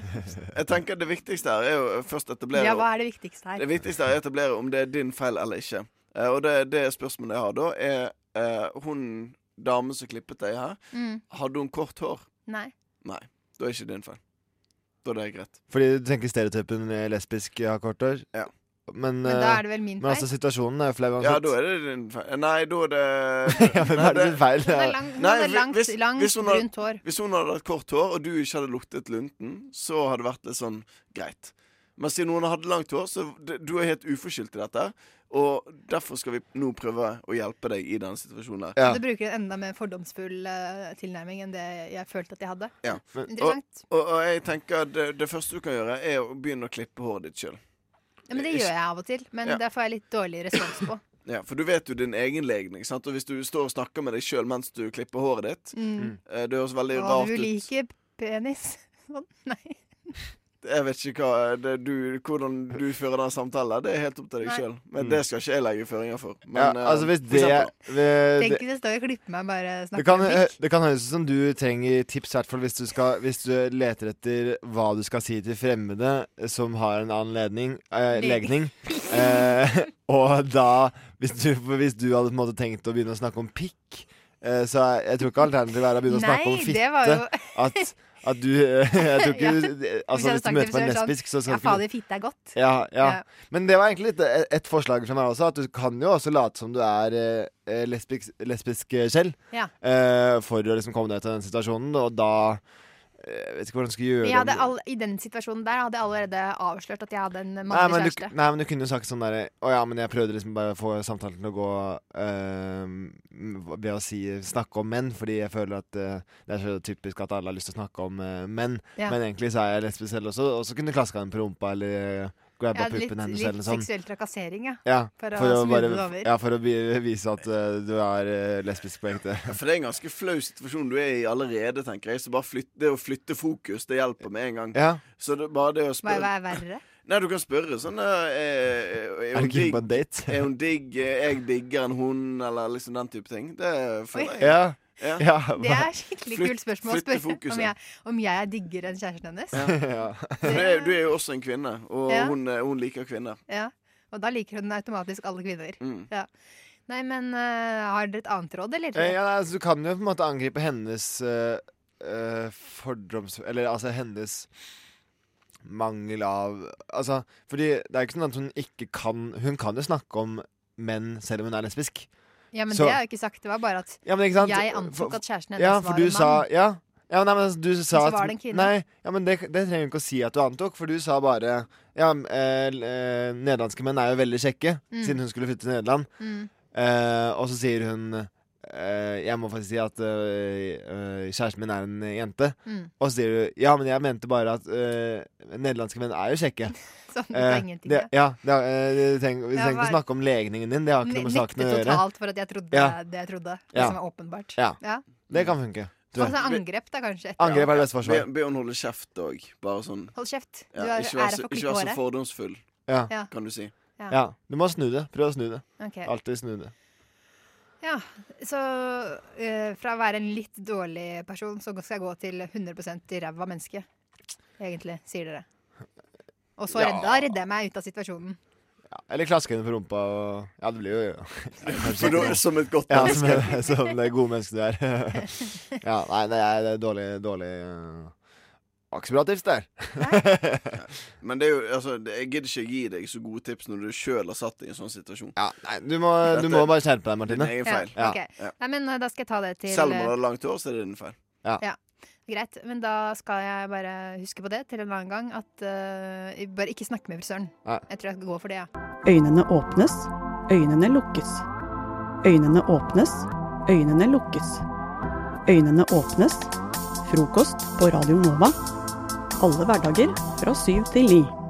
Speaker 20: jeg tenker det viktigste her er jo først å etablere
Speaker 6: Ja, hva er det viktigste her?
Speaker 20: Det viktigste er å etablere om det er din feil eller ikke. Eh, og det, det spørsmålet jeg har da, er eh, hun damen som klippet deg her,
Speaker 6: Mm.
Speaker 20: hadde hun kort hår?
Speaker 6: Nei.
Speaker 20: Nei. Da er ikke din feil. Da er det greit.
Speaker 22: Fordi du tenker stereotypen eh, lesbisk har kort hår?
Speaker 20: Ja.
Speaker 22: Men,
Speaker 20: Men da er det vel min
Speaker 22: eh, Men altså, situasjonen er jo flau
Speaker 20: Ja,
Speaker 22: uansett.
Speaker 20: da er det din feil. Nei, da er det
Speaker 22: Ja, men hva er det sin feil? Hun har
Speaker 6: lang- hun
Speaker 20: Nei,
Speaker 6: hadde
Speaker 20: hvi-
Speaker 6: langt- langt
Speaker 20: hun hadde-
Speaker 6: brunt hår.
Speaker 20: Hvis hun hadde hatt kort hår, og du ikke hadde luktet lunten, så hadde det vært litt sånn greit. Men siden hun hadde langt hår, så det- du er helt uforskyldt i dette. Og derfor skal vi nå prøve å hjelpe deg i den situasjonen der.
Speaker 6: Du bruker en enda mer fordomsfull eh, tilnærming enn det jeg følte at jeg hadde.
Speaker 20: Ja. Og,
Speaker 6: Interessant.
Speaker 20: og, og jeg tenker at det, det første du kan gjøre, er å begynne å klippe håret ditt sjøl.
Speaker 6: Ja, men det gjør jeg av og til, men
Speaker 20: Ja.
Speaker 6: det får jeg litt dårlig respons på.
Speaker 20: Ja, for du vet jo din egen legning, sant? og hvis du står og snakker med deg sjøl mens du klipper håret ditt
Speaker 6: Mm.
Speaker 20: eh, Det høres veldig
Speaker 6: Å,
Speaker 20: rart
Speaker 6: du
Speaker 20: ut.
Speaker 6: liker penis. Sånn. Nei.
Speaker 20: Jeg vet ikke hva, det, du, hvordan du fører den samtalen. Det er helt opp til deg
Speaker 6: Nei.
Speaker 20: sjøl. Men det skal ikke jeg legge føringer for. Men,
Speaker 22: Mm. ja,
Speaker 20: eh,
Speaker 22: altså, hvis
Speaker 20: for
Speaker 22: det,
Speaker 20: eksempel-
Speaker 22: ved-
Speaker 6: Tenk hvis jeg står og klipper meg og bare
Speaker 22: det,
Speaker 6: snakker
Speaker 22: Eh, kan,
Speaker 6: om
Speaker 20: pikk.
Speaker 22: eh, det kan høres ut som du trenger tips, i hvert fall hvis du, skal, hvis du leter etter hva du skal si til fremmede eh, som har en annen ledning, eh,
Speaker 6: Leg-
Speaker 22: legning. Eh, og da, hvis du, for hvis du hadde på en måte tenkt å begynne å snakke om pikk, eh, så er, jeg tror ikke alternativet er å begynne å snakke
Speaker 6: Nei,
Speaker 22: om
Speaker 6: det
Speaker 22: fitte.
Speaker 6: var jo-
Speaker 22: At, at du eh, Jeg tror ikke
Speaker 6: Ja.
Speaker 22: du
Speaker 6: Hvis jeg
Speaker 22: Altså,
Speaker 6: hadde
Speaker 22: hvis du
Speaker 6: sagt
Speaker 22: møter meg
Speaker 6: til frisøren
Speaker 22: lesbisk, så skal
Speaker 6: sånn, Ja,
Speaker 22: du ikke
Speaker 6: fader, fitte er godt.
Speaker 22: ja, ja.
Speaker 6: Ja.
Speaker 22: Men det var egentlig litt et, et forslag fra meg også, at du kan jo også late som du er eh, lesbisk, lesbisk selv,
Speaker 6: Ja.
Speaker 22: eh, for å liksom komme deg ut av den situasjonen, og da eh, Jeg vet ikke hvordan du skal gjøre
Speaker 6: Men jeg hadde
Speaker 22: det.
Speaker 6: all, I den situasjonen der hadde jeg allerede avslørt at jeg hadde en
Speaker 22: Nei
Speaker 6: mannlig
Speaker 22: men, du,
Speaker 6: kjæreste.
Speaker 22: nei, men du kunne jo sagt sånn derre Å ja, men jeg prøvde liksom bare å få samtalen til å gå eh, ved å si snakke om menn, fordi jeg føler at eh, det er så typisk at alle har lyst til å snakke om eh, menn.
Speaker 6: Ja.
Speaker 22: Men egentlig så er jeg lesbisk selv også, og så kunne du klaska henne på rumpa eller grabba
Speaker 6: Ja, litt-
Speaker 22: puppen hennes
Speaker 6: litt
Speaker 22: eller noe sånt.
Speaker 6: seksuell trakassering, ja.
Speaker 22: Ja,
Speaker 6: For å
Speaker 22: for å,
Speaker 6: snu
Speaker 22: bare,
Speaker 6: det over.
Speaker 22: ja, for å vi- vise at eh, du er eh, lesbisk på ekte.
Speaker 20: For det er en ganske flau situasjon du er i allerede, tenker jeg. Så bare flytt, det å flytte fokus, det hjelper med en gang.
Speaker 22: Ja.
Speaker 20: Så det, bare det å
Speaker 6: Hva,
Speaker 20: spørre
Speaker 6: hva er verre?
Speaker 20: Nei, du kan spørre sånn eh, eh,
Speaker 22: Er
Speaker 20: hun
Speaker 22: du keen
Speaker 20: digg?
Speaker 22: på en date?
Speaker 20: Er hun digg? Eh, Jeg digger en hund, eller liksom den type ting. Det føler
Speaker 6: Oi.
Speaker 20: jeg.
Speaker 22: Ja. Ja.
Speaker 6: Det er skikkelig
Speaker 20: Flytt-
Speaker 6: kult spørsmål å
Speaker 20: flytte
Speaker 6: spørre
Speaker 20: fokuset.
Speaker 6: om jeg, om jeg er diggere enn kjæresten hennes.
Speaker 20: Ja. For
Speaker 6: Det-
Speaker 20: det, er- du er jo også en kvinne, og
Speaker 6: Ja.
Speaker 20: hun, eh, hun liker kvinner.
Speaker 6: Ja, og da liker hun automatisk alle kvinner.
Speaker 20: Mm.
Speaker 6: Ja. Nei, men eh, har dere et annet råd, eller?
Speaker 22: Eh, Ja, nei, altså, du kan jo på en måte angripe hennes eh, eh, fordoms... Eller altså hennes mangel av Altså, fordi det er jo ikke sånn at hun ikke kan Hun kan jo snakke om menn selv om hun er lesbisk.
Speaker 6: Ja, men
Speaker 22: Så-
Speaker 6: det har jeg jo ikke sagt. Det var bare at
Speaker 22: Ja, men ikke sant?
Speaker 6: jeg antok at kjæresten hennes
Speaker 22: ja,
Speaker 6: var
Speaker 22: for du
Speaker 6: en mann.
Speaker 22: sa, ja, ja, nei, men altså, du sa
Speaker 6: så
Speaker 22: at,
Speaker 6: var det en kvinne.
Speaker 22: Nei, ja, men det, det trenger du ikke å si at du antok, for du sa bare Ja, m- eh, l- eh, nederlandske menn er jo veldig kjekke,
Speaker 6: Mm.
Speaker 22: siden hun skulle flytte til Nederland.
Speaker 6: Mm.
Speaker 22: Eh, og så sier hun eh, Jeg må faktisk si at eh, eh, kjæresten min er en jente.
Speaker 6: Mm.
Speaker 22: Og så sier du Ja, men jeg mente bare at eh, nederlandske menn er jo kjekke.
Speaker 6: Sånn, det var
Speaker 22: Eh,
Speaker 6: ingenting,
Speaker 22: det, ja, det, har- eh, du trenger, vi
Speaker 6: Det
Speaker 22: trenger ikke å
Speaker 6: var-
Speaker 22: snakke om legningen din. Det har ikke noe med saken å
Speaker 6: Nekte
Speaker 22: gjøre.
Speaker 6: totalt for at jeg trodde
Speaker 22: Ja.
Speaker 6: det jeg trodde.
Speaker 22: Ja.
Speaker 6: Det som var åpenbart.
Speaker 22: Ja.
Speaker 6: Ja.
Speaker 22: Det kan funke. tror jeg.
Speaker 6: Altså angrep, da, kanskje. etter
Speaker 22: Angrep er det beste forsvar.
Speaker 20: Be, be henne holde kjeft òg. Bare sånn
Speaker 6: Hold kjeft.
Speaker 20: ja,
Speaker 6: Du har
Speaker 20: Ikke vær
Speaker 6: ære
Speaker 20: så,
Speaker 6: for
Speaker 20: ikke vær så
Speaker 6: klippehåret.
Speaker 20: fordomsfull,
Speaker 22: Ja.
Speaker 6: Ja.
Speaker 20: kan du si.
Speaker 6: Ja.
Speaker 22: Ja. Du må snu det. Prøv å snu det.
Speaker 6: Ok.
Speaker 22: Alltid snu det.
Speaker 6: Ja, så eh, fra å være en litt dårlig person, så skal jeg gå til 100 i ræva menneske. Egentlig, sier dere. Og så
Speaker 22: Ja.
Speaker 6: redd, da redder jeg meg ut av situasjonen.
Speaker 22: Ja. Eller klaske henne på rumpa og Ja, det blir jo ja.
Speaker 20: Så da- som et godt
Speaker 22: ja,
Speaker 20: menneske.
Speaker 22: Som, et- som det gode mennesket du er. ja, nei, det er, det er dårlig, dårlig eh, Var ikke så bra tips, det her.
Speaker 20: Men det er jo, altså, det- jeg gidder ikke gi deg så gode tips når du sjøl har satt deg i en sånn situasjon.
Speaker 22: Ja, nei, du må, du må bare skjerpe deg, Martine.
Speaker 20: Din egen feil.
Speaker 6: Ja, ok. Nei, men eh, da skal jeg ta det til
Speaker 20: Selv om
Speaker 6: eh,
Speaker 20: man har langt hår, så er det din feil.
Speaker 6: Ja, greit. Men da skal jeg bare huske på det til en annen gang. At eh, Bare ikke snakke med frisøren.
Speaker 22: Nei.
Speaker 6: Jeg tror jeg skal gå for det, ja.
Speaker 15: Øynene åpnes, øynene lukkes. Øynene åpnes, øynene lukkes. Øynene åpnes. Frokost på Radio Nova. Alle hverdager fra syv til ni.